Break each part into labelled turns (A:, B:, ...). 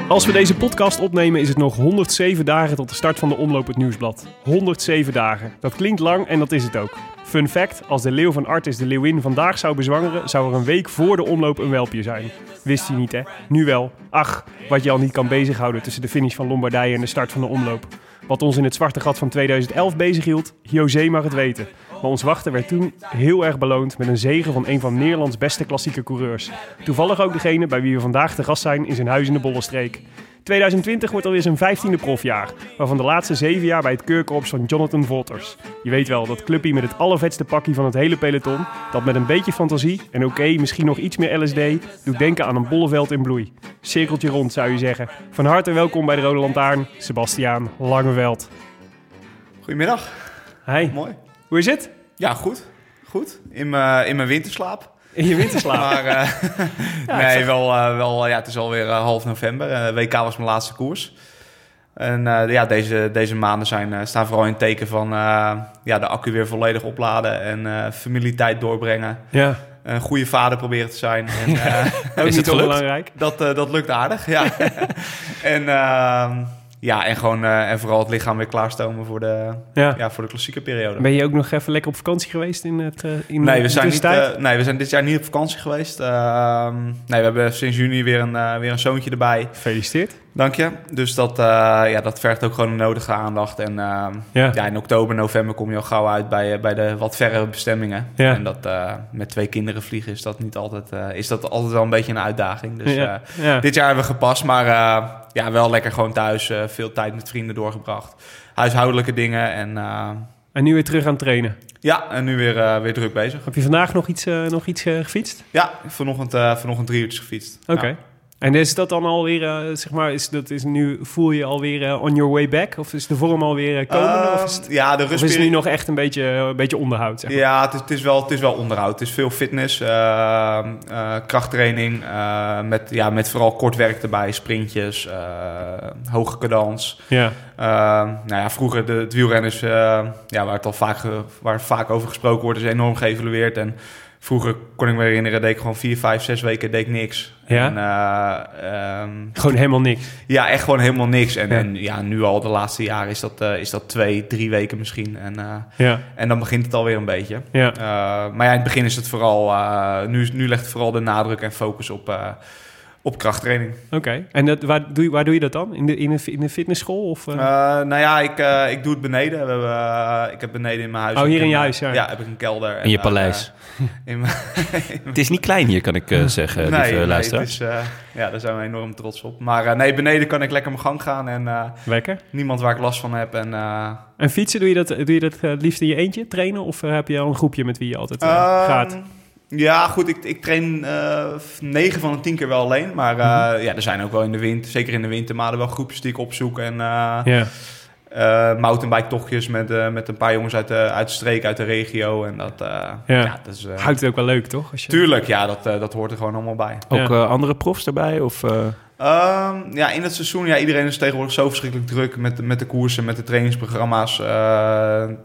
A: Als we deze podcast opnemen is het nog 107 dagen tot de start van de Omloop het Nieuwsblad. 107 dagen. Dat klinkt lang en dat is het ook. Fun fact, als de leeuw van Artis de leeuwin vandaag zou bezwangeren, zou er een week voor de omloop een welpje zijn. Wist je niet hè? Nu wel. Ach, wat je al niet kan bezighouden tussen de finish van Lombardije en de start van de omloop. Wat ons in het zwarte gat van 2011 bezighield, José mag het weten. Maar ons wachten werd toen heel erg beloond met een zegen van een van Nederlands beste klassieke coureurs. Toevallig ook degene bij wie we vandaag te gast zijn in zijn huis in de Bollenstreek. 2020 wordt alweer zijn 15e profjaar, waarvan de laatste zeven jaar bij het keurkorps van Jonathan Volters. Je weet wel, dat clubje met het allervetste pakje van het hele peloton, dat met een beetje fantasie en oké, misschien nog iets meer LSD, doet denken aan een bolleveld in bloei. Cirkeltje rond zou je zeggen. Van harte welkom bij de Rode Lantaarn, Sebastiaan Langeveld.
B: Goedemiddag,
A: Hey,
B: mooi.
A: hoe is het?
B: Ja, goed. Goed. In mijn eh, in mijn winterslaap.
A: In je
C: Ah.
A: winterslaap.
B: Maar eh, nee, wel, eh, wel, ja, het is alweer eh, half november. Eh, WK was mijn laatste koers. En eh, ja, deze, deze maanden zijn, eh, staan vooral in het teken van eh, ja, de accu weer volledig opladen en eh familietijd doorbrengen.
A: Ja,
B: Een goede vader proberen te zijn. En, eh,
A: ook
C: Is
A: niet
C: het
A: zo
C: gelukt?
A: belangrijk.
B: dat, eh, dat lukt aardig, ja. en, eh, ja, en, gewoon, eh, en vooral het lichaam weer klaarstomen voor de,
A: Ja.
B: ja, voor de klassieke periode.
A: Ben je ook nog even lekker op vakantie geweest in het eh, in
B: Nee,
A: de
B: we zijn, niet,
A: tussentijd?
B: eh, nee, we zijn dit jaar niet op vakantie geweest. Ehm, nee, we hebben sinds juni weer een, eh, weer een zoontje erbij.
A: Gefeliciteerd.
B: Dank je. Dus dat, eh, ja, dat vergt ook gewoon de nodige aandacht. En ehm,
A: Ja.
B: ja. in oktober, november kom je al gauw uit bij, eh, bij de wat verre bestemmingen.
A: Ja.
B: En dat eh, met twee kinderen vliegen is dat, niet altijd, eh, is dat altijd wel een beetje een uitdaging. Dus
A: ja.
B: eh,
A: ja.
B: dit jaar hebben we gepast, maar eh, ja, wel lekker gewoon thuis. eh, veel tijd met vrienden doorgebracht. Huishoudelijke dingen en... eh,
A: En nu weer terug aan het trainen.
B: ja, en nu weer, eh, weer druk bezig.
A: Heb je vandaag nog iets, eh, nog iets eh, gefietst?
B: Ja, vanochtend, eh, vanochtend drie uurtjes gefietst.
A: Oké.
B: Ja.
A: En is dat dan alweer, eh, zeg maar, is, dat is nu, voel je alweer eh, on your way back? Of is de vorm alweer eh, komende?
B: Ehm,
A: of is het,
B: ja, de
A: of is het nu
B: rustperiode.
A: nog echt een beetje, eh, een beetje onderhoud? Zeg maar?
B: Ja, het is, het, is wel, het is wel onderhoud. Het is veel fitness, eh, eh, krachttraining, eh, met, ja, met vooral kort werk erbij, sprintjes, eh, hoge cadans.
A: ja.
B: Eh, nou ja, vroeger de, het wielrenners, eh, ja, waar het al vaak, ge- waar vaak over gesproken wordt, is enorm geëvalueerd. En vroeger kon ik me herinneren, deed ik gewoon vier, vijf, zes weken deed ik niks.
A: Ja?
B: En, eh, ehm,
A: Gewoon helemaal niks.
B: Ja, echt gewoon helemaal niks. En,
A: Ja.
B: en ja, nu al de laatste jaren is dat, eh, is dat twee, drie weken misschien. En, eh,
A: Ja.
B: en dan begint het alweer een beetje.
A: Ja.
B: Eh, maar ja, in het begin is het vooral... eh, nu, nu legt vooral de nadruk en focus op, eh, op krachttraining.
A: Oké. En dat, waar, doe, je- waar doe je dat dan? In de, in de, in de fitnessschool? Of, eh?
B: Eh, nou ja, ik, eh, ik doe het beneden. We hebben, eh, ik heb beneden in mijn huis...
A: Oh,
B: heb
A: hier
B: ik
A: in je
B: een- eh,
A: huis, ja.
B: heb ik een kelder. En,
C: In je
B: eh,
C: paleis.
B: in mijn-
C: Het is niet klein hier, kan ik eh, zeggen,
B: nee,
C: lieve
B: nee, het
C: luisteraars.
B: is, eh, ja, daar zijn we enorm trots op. Maar eh, nee, beneden kan ik lekker mijn gang gaan. En eh,
A: Lekker.
B: niemand waar ik last van heb. En eh,
A: En fietsen, doe je dat, doe je dat eh, liefst in je eentje trainen? Of eh, heb je al een groepje met wie je altijd eh,
B: Ehm,
A: gaat?
B: Ja, goed, ik, ik train eh, f- negen van de tien keer wel alleen. Mhm. Maar eh, ja, er zijn ook wel in de winter, zeker in de wintermaanden, wel groepjes die ik opzoek. En eh,
A: Ja.
B: eh mountainbike tochtjes met, eh, met een paar jongens uit de, uit de streek, uit de regio. En dat, eh, ja. dat is... eh,
A: Houdt het ook wel leuk, toch? Als je...
B: tuurlijk, ja, dat, eh, dat hoort er gewoon allemaal bij.
C: Ook
A: Ja.
C: eh, andere profs erbij? Of, eh,
B: Ehm, ja, in het seizoen, ja, iedereen is tegenwoordig zo verschrikkelijk druk met, de- met de koersen, met de trainingsprogramma's. Eh,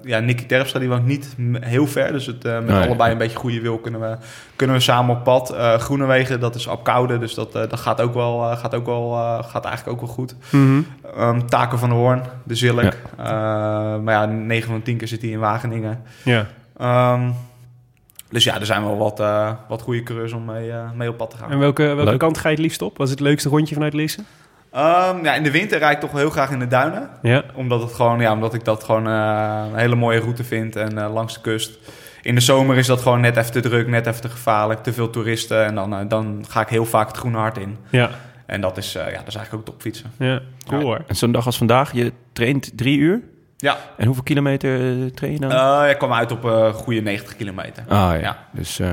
B: ja, Nicky Terpstra, die woont niet m- heel ver, dus het, eh, met
C: Nee.
B: allebei een beetje goede wil kunnen we, kunnen we samen op pad. Eh Groenewegen, dat is op koude, dus dat, eh, dat gaat, ook wel, eh, gaat, ook wel, eh, gaat eigenlijk ook wel goed.
C: eh,
A: Mhm.
B: Ehm, Taken van de Hoorn, de Zilk. Eh, maar ja, 9 van 10 keer zit hij in Wageningen.
A: Ja.
B: Ehm, dus ja, er zijn wel wat, eh, wat goede coureurs om mee, eh, mee op pad te gaan.
A: En welke, welke
C: Leuk.
A: kant ga je het liefst op? Wat is het leukste rondje vanuit Lisse?
B: Ehm, ja, in de winter rijd ik toch wel heel graag in de duinen.
A: Ja.
B: Omdat, het gewoon, ja, omdat ik dat gewoon eh, een hele mooie route vind en eh, langs de kust. In de zomer is dat gewoon net even te druk, net even te gevaarlijk, te veel toeristen. En dan, eh, dan ga ik heel vaak het groene hart in.
A: Ja.
B: En dat is, eh, ja, dat is eigenlijk ook topfietsen.
A: ja. Cool
B: Ja.
A: hoor.
C: en zo'n dag als vandaag, je traint drie uur.
B: Ja,
C: En hoeveel kilometer eh, train je dan?
B: Eh, ik kwam uit op eh goede 90 kilometer.
C: ah ja,
B: ja.
C: dus eh,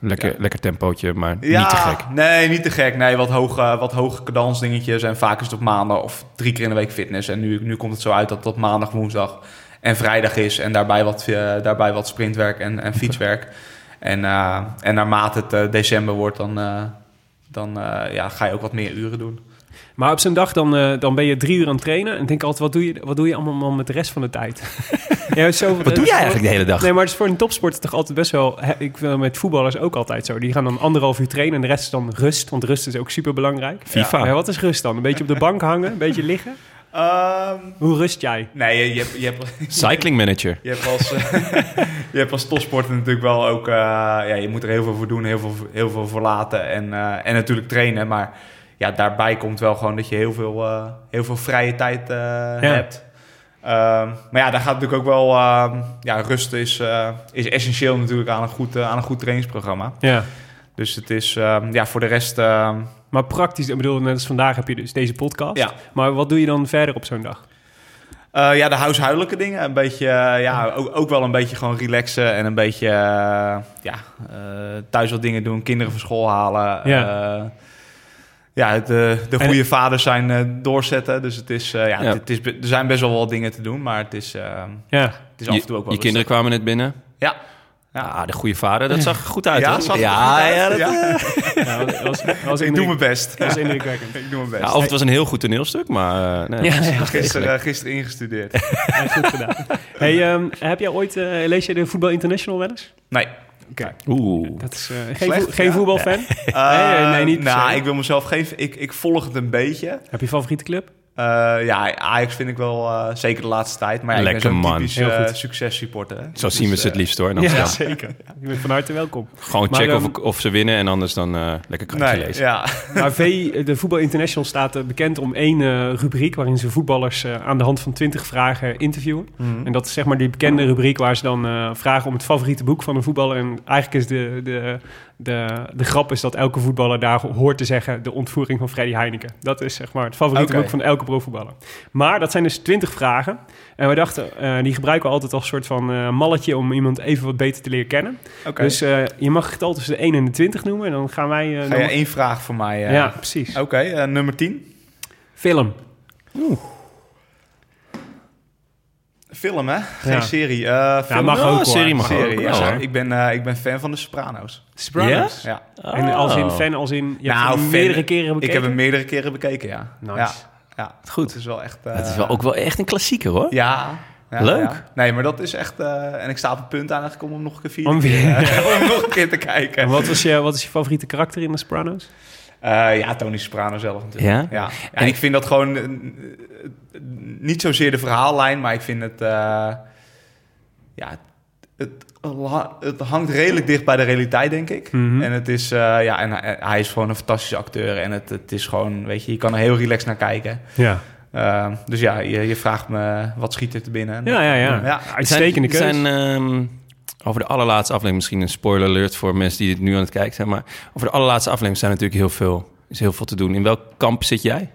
C: lekker, lekker tempootje, maar
B: Ja,
C: niet te gek.
B: Nee, niet te gek. Nee, wat hoge, wat hoge cadencedingetjes. En vaak is het op maandag of drie keer in de week fitness. En nu, nu komt het zo uit dat dat maandag, woensdag en vrijdag is. En daarbij wat, eh, daarbij wat sprintwerk en, en fietswerk. En, eh, en naarmate het eh, december wordt, dan, eh, dan eh, ja, ga je ook wat meer uren doen.
A: Maar op zo'n dag dan, eh, dan ben je drie uur aan het trainen. En denk altijd, wat doe je, wat doe je allemaal met de rest van de tijd? ja, zo,
C: Wat doe jij eigenlijk de hele dag?
A: Nee, maar het is voor een topsporter toch altijd best wel... hè, Ik vind dat met voetballers ook altijd zo. Die gaan dan anderhalf uur trainen en de rest is dan rust. Want rust is ook superbelangrijk.
C: FIFA.
A: Maar wat is rust dan? Een beetje op de bank hangen, een beetje liggen.
C: Ehm.
A: Hoe rust jij?
B: nee, je, je hebt... Je hebt
C: Cycling manager.
B: Je hebt als, eh, je hebt als topsporter natuurlijk wel ook... eh, ja, je moet er heel veel voor doen, heel veel, heel veel voor laten en, eh, en natuurlijk trainen. Maar ja, daarbij komt wel gewoon dat je heel veel, eh, heel veel vrije tijd eh, hebt. Ehm, maar ja, daar gaat natuurlijk ook wel... ehm, ja, rust is, eh, is essentieel natuurlijk aan een goed, eh, aan een goed trainingsprogramma.
A: Ja.
B: Dus het is ehm, ja, voor de rest... ehm,
A: Maar praktisch, ik bedoel, net als vandaag heb je dus deze podcast.
B: Ja.
A: Maar wat doe je dan verder op zo'n dag?
B: Eh, ja, de huishoudelijke dingen. Een beetje, eh, ja, ook, ook wel een beetje gewoon relaxen en een beetje, eh, ja, eh, thuis wat dingen doen, kinderen van school halen.
A: Ja.
B: Eh, ja, het, eh, de
A: En-
B: goede vaders zijn eh, doorzetten. Dus het is, eh,
C: Ja.
B: ja, het- Het, is, be- er zijn best wel wat dingen te doen, maar het is, eh,
A: Ja.
B: het is af en toe ook
C: je
B: wel
C: je kinderen kwamen net binnen.
B: Ja.
C: Ja, de goede vader, dat zag er goed uit.
B: Ja,
C: hoor.
B: zag er
C: ja,
B: goed uit,
C: ja, dat-
B: ja.
A: Ja, dat was, dat was
B: Ik doe mijn best.
A: Dat was indrukwekkend.
B: Ik doe mijn
C: Ja, oh,
B: best.
C: of het was een heel goed toneelstuk, maar... eh, nee.
B: gisteren, eh, gisteren ingestudeerd.
A: Ja, goed gedaan. Hey, ehm, heb jij ooit, eh, lees je de Voetbal International wel eens?
B: Nee.
C: Oeh.
A: Dat is eh, geen,
B: Slecht,
A: voe- geen
B: ja.
A: voetbalfan.
B: Eh,
A: nee, nee, niet per
B: Nou,
A: se.
B: ik wil mezelf geen... Ik, ik volg het een beetje.
A: Heb je favoriete club?
B: Eh, ja, Ajax vind ik wel, eh, zeker de laatste tijd. Maar ja, ik
C: Lekker
B: ben zo'n
C: man.
B: typisch
A: Heel
B: eh,
A: goed.
B: successupporter. hè.
C: Zo zien we
B: Dus,
C: ze het
B: eh,
C: liefst hoor. in
A: Ja,
C: Amsterdam.
A: zeker. Je bent van harte welkom.
C: Gewoon
A: Maar,
C: checken of,
A: ehm,
C: ik- of ze winnen en anders dan eh, lekker krantje
B: Nee,
C: lezen.
B: ja.
A: Maar V, de Voetbal International staat eh, bekend om één eh, rubriek... waarin ze voetballers eh, aan de hand van twintig vragen interviewen.
B: Mhm.
A: En dat is zeg maar die bekende rubriek waar ze dan eh, vragen om het favoriete boek van een voetballer. En eigenlijk is de, de, de, de grap is dat elke voetballer daar hoort te zeggen... de ontvoering van Freddy Heineken. Dat is zeg maar het favoriete
B: Oké.
A: boek van elke profvoetballer. Maar dat zijn dus twintig vragen. En we dachten, eh, die gebruiken we altijd als soort van eh, malletje... om iemand even wat beter te leren kennen.
B: Oké.
A: Dus eh, je mag het getal tussen de 1 en de 20 noemen. En dan gaan wij... eh,
B: Ga
A: dan-
B: je één vraag voor mij? eh?
A: ja, precies.
B: Oké, eh, nummer 10.
A: Film.
B: Film, hè? Geen
A: Ja.
B: serie. eh film.
A: mag ook, hoor.
C: serie mag
B: Serie,
C: ook.
B: ja.
C: Ja, hoor.
B: ik, ben, eh, ik ben fan van de Soprano's.
A: Sopranos?
B: Ja.
A: En als in
C: Oh.
A: fan, als in... Je hebt
B: Nou,
A: hem
B: fan-
A: meerdere keren bekeken.
B: Ik heb hem meerdere keren bekeken, ja.
A: Nice.
B: Ja. ja.
C: Goed.
B: Dat is wel echt... eh,
C: Het is wel ook wel echt een klassieker hoor.
B: Ja. ja,
C: Leuk.
B: ja. Nee, maar dat is echt... eh, en ik sta op het punt eigenlijk om hem nog een keer vier
A: Om weer-
B: om nog een keer te
A: En
B: kijken.
A: wat, was je, wat is je favoriete karakter in de Sopranos?
B: Eh, ja, Tony Soprano zelf natuurlijk.
C: Ja?
B: Ja. En
C: En-
B: ik vind dat gewoon eh, niet zozeer de verhaallijn, maar ik vind het... eh, ja, het, het hangt redelijk dicht bij de realiteit, denk ik.
A: Mhm.
B: En, het is, eh, ja, en hij, hij is gewoon een fantastische acteur. En het, het is gewoon, weet je, je kan er heel relaxed naar kijken.
A: Ja.
B: Eh, dus ja, je, je vraagt me wat schiet er te binnen.
A: Ja, ja, ja.
B: Ja.
A: Uitstekende
C: Er
A: keuze.
C: zijn, ehm, over de allerlaatste aflevering, misschien een spoiler alert voor mensen die dit nu aan het kijken zijn, maar over de allerlaatste aflevering zijn natuurlijk heel veel, is heel veel te doen. In welk kamp zit jij?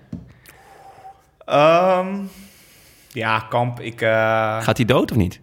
B: Ehm, ja, Kamp, ik... eh,
C: Gaat hij dood of niet?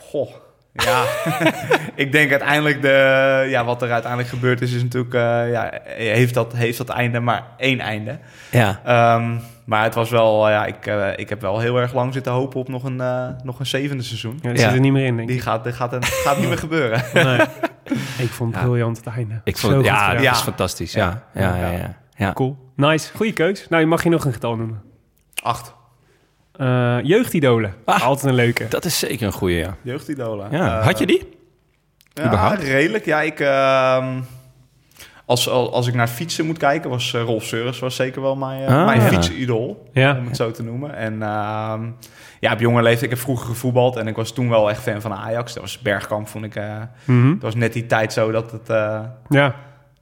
B: Goh, Ja, ik denk uiteindelijk de, ja, wat er uiteindelijk gebeurd is, is natuurlijk, eh, ja, heeft dat, heeft dat einde maar één einde.
C: Ja.
B: Ehm, maar het was wel, eh, ja, ik, eh, ik heb wel heel erg lang zitten hopen op nog een, eh, nog een zevende seizoen.
A: Ja, die
C: Ja.
A: zit er niet meer in, denk ik.
B: Die gaat, die gaat, een, gaat niet meer gebeuren.
A: Nee. ik vond het briljant het einde.
C: Ik
A: Zo
C: vond,
A: goed
C: ja, dat
A: gedaan.
B: ja.
C: is fantastisch. Ja, ja, ja. ja, ja.
A: Cool. Nice. Goeie keus. Nou, je mag je nog een getal noemen.
B: Acht.
A: Eh, jeugdidolen.
C: Ah.
A: Altijd een leuke.
C: Dat is zeker een goede, ja.
B: Jeugdidolen.
C: ja.
B: Eh,
C: Had je die?
B: Ja,
C: Überhaupt?
B: redelijk. Ja, ik, ehm, als, al- als ik naar fietsen moet kijken, was eh, Rolf Seurens was zeker wel mijn, eh,
C: Ah.
B: mijn fietsidol,
A: Ja.
B: om het zo te noemen. En ehm, ja, op jonge leeftijd, ik heb vroeger gevoetbald en ik was toen wel echt fan van Ajax. Dat was Bergkamp, vond ik. eh,
A: Mhm.
B: dat was net die tijd zo dat het... eh,
A: Ja.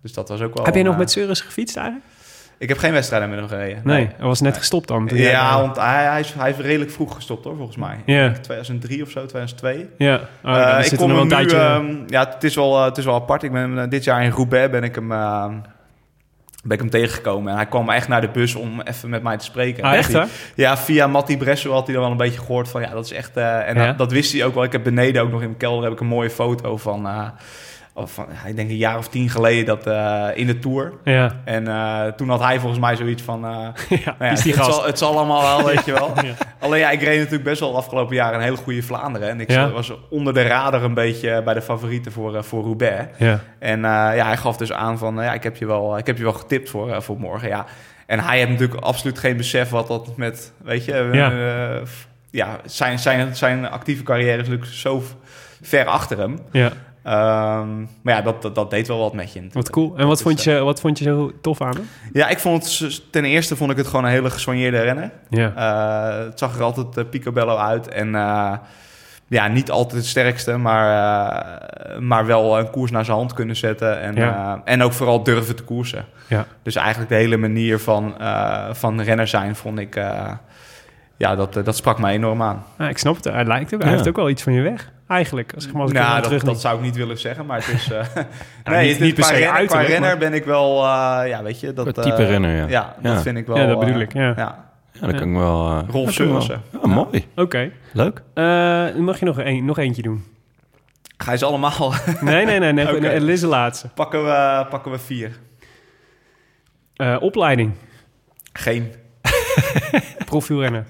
B: dus dat was ook wel...
A: Heb je nog
B: eh,
A: met Surus gefietst eigenlijk?
B: Ik heb geen wedstrijden met hem gereden.
A: Nee, hij was net gestopt dan. toen jij
B: Ja,
A: daar-
B: want hij, hij, is, hij is redelijk vroeg gestopt hoor, volgens mij.
A: Ja.
B: 2003 of zo, 2002.
A: Ja. Oh, dan
B: Eh,
A: zit
B: ik
A: er
B: kom
A: nog
B: hem
A: een
B: nu,
A: tijdje...
B: ehm, ja, het is, wel, eh, het is wel apart. Ik ben hem, eh, dit jaar in Roubaix ben ik hem, eh, ben ik hem tegengekomen. En hij kwam echt naar de bus om even met mij te spreken.
A: Ah,
B: En
A: echt
B: hij-
A: hè?
B: Ja, via Matti Bresso had hij dan wel een beetje gehoord van... Ja, dat is echt... eh, en
A: Ja.
B: dat, dat wist hij ook wel. Ik heb beneden ook nog in mijn kelder heb ik een mooie foto van... eh, of van ja, ik denk een jaar of tien geleden dat, eh, in de Tour.
A: Ja.
B: En eh, toen had hij volgens mij zoiets van... eh,
A: ja.
B: nou ja,
A: is die
B: het,
A: gast.
B: zal, het zal allemaal wel, weet je wel.
A: Ja.
B: Alleen ja, ik reed natuurlijk best wel afgelopen jaar een hele goede Vlaanderen. En ik
A: Ja.
B: was onder de radar een beetje bij de favorieten voor, eh, voor Roubaix.
A: Ja.
B: En eh, ja, hij gaf dus aan van, eh, ja, ik heb je wel, ik heb je wel getipt voor, eh, voor morgen. Ja. En hij heeft natuurlijk absoluut geen besef wat dat met, weet je... eh, eh, f- ja, zijn, zijn, zijn actieve carrière is natuurlijk zo v- ver achter hem.
A: ja.
B: Ehm, maar ja, dat, dat, dat deed wel wat met je.
A: Wat cool. En wat
B: is, eh,
A: vond je, wat vond je zo tof aan hem?
B: Ja, ik vond het, s- ten eerste vond ik het gewoon een hele gesoigneerde renner.
A: Ja.
B: Eh, het zag er altijd eh, picobello uit. En eh, ja, niet altijd het sterkste, maar, eh, maar wel een koers naar zijn hand kunnen zetten. En,
A: Ja.
B: eh, en ook vooral durven te koersen.
A: Ja.
B: Dus eigenlijk de hele manier van, eh, van renner zijn vond ik... eh, ja, dat, eh, dat sprak mij enorm aan.
A: Ah, ik snap het. Hij lijkt hem. Hij
C: Ja.
A: heeft ook wel iets van je weg. Eigenlijk. Als ik, maar als ik hem
B: nou,
A: dan
B: dat,
A: terug
B: dat zou ik niet willen zeggen, maar het is... eh,
A: niet-
B: het is
A: niet per se
B: qua renner, qua
A: uiterlijk,
B: renner
A: maar-
B: ben ik wel... eh, ja, weet je, dat...
C: Qua type
B: eh,
C: renner, ja.
B: Ja, dat
C: Ja.
B: vind ik wel...
A: Ja, dat bedoel
B: eh,
A: ik, ja.
C: Ja, dat kan ik wel... eh,
B: Rolf
C: dat kan ik wel-
B: Seurensen.
C: Ja, mooi.
A: Oké.
C: Leuk.
A: Eh, dan mag je nog, een, nog eentje doen?
B: Ga je ze allemaal...
A: Nee, nee, nee. nee,
B: Oké.
A: nee, dit is de laatste.
B: pakken, we, pakken we vier.
A: Eh, opleiding.
B: Geen
A: Profielrenner.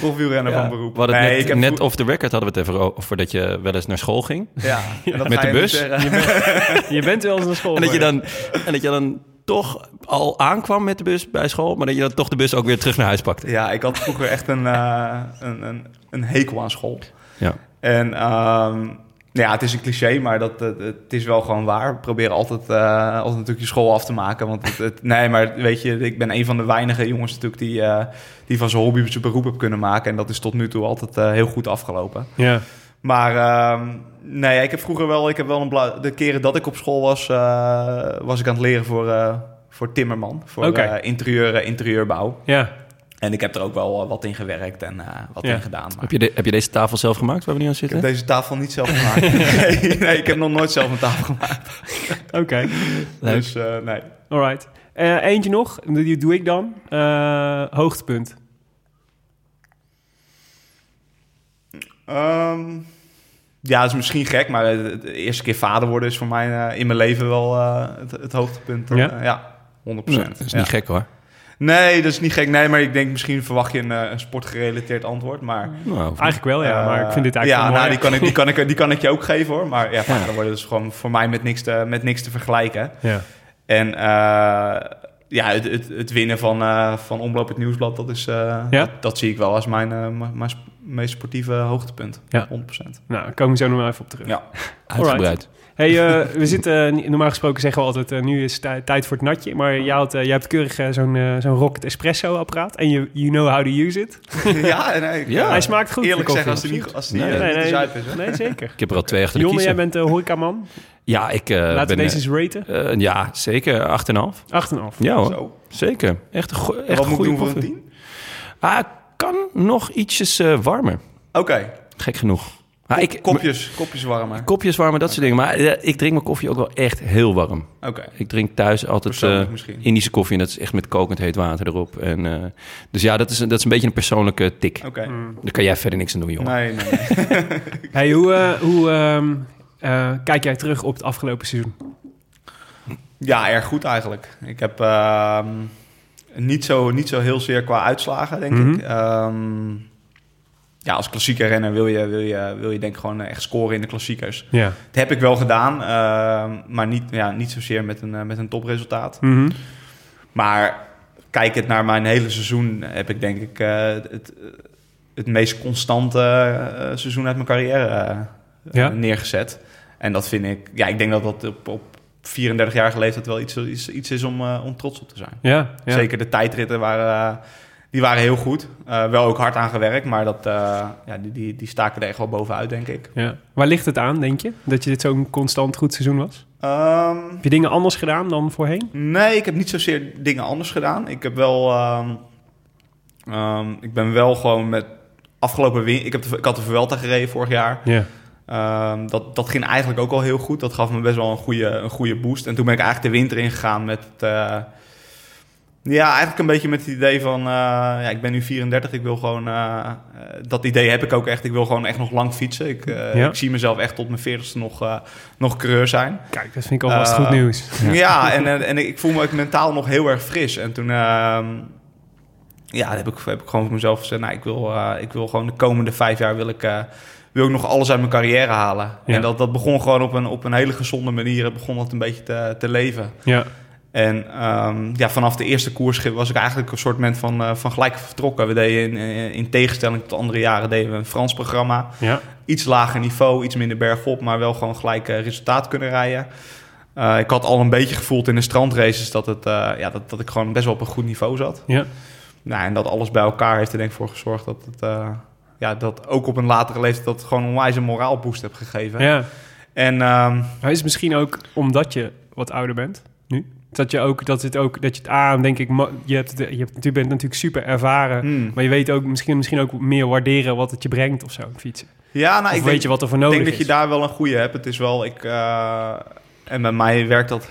B: profielrenner van beroep.
C: We hadden het
B: Nee,
C: net,
B: ik heb
C: net
B: vro-
C: off the record hadden we het even over dat je wel eens naar school ging.
B: Ja, en dat
C: Met
B: ga
C: de
B: je dus, eh, niet
C: bus?
B: zeggen.
A: Je bent wel eens naar school.
C: En dat, je dan, en dat je dan toch al aankwam met de bus bij school, maar dat je dan toch de bus ook weer terug naar huis pakte.
B: Ja, ik had vroeger echt een, eh, een, een, een hekel aan school.
C: Ja.
B: En ehm, ja, het is een cliché, maar dat, eh, het is wel gewoon waar. We proberen altijd, eh, altijd natuurlijk je school af te maken. Want het, het- nee, maar weet je, ik ben een van de weinige jongens natuurlijk die, eh, die van zijn hobby zijn beroep heb kunnen maken. En dat is tot nu toe altijd eh, heel goed afgelopen.
A: Ja.
B: Maar ehm, nee, ik heb vroeger wel, ik heb wel een bla- de keren dat ik op school was, eh, was ik aan het leren voor, eh, voor timmerman, voor
A: Oké.
B: eh, interieur, eh, interieurbouw.
A: Ja.
B: En ik heb er ook wel eh, wat in gewerkt en eh, wat
A: Ja.
B: in gedaan. Maar
C: Heb, je de- heb je deze tafel zelf gemaakt waar we nu aan
B: ik heb
C: zitten?
B: deze tafel niet zelf gemaakt. nee, nee, ik heb nog nooit zelf een tafel gemaakt.
A: Oké.
C: Leuk.
B: Dus eh, nee.
A: Alright. Eh, eentje nog. Die doe ik dan. Eh, hoogtepunt.
B: Ehm, ja, dat is misschien gek, maar eh, de, de eerste keer vader worden is voor mij eh, in mijn leven wel eh, het, het hoogtepunt.
A: Ja?
B: Eh, ja, 100%.
C: Ja, dat is
B: Ja.
C: niet gek hoor.
B: Nee, dat is niet gek. Nee, maar ik denk misschien verwacht je een, eh, een sportgerelateerd antwoord. Maar,
C: Nou,
A: Eigenlijk wel, Oh ja. Maar ik vind dit
B: Eh,
A: eigenlijk wel
B: ja, nou,
A: mooi.
B: die, kan ik, die, kan ik, die kan ik je ook geven hoor. Maar ja, vader worden is dus gewoon voor mij met niks te, met niks te vergelijken.
A: Ja.
B: En eh, ja, het, het, het winnen van, eh, van Omloop het Nieuwsblad, dat, is, eh,
A: Ja?
B: dat, dat zie ik wel als mijn, eh, mijn, mijn sp- meest sportieve hoogtepunt.
A: Ja.
B: 100%.
A: Nou, daar komen we zo nog maar even op terug.
B: Ja.
C: uitgebreid.
A: Hey, eh, we zitten, eh, normaal gesproken zeggen we altijd, eh, nu is het tij- tijd voor het natje. Maar jij, had, eh, jij hebt keurig eh, zo'n eh, zo'n Rocket Espresso apparaat. En you, you know how to use it.
B: ja, nee, ik,
C: Ja.
B: eh,
A: Hij smaakt goed.
B: Eerlijk
A: de
B: zeggen, als die,
A: koffie,
B: niet, als die
C: Nee.
B: eh,
A: Nee,
B: niet te
A: nee.
B: zuip is. Hè?
A: Nee, zeker.
C: Ik heb er al twee achter de
A: Jonne, jij
C: kiezen.
A: bent eh, horecaman.
C: Ja, ik eh,
A: Laten
C: ben...
A: we deze
C: eh,
A: eens raten.
C: eh, ja, zeker. 8,5.
A: 8,5.
C: Ja hoor,
B: Zo.
C: zeker. Echt een go- echt
B: En wat moet ik
C: goede
B: doen voor een
C: koffie.
B: 10?
C: Ah, kan nog ietsjes eh, warmer.
B: Oké.
C: Gek genoeg.
A: Ah,
C: Maar
B: Kop-
C: ik,
B: kopjes, kopjes warmer.
C: kopjes warmen, dat soort dingen. Maar eh, ik drink mijn koffie ook wel echt heel warm.
B: Oké.
C: Ik drink thuis altijd
B: Persoonlijk
C: eh,
B: misschien.
C: Indische koffie. En dat is echt met kokend heet water erop. En, eh, dus ja, dat is, een- dat is een beetje een persoonlijke tik.
B: Oké.
A: Mm.
C: Daar kan jij verder niks aan doen, jongen.
B: Nee, nee, nee.
A: Hmm. Hey, hoe eh, hoe ehm, eh, kijk jij terug op het afgelopen seizoen?
B: Ja, erg goed eigenlijk. Ik heb ehm, niet, zo, niet zo heel zeer qua uitslagen, denk
A: Mhm.
B: ik. Ehm, ja, als klassieker renner wil je, wil, je, wil je denk ik gewoon echt scoren in de klassiekers.
A: Ja.
B: Dat heb ik wel gedaan, ehm, maar niet, ja, niet zozeer met een, eh, met een topresultaat.
A: Mhm.
B: Maar kijkend naar mijn hele seizoen heb ik denk ik eh, het, het meest constante eh, seizoen uit mijn carrière eh,
A: Ja.
B: neergezet. En dat vind ik, ja, ik denk dat dat op, op 34-jarige leeftijd wel iets, iets, iets is om, eh, om trots op te zijn.
A: Ja, ja.
B: Zeker de tijdritten waren, eh, die waren heel goed. Eh, wel ook hard aan gewerkt, maar dat, eh, ja, die, die, die staken er echt wel bovenuit, denk ik.
A: Ja. Waar ligt het aan, denk je? Dat je dit zo'n constant goed seizoen was?
B: Ehm,
A: Heb je dingen anders gedaan dan voorheen?
B: Nee, ik heb niet zozeer dingen anders gedaan. Ik heb wel. ehm, ehm, ik ben wel gewoon met afgelopen win. Ik, heb de, ik had de Vuelta gereden vorig jaar.
A: Ja.
B: Ehm, dat, dat ging eigenlijk ook al heel goed. Dat gaf me best wel een goede, een goede boost. En toen ben ik eigenlijk de winter ingegaan met. eh, ja, eigenlijk een beetje met het idee van. eh, ja, ik ben nu 34. Ik wil gewoon. eh, eh, dat idee heb ik ook echt. Ik wil gewoon echt nog lang fietsen. Ik, eh,
A: Ja.
B: ik zie mezelf echt tot mijn 40ste nog, eh, nog coureur zijn.
A: Kijk, dat vind ik alvast goed
B: Eh,
A: nieuws.
B: Ja, en, eh, en, en ik voel me ook mentaal nog heel erg fris. En toen ehm, ja, heb, ik, heb ik gewoon voor mezelf gezegd... Nou, ik, wil, eh, ik wil gewoon de komende vijf jaar... wil ik, eh, wil ik nog alles uit mijn carrière halen.
A: Ja.
B: En dat, dat begon gewoon op een, op een hele gezonde manier. Het begon dat een beetje te, te leven.
A: Ja.
B: En ehm, ja, vanaf de eerste koers was ik eigenlijk een soort moment van, eh, van gelijk vertrokken. We deden in, eh, in tegenstelling tot andere jaren deden we een Frans programma
A: Ja.
B: iets lager niveau, iets minder bergop, maar wel gewoon gelijk eh, resultaat kunnen rijden. Eh, ik had al een beetje gevoeld in de strandraces dat, het, eh, ja, dat, dat ik gewoon best wel op een goed niveau zat.
A: Ja.
B: Nou, en dat alles bij elkaar heeft er denk ik voor gezorgd dat het... eh, ja, dat ook op een latere leeftijd dat het gewoon een onwijs een moraalboost heb gegeven.
A: ja.
B: En ehm,
A: Maar is het misschien ook omdat je wat ouder bent nu? Dat je ook, dat het ook, dat je het aan, denk ik, ma- je, hebt, het- je, hebt, je bent natuurlijk super ervaren.
B: Hmm.
A: Maar je weet ook misschien, misschien ook meer waarderen wat het je brengt of zo, fietsen.
B: ja, nou,
A: of
B: ik
A: weet
B: denk,
A: je wat er voor nodig
B: ik denk
A: is?
B: dat je daar wel een goede hebt. Het is wel, ik... eh, en bij mij werkt dat...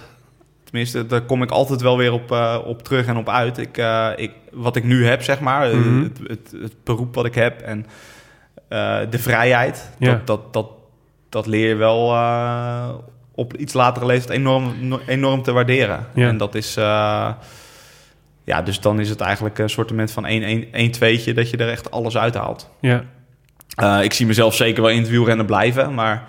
B: Tenminste, daar kom ik altijd wel weer op, eh, op terug en op uit. Ik, eh, ik, wat ik nu heb, zeg maar. eh,
A: Mhm.
B: het, het, het beroep wat ik heb en eh, de vrijheid.
A: Ja.
B: Dat, dat, dat, dat leer je wel eh, op iets latere leeftijd enorm, no- enorm te waarderen.
A: Ja.
B: En dat is... eh, ja, dus dan is het eigenlijk een soort van 1-2'tje dat je er echt alles uithaalt.
A: Ja,
B: Eh, ik zie mezelf zeker wel in het wielrennen blijven, maar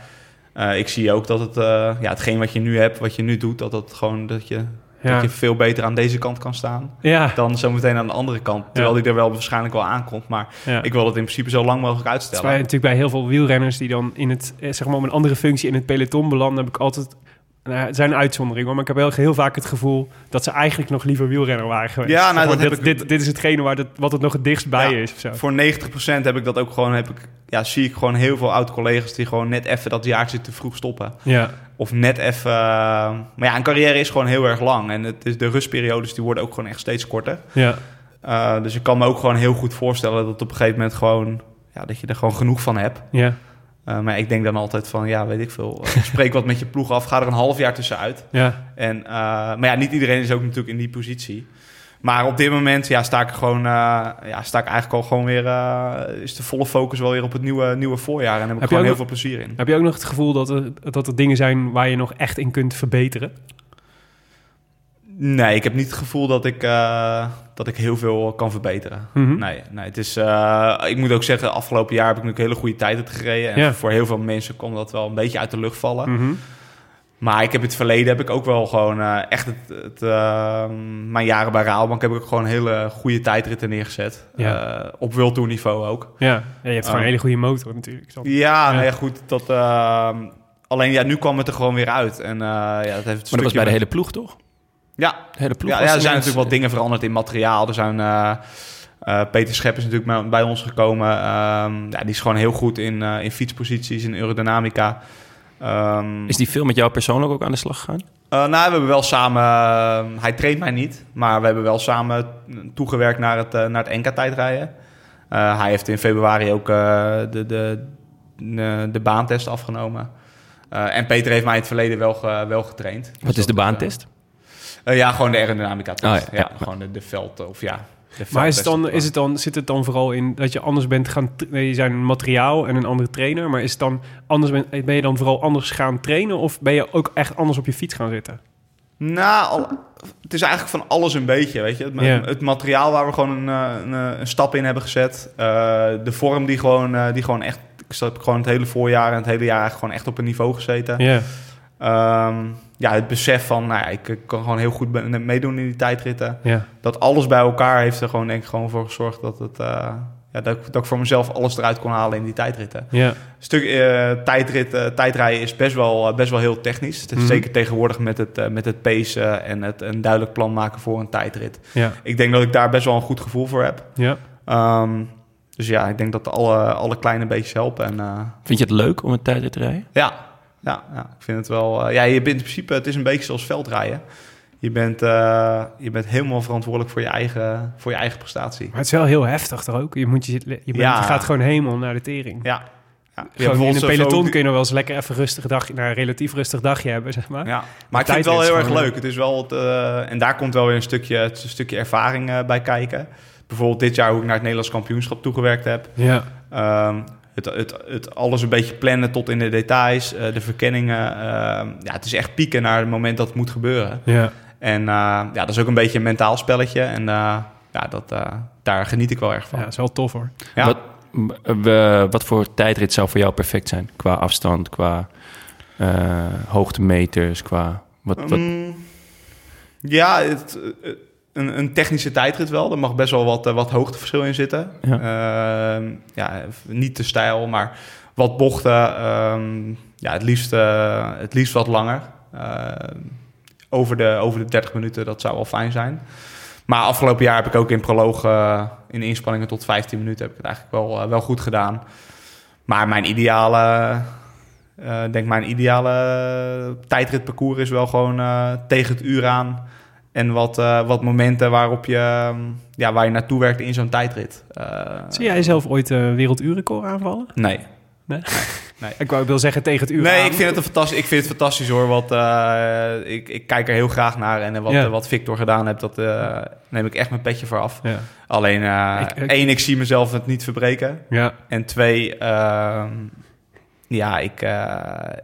B: eh, ik zie ook dat het, eh, ja, hetgeen wat je nu hebt, wat je nu doet, dat, dat, gewoon, dat, je, dat
A: ja.
B: je veel beter aan deze kant kan staan
A: ja.
B: dan zometeen aan de andere kant. Terwijl
A: Ja.
B: die er wel waarschijnlijk wel aankomt, maar
A: ja.
B: ik wil het in principe zo lang mogelijk
A: Het is
B: uitstellen.
A: bij, Dus natuurlijk bij heel veel wielrenners die dan in het, eh, zeg maar, op een andere functie in het peloton belanden, heb ik altijd. Nou, ja, het zijn uitzonderingen, hoor, maar ik heb heel, heel vaak het gevoel dat ze eigenlijk nog liever wielrenner waren geweest.
B: Ja, nou,
A: Zeg maar,
B: dat heb
A: dit,
B: ik-
A: dit, dit is hetgene waar dat, wat het nog het dichtst bij
B: Ja.
A: is. Of zo.
B: Voor 90% heb ik dat ook gewoon, heb ik, ja, zie ik gewoon heel veel oud-collega's die gewoon net even dat jaartje te vroeg stoppen.
A: Ja,
B: Of net even... eh, maar ja, een carrière is gewoon heel erg lang en het is, de rustperiodes die worden ook gewoon echt steeds korter.
A: ja,
B: Uh, dus ik kan me ook gewoon heel goed voorstellen dat op een gegeven moment gewoon... Ja, dat je er gewoon genoeg van hebt.
A: ja,
B: Uh, maar ik denk dan altijd van, ja, weet ik veel. eh, spreek wat met je ploeg af. Ga er een half jaar tussenuit.
A: ja,
B: En, eh, maar ja, niet iedereen is ook natuurlijk in die positie. Maar op dit moment ja, sta ik er gewoon... eh, ja, sta ik eigenlijk al gewoon weer... eh, is de volle focus wel weer op het nieuwe, nieuwe voorjaar. En heb ik
A: Heb je
B: gewoon heel
A: ook
B: veel plezier in.
A: Heb je ook nog het gevoel dat er, dat er dingen zijn waar je nog echt in kunt verbeteren?
B: Nee, ik heb niet het gevoel dat ik, eh, dat ik heel veel kan verbeteren.
A: Mhm.
B: Nee, nee, het is, eh, ik moet ook zeggen, afgelopen jaar heb ik natuurlijk hele goede tijden gereden. En
A: Ja.
B: voor heel veel mensen kon dat wel een beetje uit de lucht vallen.
A: Mhm.
B: Maar ik heb in het verleden heb ik ook wel gewoon eh, echt het, het, eh, mijn jaren bij Raalbank heb ik ook gewoon hele goede tijdritten neergezet.
A: Ja.
B: Eh, op World Tour niveau ook.
A: ja. ja, je hebt gewoon
B: Oh.
A: een hele goede motor natuurlijk. Dat-
B: Ja,
A: Ja.
B: Nou ja goed, dat... eh, Alleen ja, nu kwam het er gewoon weer uit. En eh, ja, dat heeft een
C: Maar dat was
B: stukje
C: bij de
B: met-
C: hele ploeg, toch?
B: Ja,
C: De hele ploeg
B: Ja,
C: was
B: ja, er
C: ineens-
B: zijn natuurlijk wat dingen veranderd in materiaal. Er zijn, eh, eh, Peter Schep is natuurlijk maar bij ons gekomen. Ehm, ja, die is gewoon heel goed in, eh, in fietsposities, in aerodynamica. Ehm,
C: Is die veel met jou persoonlijk ook aan de slag gegaan?
B: eh, nou, we hebben wel samen... eh, hij traint mij niet, maar we hebben wel samen toegewerkt naar het, eh, naar het NK-tijdrijden. hij heeft in februari ook eh, de, de, eh, de baantest afgenomen. Eh, en Peter heeft mij in het verleden wel, ge- wel getraind. Dus
C: Wat is
B: dat
C: de baantest?
B: eh, ja, gewoon de aerodynamica test.
C: Oh, ja,
B: ja,
C: ja.
B: gewoon de, de veld of ja. de
A: Maar is het
B: veldtest.
A: dan, is het dan, zit het dan vooral in dat je anders bent gaan... tra- nee, Je zijn een materiaal en een andere trainer. Maar is het dan anders, ben, ben je dan vooral anders gaan trainen? Of ben je ook echt anders op je fiets gaan zitten?
B: Nou, al- het is eigenlijk van alles een beetje, weet je. Het, ma-
A: Ja.
B: het materiaal waar we gewoon een, eh, een, eh, een stap in hebben gezet. eh, de vorm die gewoon, eh, die gewoon echt... Ik heb gewoon het hele voorjaar en het hele jaar eigenlijk gewoon echt op een niveau gezeten.
A: Ja.
B: Ehm, ja, het besef van, nou ja, ik ik kan gewoon heel goed be- meedoen in die tijdritten.
A: ja.
B: Dat alles bij elkaar heeft er gewoon, denk ik, gewoon voor gezorgd dat het... eh, ja, dat, ik, dat ik voor mezelf alles eruit kon halen in die tijdritten.
A: Ja,
B: Stuk eh, tijdrit, eh, tijdrijden is best wel, eh, best wel heel technisch. Het is
A: Mhm.
B: Zeker tegenwoordig met het, eh, met het pacen en het een duidelijk plan maken voor een tijdrit.
A: ja,
B: Ik denk dat ik daar best wel een goed gevoel voor heb.
A: ja.
B: Ehm, dus ja, ik denk dat alle, alle kleine beetjes helpen. En, eh,
C: Vind je het leuk om een tijdrit te rijden?
B: ja, ja, ja, ik vind het wel. eh, ja, je bent in principe, het is een beetje zoals veldrijden. Je bent, eh, je bent helemaal verantwoordelijk voor je eigen, voor je eigen prestatie.
A: Maar het is wel heel heftig toch ook? Je, moet je, je, bent,
B: Ja.
A: je gaat gewoon helemaal naar de tering.
B: Ja. ja. Je hebt
A: Gewoon in een
B: bijvoorbeeld
A: peloton
B: zo-
A: kun je nog wel eens lekker even rustig dag, nou, een relatief rustig dagje hebben, zeg maar.
B: Ja, maar ik vind het wel
A: tijdrit is
B: heel erg
A: gewoon-
B: leuk. Het is wel het, eh, en daar komt wel weer een stukje, het is een stukje ervaring eh, bij kijken. Bijvoorbeeld dit jaar hoe ik naar het Nederlands kampioenschap toegewerkt heb.
A: Ja,
B: Ehm, het, het, het alles een beetje plannen tot in de details, eh, de verkenningen. ehm, ja, het is echt pieken naar het moment dat het moet gebeuren.
A: ja.
B: En eh, ja, dat is ook een beetje een mentaal spelletje. En eh, ja, dat, eh, daar geniet ik wel erg van.
A: ja,
B: Ja,
A: is wel tof hoor.
B: Ja.
C: Wat, m- eh, we- wat voor tijdrit zou voor jou perfect zijn? Qua afstand, qua eh, hoogtemeters, qua... Wat, wat,
B: Mm, Ehm, het, eh, een, een technische tijdrit wel. Er mag best wel wat, eh, wat hoogteverschil in zitten.
C: Ja.
B: Ehm, ja, niet te stijl, maar wat bochten. ehm, ja, het, liefst, eh, het liefst wat langer. Ehm, over, de, over de 30 minuten, dat zou wel fijn zijn. Maar afgelopen jaar heb ik ook in proloog, eh, in inspanningen tot 15 minuten, heb ik het eigenlijk wel, eh, wel goed gedaan. Maar mijn ideale, eh, denk mijn ideale tijdritparcours is wel gewoon eh, tegen het uur aan. En wat, eh, wat momenten waarop je, ehm, ja, waar je naartoe werkt in zo'n tijdrit. Eh,
A: Zie jij zelf ooit een werelduurrecord aanvallen?
B: Nee.
A: Ik wou ik wil zeggen tegen het uur
B: Nee,
A: aan.
B: ik vind, het een fantastisch, ik vind het fantastisch hoor. Wat, eh, ik, ik kijk er heel graag naar. En eh, wat,
A: Ja.
B: eh, wat Victor gedaan heeft, dat eh, neem ik echt mijn petje voor af.
A: Ja,
B: Alleen, eh,
A: Ik- ik-
B: één, ik zie mezelf het niet verbreken.
A: ja.
B: En twee, ehm, ja, ik, eh,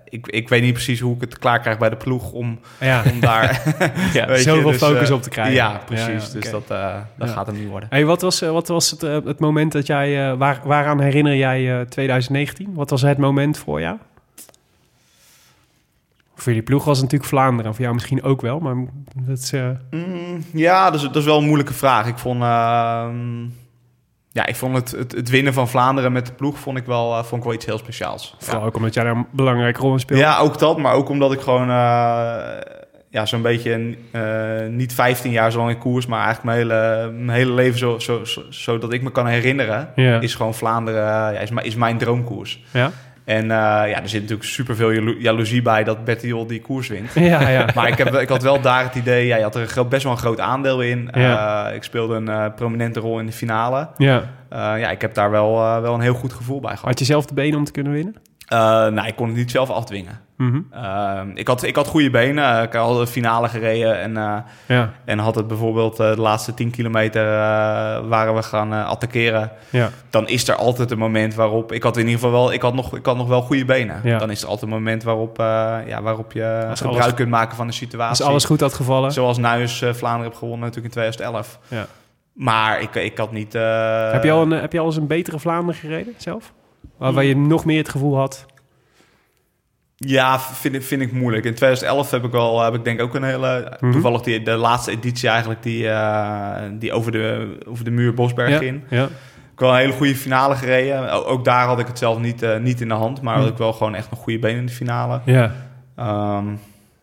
B: ik, ik weet niet precies hoe ik het klaar krijg bij de ploeg om,
A: ja.
B: om daar
A: ja.
B: weet je,
A: zoveel
B: dus,
A: focus
B: eh,
A: op te krijgen.
B: Ja, precies.
A: ja,
B: Dus
A: oké.
B: dat, eh, dat
A: Ja.
B: gaat hem niet worden.
A: Hey, wat was, eh, wat was het, eh, het moment dat jij, eh, waar, waaraan herinner jij eh, 2019? Wat was het moment voor jou? Voor jullie ploeg was het natuurlijk Vlaanderen, voor jou misschien ook wel, maar dat is, eh,
B: Mm, ja, dat is, dat is wel een moeilijke vraag. Ik vond, ehm, ja, ik vond het, het, het winnen van Vlaanderen met de ploeg vond ik wel, eh, vond ik wel iets heel speciaals.
A: vooral ook omdat jij daar een belangrijke rol in speelde.
B: Ja, ook dat, maar ook omdat ik gewoon eh, ja, zo'n beetje eh, niet 15 jaar zo lang in koers, maar eigenlijk mijn hele, mijn hele leven zo, zo, zo, zodat ik me kan herinneren,
A: Ja.
B: is gewoon Vlaanderen eh, ja, is, mijn- is mijn droomkoers.
A: Ja?
B: En eh, ja, er zit natuurlijk superveel jalo- jaloezie bij dat Bertiol die koers wint.
A: Ja, ja.
B: Maar ik, heb, ik had wel daar het idee, ja, je had er een gro- best wel een groot aandeel in.
A: Ja.
B: Eh, ik speelde een eh, prominente rol in de finale.
A: ja.
B: Eh, ja, ik heb daar wel, eh, wel een heel goed gevoel bij gehad.
A: Had je zelf de benen om te kunnen winnen?
B: Eh, nou, ik kon het niet zelf afdwingen.
A: Mhm.
B: Ehm, ik, had, ik had goede benen. eh, Ik had de finale gereden. En, eh,
A: Ja,
B: en had het bijvoorbeeld eh, de laatste 10 kilometer eh, waren we gaan eh, attackeren.
A: ja.
B: Dan is er altijd een moment waarop. Ik had in ieder geval wel, ik had nog, ik had nog wel goede benen.
A: Ja.
B: Dan is er altijd een moment waarop, eh, ja, waarop je
A: Als
B: gebruik
A: alles-
B: kunt maken van de situatie.
A: Als alles goed had gevallen.
B: Zoals Nuis eh, Vlaanderen heb gewonnen natuurlijk in 2011.
A: Ja.
B: Maar ik, ik had niet... eh, Hmm.
A: heb, je al een, eh, heb je al eens een betere Vlaanderen gereden zelf? Waar, waar je nog meer het gevoel had.
B: Ja, vind, ik- vind ik moeilijk. In 2011 heb ik al, heb ik denk ook een hele... eh,
A: Mhm.
B: Toevallig die, de laatste editie eigenlijk die, eh, die over, de, over de muur Bosberg
A: ja.
B: ging.
A: Ja.
B: Ik heb wel een hele goede finale gereden. O- Ook daar had ik het zelf niet, eh, niet in de hand. Maar had
A: Hm.
B: ik wel gewoon echt nog goede benen in de finale.
A: ja.
B: Ehm,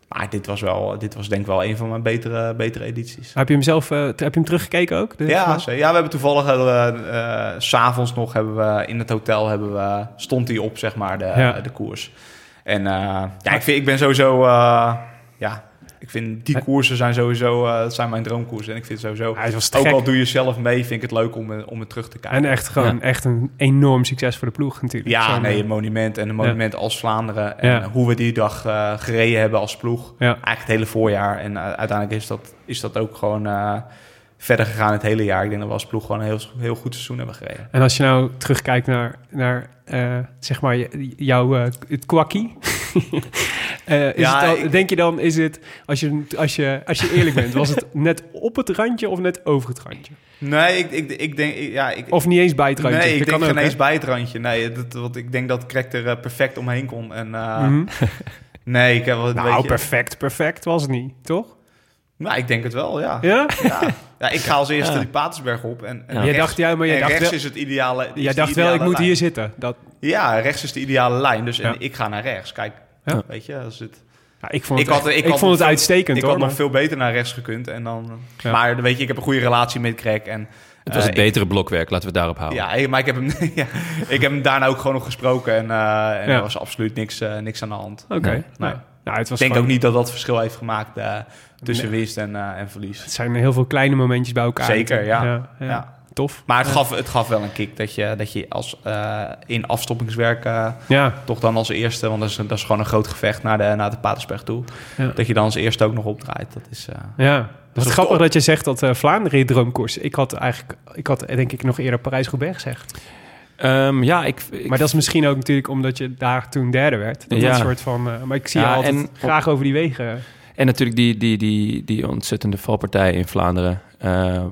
B: maar dit was, wel, dit was denk ik wel een van mijn betere, betere edities.
A: Heb je hem zelf eh, t- heb je hem teruggekeken ook? De-
B: Ja, zeker. ja, we hebben toevallig eh, eh, s s'avonds nog hebben we in het hotel hebben we, stond hij op, zeg maar, de,
A: Ja.
B: de koers. En eh, ja, ik, vind, ik ben sowieso. eh, ja, ik Ik vind die koersen zijn sowieso eh, dat zijn mijn droomkoersen. En ik vind sowieso,
A: Hij was te
B: ook
A: gek.
B: al doe je zelf mee, vind ik het leuk om, eh, om het terug te kijken.
A: En echt gewoon echt een enorm succes voor de ploeg natuurlijk.
B: ja,
A: Zo'n- eh,
B: nee, een monument en een monument als Vlaanderen. En
A: Ja.
B: hoe we die dag eh, gereden hebben als ploeg.
A: Ja.
B: Eigenlijk het hele voorjaar. En eh, uiteindelijk is dat, is dat ook gewoon eh, verder gegaan het hele jaar. Ik denk dat we als ploeg gewoon een heel, heel goed seizoen hebben gereden.
A: En als je nou terugkijkt naar, naar eh, zeg maar, je- jouw eh, het kwakkie. Eh, is
B: Ja,
A: het dan,
B: ik-
A: Denk je dan, is het, als je, als, je, als je eerlijk bent, was het net op het randje of net over het randje?
B: Nee, ik, ik, ik denk... ik- ja, ik,
A: Of niet eens bij Oh, het randje?
B: Nee, ik
A: Dat
B: denk
A: kan
B: geen
A: ook,
B: eens
A: hè?
B: bij het randje. Nee, dat, want ik denk dat Krek er eh, perfect omheen kon. En, eh,
A: Mhm.
B: Nee, ik heb wel een
A: Nou,
B: beetje...
A: perfect, perfect was het niet, toch?
B: Nou, ik denk het wel, ja. Ja,
A: Ja?
B: ik ga als eerste die Patersberg op. En, en
A: Jij dacht, ja, maar jij
B: en
A: dacht
B: rechts
A: wel-
B: is het ideale... is
A: Jij
B: de
A: dacht wel, ik
B: ideale
A: moet
B: lijn.
A: hier zitten. Dat,
B: Ja, rechts is de ideale lijn. Dus
A: Ja.
B: en ik ga naar rechts. Kijk,
A: Ja.
B: weet je, als het...
A: Ja, nou, ik vond het,
B: Ik had-
A: echt-
B: ik
A: ik
B: had nog
A: vond het
B: veel-
A: uitstekend,
B: Ik
A: hoor.
B: had nog
A: maar-
B: veel beter naar rechts gekund. En dan...
A: Ja.
B: Maar weet je, ik heb een goede relatie met Krek. En,
C: Het was
B: eh,
C: het betere blokwerk, laten we het daarop
A: Oh.
C: houden.
B: Ja, maar ik heb, hem, ja, ik heb hem daarna ook gewoon nog gesproken. En, eh, en
A: Ja.
B: er was absoluut niks, eh, niks aan de hand.
A: Oké.
C: Nee.
A: Nou,
B: Nee.
A: nou, het was
B: Ik denk
A: gewoon-
B: ook niet dat dat verschil heeft gemaakt eh, tussen winst en, eh, en verlies.
A: Het zijn heel veel kleine momentjes bij elkaar.
B: Zeker, ja.
A: ja.
B: Ja.
A: Tof.
B: Maar het gaf, het gaf wel een kick dat je, dat je als, eh, in afstoppingswerk eh,
A: Ja,
B: toch dan als eerste, want dat is, dat is gewoon een groot gevecht naar de, naar de Patersberg toe,
A: Ja.
B: dat je dan als eerste ook nog opdraait. Dat is, eh,
A: ja. Wat
B: is
A: grappig
B: top.
A: dat je zegt dat eh, Vlaanderen je droomkoers. Ik had eigenlijk, ik had denk ik nog eerder Parijs-Roubaix gezegd.
C: Ehm, ja ik, ik-
A: Maar dat is misschien ook natuurlijk omdat je daar toen derde werd. Dat
C: Ja.
A: dat soort van, eh, maar ik zie
C: Ja,
A: je altijd
C: en-
A: graag over die wegen.
C: En natuurlijk die, die, die, die ontzettende valpartij in Vlaanderen. eh,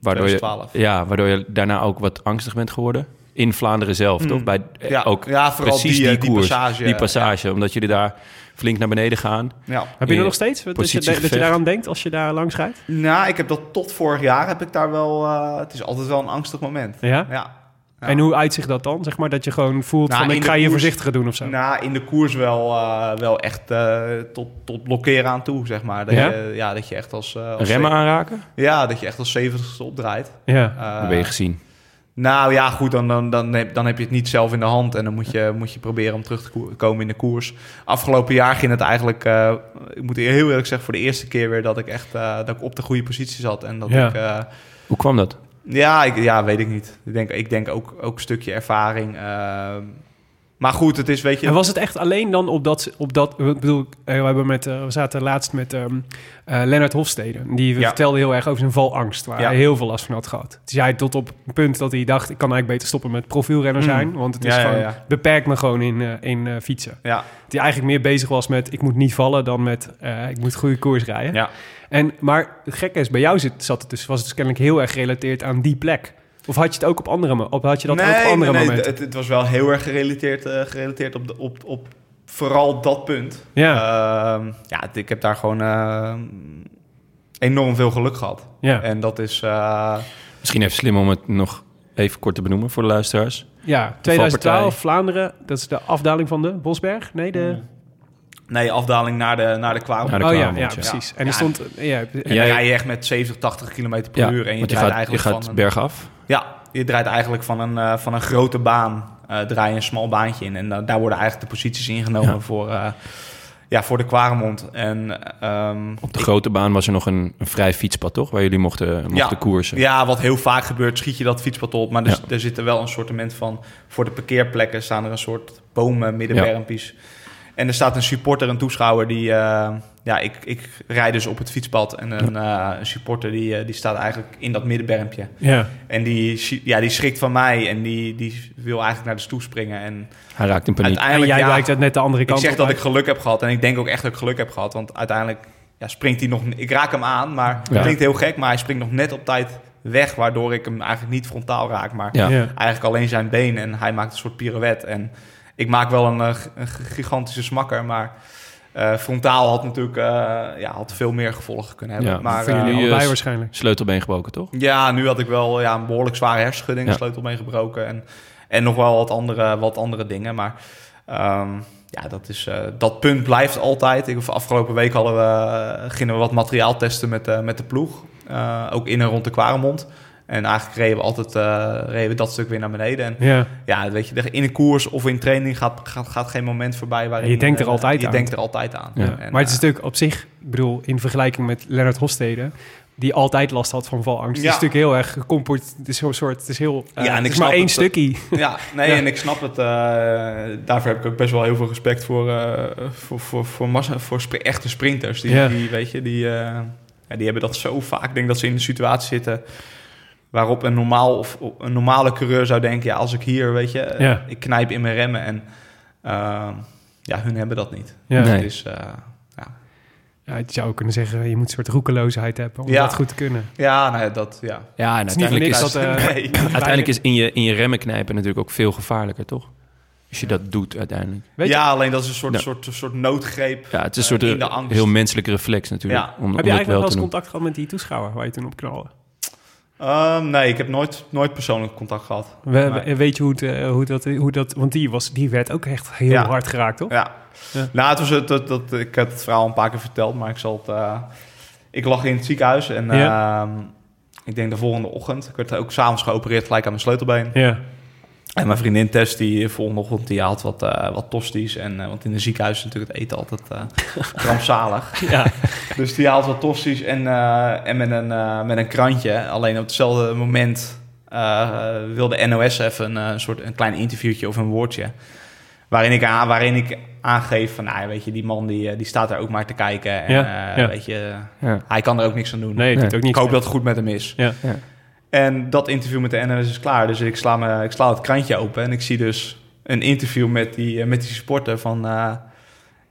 C: waardoor, je,
B: 2012.
C: ja, waardoor je daarna ook wat angstig bent geworden. In Vlaanderen zelf, toch? Bij, eh,
B: Ja,
C: ook
B: ja, vooral
C: precies
B: die,
C: die,
B: eh, die
C: koers,
B: passage,
C: Die passage, omdat jullie daar flink naar beneden gaan.
B: ja.
A: Heb je
C: Ja,
A: er nog steeds? Dat je, dat je
C: positiegevecht.
A: daaraan denkt als je daar langs rijdt?
B: Nou, ik heb dat tot vorig jaar heb ik daar wel, eh, het is altijd wel een angstig moment.
A: Ja?
B: Ja. Ja.
A: En hoe uitzicht dat dan? Zeg maar dat je gewoon voelt
B: Nou,
A: van
B: in
A: ik
B: de
A: ga je
B: koers-
A: voorzichtiger doen of zo.
B: Nou, in de koers wel, eh, wel echt eh, tot, tot blokkeren aan toe, zeg maar. Dat,
A: Ja?
B: Je, ja, dat je echt als... eh, als
C: Remmen aanraken?
B: Ja, dat je echt als 70ste opdraait.
A: ja.
B: Eh,
C: dat ben je gezien.
B: nou ja, goed, dan, dan, dan, heb, dan heb je het niet zelf in de hand. En dan moet je, moet je proberen om terug te ko- komen in de koers. Afgelopen jaar ging het eigenlijk, eh, ik moet heel eerlijk zeggen, voor de eerste keer weer dat ik echt eh, dat ik op de goede positie zat. En dat
A: Ja.
B: ik, eh,
C: Hoe kwam dat?
B: ja, ik, ja, weet ik niet. Ik denk, ik denk ook, ook een stukje ervaring. eh, maar goed, het is, weet je,
A: En was het echt alleen dan op dat... Op dat ik bedoel, eh, we, hebben met, eh, we zaten laatst met ehm eh, Lennart Hofstede. Die
B: Ja.
A: vertelde heel erg over zijn valangst, waar
B: Ja.
A: hij heel veel last van had gehad. Toen zei hij tot op het punt dat hij dacht... ik kan eigenlijk beter stoppen met profielrenner
B: Mm.
A: zijn. Want het is
B: Ja, ja,
A: gewoon,
B: ja.
A: beperkt me gewoon in, eh, in eh, fietsen.
B: ja,
A: Die eigenlijk meer bezig was met ik moet niet vallen... dan met eh, ik moet goede koers rijden.
B: ja.
A: En, maar het gekke is, bij jou zit, zat het dus, was het dus kennelijk heel erg gerelateerd aan die plek. Of had je het ook op andere, mo- of had je dat ook op andere momenten?
B: Het, het was wel heel erg gerelateerd, eh, gerelateerd op, de, op, op vooral dat punt.
A: ja,
B: Ehm, ja, het- ik heb daar gewoon eh, enorm veel geluk gehad.
A: ja.
B: En dat is... eh,
C: Misschien even slim om het nog even kort te benoemen voor de luisteraars.
A: Ja,
C: De
A: 2012
C: valpartij.
A: Vlaanderen, dat is de afdaling van de Bosberg. Nee, de.
B: Mm. nee, afdaling naar de, naar de kwaal.
C: Naar de
A: oh ja,
C: Kwaremond,
A: ja,
C: ja.
A: precies.
B: Ja.
A: En er
B: Ja.
A: stond. Ja,
B: En
A: ja.
B: dan
C: Jij-
B: rij je echt met 70, 80 km per
C: Ja,
B: uur. En je
C: want je
B: draait
C: gaat, je
B: eigenlijk
C: gaat
B: van een,
C: bergaf.
B: Ja, je draait eigenlijk van een, eh, van een grote baan, eh, draai je een smal baantje in. En eh, daar worden eigenlijk de posities ingenomen
C: Ja.
B: voor, eh, ja, voor de Kwaremond. En ehm,
C: Op de grote baan was er nog een, een vrij fietspad, toch? Waar jullie mochten, mochten koersen.
B: Ja, wat heel vaak gebeurt, schiet je dat fietspad op. Maar er,
C: Ja.
B: er zitten wel een soortement van... Voor de parkeerplekken staan er een soort bomen, middenwermpies. En er staat een supporter, een toeschouwer die... eh, ja, ik, ik rijd dus op het fietspad. En een, eh, een supporter die, eh, die staat eigenlijk in dat middenbermpje.
A: ja.
B: En die, schi- ja, die schrikt van mij en die, die wil eigenlijk naar de stoel springen. En
C: Hij raakte in paniek.
A: En
B: uiteindelijk...
A: jij
B: ja,
A: lijkt het net de andere
B: ik
A: kant
B: zeg
A: op
B: dat ik
A: uit.
B: geluk heb gehad. En ik denk ook echt dat ik geluk heb gehad. Want uiteindelijk ja, springt hij nog... Ik raak hem aan, maar het
C: Ja.
B: klinkt heel gek. Maar hij springt nog net op tijd weg. Waardoor ik hem eigenlijk niet frontaal raak. Maar
C: Ja.
A: Ja.
B: eigenlijk alleen zijn been. En hij maakt een soort pirouette. En ik maak wel een, eh, g- een g- gigantische smakker. Maar eh, frontaal had natuurlijk eh, ja, had veel meer gevolgen kunnen hebben.
C: Ja,
B: maar,
A: Voor
B: eh,
A: jullie
C: eh,
A: allebei
C: yes.
A: waarschijnlijk.
C: Sleutelbeen gebroken, toch?
B: ja, nu had ik wel ja, een behoorlijk zware hersenschudding,
C: Ja.
B: sleutel meegebroken en, en nog wel wat andere, wat andere dingen. Maar ehm, ja, dat, is, eh, dat punt blijft altijd. Ik, afgelopen week eh, hadden we, gingen we wat materiaal testen met, eh, met de ploeg, eh, ook in en rond de Kwaremond. En eigenlijk reden we altijd eh, reden we dat stuk weer naar beneden. En
A: Ja.
B: ja, weet je, in de koers of in training gaat, gaat, gaat geen moment voorbij waarin...
A: Je denkt er
B: eh,
A: altijd
B: je
A: aan.
B: denkt er altijd aan.
C: Ja.
B: En,
A: Maar het
B: eh,
A: is natuurlijk op zich, ik bedoel, in vergelijking met Lennart Hofstede, die altijd last had van valangst.
B: Ja.
A: Het is natuurlijk heel erg gecomport. Het is heel soort, het is heel, eh,
B: Ja, en
A: het
B: ik
A: is maar
B: snap
A: één
B: het.
A: stukje.
B: Ja, nee,
A: Ja.
B: en ik snap het. eh, daarvoor heb ik ook best wel heel veel respect voor, eh, voor, voor, voor, massa, voor sp- echte sprinters. Die,
A: Ja.
B: die, weet je, die, eh, ja, die hebben dat zo vaak. Ik denk dat ze in een situatie zitten waarop een, normaal, of, of een normale coureur zou denken... ja, als ik hier, weet je, eh,
A: Ja.
B: ik knijp in mijn remmen. En eh, ja, hun hebben dat niet.
A: Ja.
C: Nee.
B: Dus eh,
A: Ja, je zou ook kunnen zeggen, je moet een soort roekeloosheid hebben om
B: Ja.
A: dat goed te kunnen.
B: ja, nou ja, dat... Ja.
C: Ja, en
A: Het is niet voor
C: uiteindelijk
A: niks
C: is,
A: dat... eh,
B: Nee.
C: uiteindelijk is in, je, in je remmen knijpen natuurlijk ook veel gevaarlijker, toch? Als je dat doet uiteindelijk.
A: weet je-
B: ja, alleen dat is een soort,
C: Ja.
B: soort, soort noodgreep.
C: Ja, het is
B: Eh,
C: een
B: in de
C: soort eh,
B: angst.
C: heel menselijk reflex natuurlijk.
B: Ja.
C: Om, om
A: heb je
C: het
A: eigenlijk
C: wel
A: wel eens
C: te doen.
A: contact gehad met die toeschouwer waar je toen op knalde?
B: Ehm, nee, ik heb nooit, nooit persoonlijk contact gehad.
A: We,
B: Nee.
A: we- Weet je hoe, het, eh, hoe, dat, hoe dat... Want die, was, die werd ook echt heel
B: Ja.
A: hard geraakt, toch?
B: Ja.
A: Ja.
B: Nou, het was het, dat, dat, ik heb het verhaal een paar keer verteld, maar ik zal het... eh, ik lag in het ziekenhuis en ehm, ik denk de volgende ochtend. Ik werd ook s'avonds geopereerd gelijk aan mijn sleutelbeen.
A: Ja.
B: En mijn vriendin Tess, die volgende ochtend, die haalt wat, eh, wat tosties. En, eh, want in een ziekenhuis is natuurlijk het eten altijd eh rampzalig.
A: Ja.
B: Dus die haalt wat tosties en, eh, en met, een, eh, met een krantje. Alleen op hetzelfde moment eh, wilde NOS even een eh, soort een klein interviewtje of een woordje. Waarin ik, aan, waarin ik aangeef van, nou, ja, weet je, die man die, eh, die staat daar ook maar te kijken. En,
A: Ja,
B: eh,
A: ja.
B: Weet je,
C: Ja.
B: hij kan er ook niks aan doen.
A: Nee, dat
C: Nee.
A: ook niet.
B: ik hoop dat het goed met hem is.
A: Ja.
C: Ja.
B: En dat interview met de NOS is klaar. Dus ik sla, me, ik sla het krantje open en ik zie dus een interview met die, eh, met die supporter van... eh,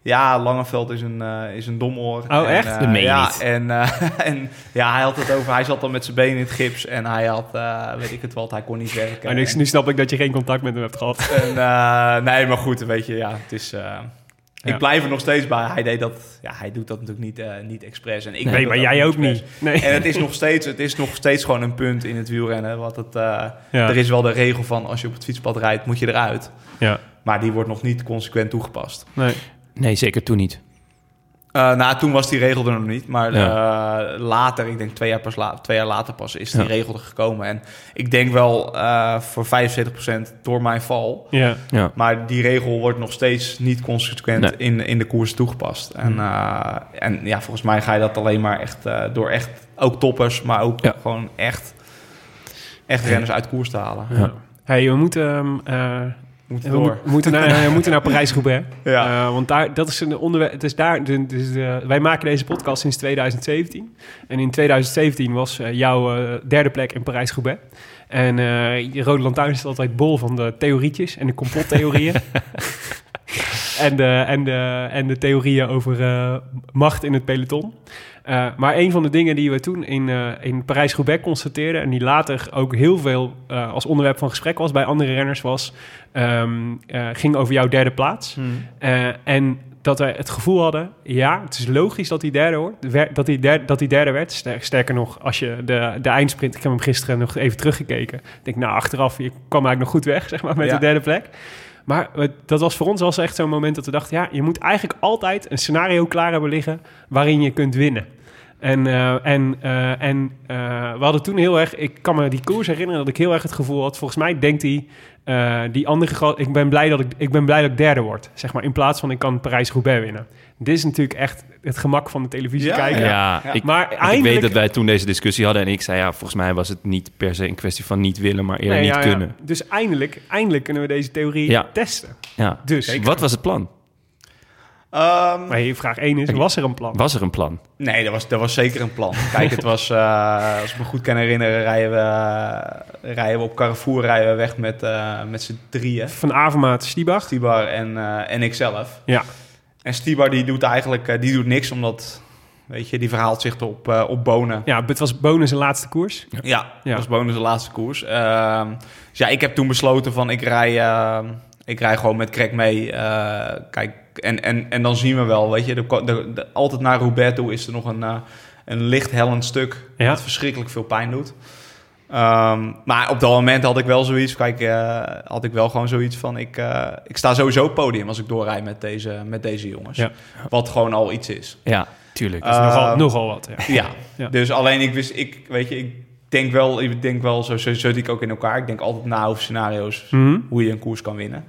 B: ja, Langeveld is een, eh, is een domoor.
A: Oh, echt?
B: eh,
C: Dat meen je
B: ja,
C: niet.
B: En, eh, en ja, hij had het over. Hij zat dan met zijn benen in het gips en hij had, eh, weet ik het wat, hij kon niet werken.
A: Maar nu,
B: En-
A: nu snap ik dat je geen contact met hem hebt gehad.
B: en, eh, nee, maar goed, weet je, ja, het is... eh,
A: Ja.
B: Ik blijf er nog steeds bij. Hij, deed dat, ja, hij doet dat natuurlijk niet, eh, niet expres. En ik doe
A: nee,
B: dat
A: maar jij ook
B: expres.
A: niet. Nee.
B: En het is, nog steeds, het is nog steeds gewoon een punt in het wielrennen. Wat het, eh,
A: Ja.
B: Er is wel de regel van als je op het fietspad rijdt, moet je eruit.
A: Ja.
B: Maar die wordt nog niet consequent toegepast.
A: Nee.
C: Nee, zeker toen niet.
B: Eh, nou, toen was die regel er nog niet. Maar eh, later, ik denk twee jaar, pas la- twee jaar later pas, is die
C: Ja.
B: regel er gekomen. En ik denk wel eh, voor 75% door mijn val.
A: Ja.
C: Ja.
B: Maar die regel wordt nog steeds niet consequent
C: Nee. Hmm.
B: in, in de koers toegepast. En, eh, en ja, volgens mij ga je dat alleen maar echt eh, door echt ook toppers, maar ook
C: Ja.
B: gewoon echt, echt renners uit koers te halen.
C: Ja.
A: hey, we moeten... ehm, eh,
B: Moet
A: we
B: door.
A: moet- moeten naar, we moeten naar Parijs-Roubaix.
B: Ja.
A: Eh, want daar, dat is een onderwerp. Het is daar, de- dus, eh, wij maken deze podcast sinds 2017. En in 2017 was eh, jouw eh, derde plek in Parijs-Roubaix. En eh je Rode Lantaarn is altijd bol van de theorietjes en de complottheorieën. en, de, en, de, en de theorieën over eh, macht in het peloton. Eh, maar een van de dingen die we toen in, eh, in Parijs-Roubaix constateerden... en die later ook heel veel eh, als onderwerp van gesprek was bij andere renners... was ehm, eh, ging over jouw derde plaats. Eh, en dat wij het gevoel hadden, ja, het is logisch dat hij derde, hoort, wer- dat hij derde, dat hij derde werd. Ster- Sterker nog, als je de, de eindsprint, ik heb hem gisteren nog even teruggekeken. Ik denk, nou, achteraf, je kwam eigenlijk nog goed weg, zeg maar, met
B: Ja.
A: de derde plek. Maar we- dat was voor ons was echt zo'n moment dat we dachten, ja, je moet eigenlijk altijd een scenario klaar hebben liggen waarin je kunt winnen. En, eh, en, eh, en eh, we hadden toen heel erg, ik kan me die koers herinneren dat ik heel erg het gevoel had, volgens mij denkt hij, eh, die andere gast, ik ben, blij dat ik, ik ben blij dat ik derde word, zeg maar, in plaats van ik kan Parijs-Roubaix winnen. Dit is natuurlijk echt het gemak van de televisie
B: Ja,
A: kijken.
C: Ja,
B: Ja.
C: Ik,
A: Maar
C: ik
A: eindelijk...
C: weet dat wij toen deze discussie hadden en ik zei ja, volgens mij was het niet per se een kwestie van niet willen, maar eerder
A: Nee,
C: niet
A: ja, ja.
C: kunnen.
A: Dus eindelijk, eindelijk kunnen we deze theorie
C: Ja.
A: testen.
C: Ja.
A: Dus-
C: Zeker. wat was het plan?
B: Ehm,
A: Maar hey, vraag 1 is, was er een plan?
C: Was er een plan?
B: nee, dat was, dat was zeker een plan. Kijk, het was, eh, als ik me goed kan herinneren, rijden we, rijden we op Carrefour rijden we weg met, eh, met z'n drieën.
A: Van Avermaat, Stiebach?
B: Stibar en, eh, en ikzelf.
A: Ja.
B: En Stibar die doet eigenlijk eh, die doet niks, omdat weet je, die verhaalt zich op, eh, op bonen.
A: Ja, het was Bonen zijn laatste koers.
B: Ja,
A: Ja.
B: dat was bonus de laatste koers. Ehm, dus ja, ik heb toen besloten van ik rij, ehm, ik rij gewoon met Krek mee. Eh, kijk, en, en, en dan zien we wel, weet je. Er, ko- er- er- altijd naar Roubaix toe is er nog een, eh, een licht hellend stuk
A: Ja.
B: dat verschrikkelijk veel pijn doet. Ehm, maar op dat moment had ik wel zoiets, kijk, eh, had ik wel gewoon zoiets van ik, eh, ik sta sowieso op podium als ik doorrij met deze, met deze jongens.
A: Ja.
B: Wat gewoon al iets is.
C: Ja, tuurlijk.
A: Dat is nogal,
B: Ehm,
A: nogal wat, ja.
B: ja.
A: Ja.
B: Dus alleen ik wist, ik, weet je, ik denk wel, ik denk wel zo, zo, zo zie ik ook in elkaar. Ik denk altijd na over scenario's
A: Mhm.
B: hoe je een koers kan winnen.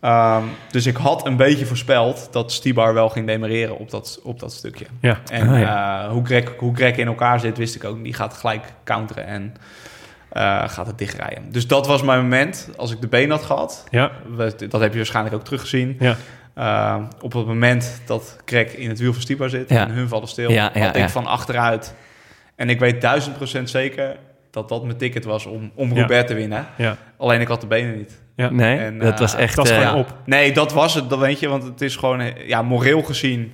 B: Ehm, dus ik had een beetje voorspeld dat Stibar wel ging demereren op dat, op dat stukje.
A: Ja.
B: En
C: Ah,
B: eh, hoe, Greg, hoe Greg in elkaar zit, wist ik ook. Die gaat gelijk counteren en eh, gaat het dichtrijden. Dus dat was mijn moment. Als ik de been had gehad,
A: Ja.
B: we- dat heb je waarschijnlijk ook teruggezien.
A: Ja.
B: Eh, op het moment dat Greg in het wiel van Stibar zit
C: Ja.
B: en hun vallen stil,
C: Ja, ja,
B: had
C: ja.
B: ik van achteruit. En ik weet duizend procent zeker dat dat mijn ticket was om, om
A: Ja.
B: Robert te winnen.
A: Ja.
B: Alleen ik had de benen niet.
A: Ja.
C: Nee,
B: En,
C: dat
B: eh,
C: was echt...
A: dat is
C: eh,
A: gewoon op.
B: Nee, dat was het, dat weet je. Want het is gewoon, eh, ja, moreel gezien,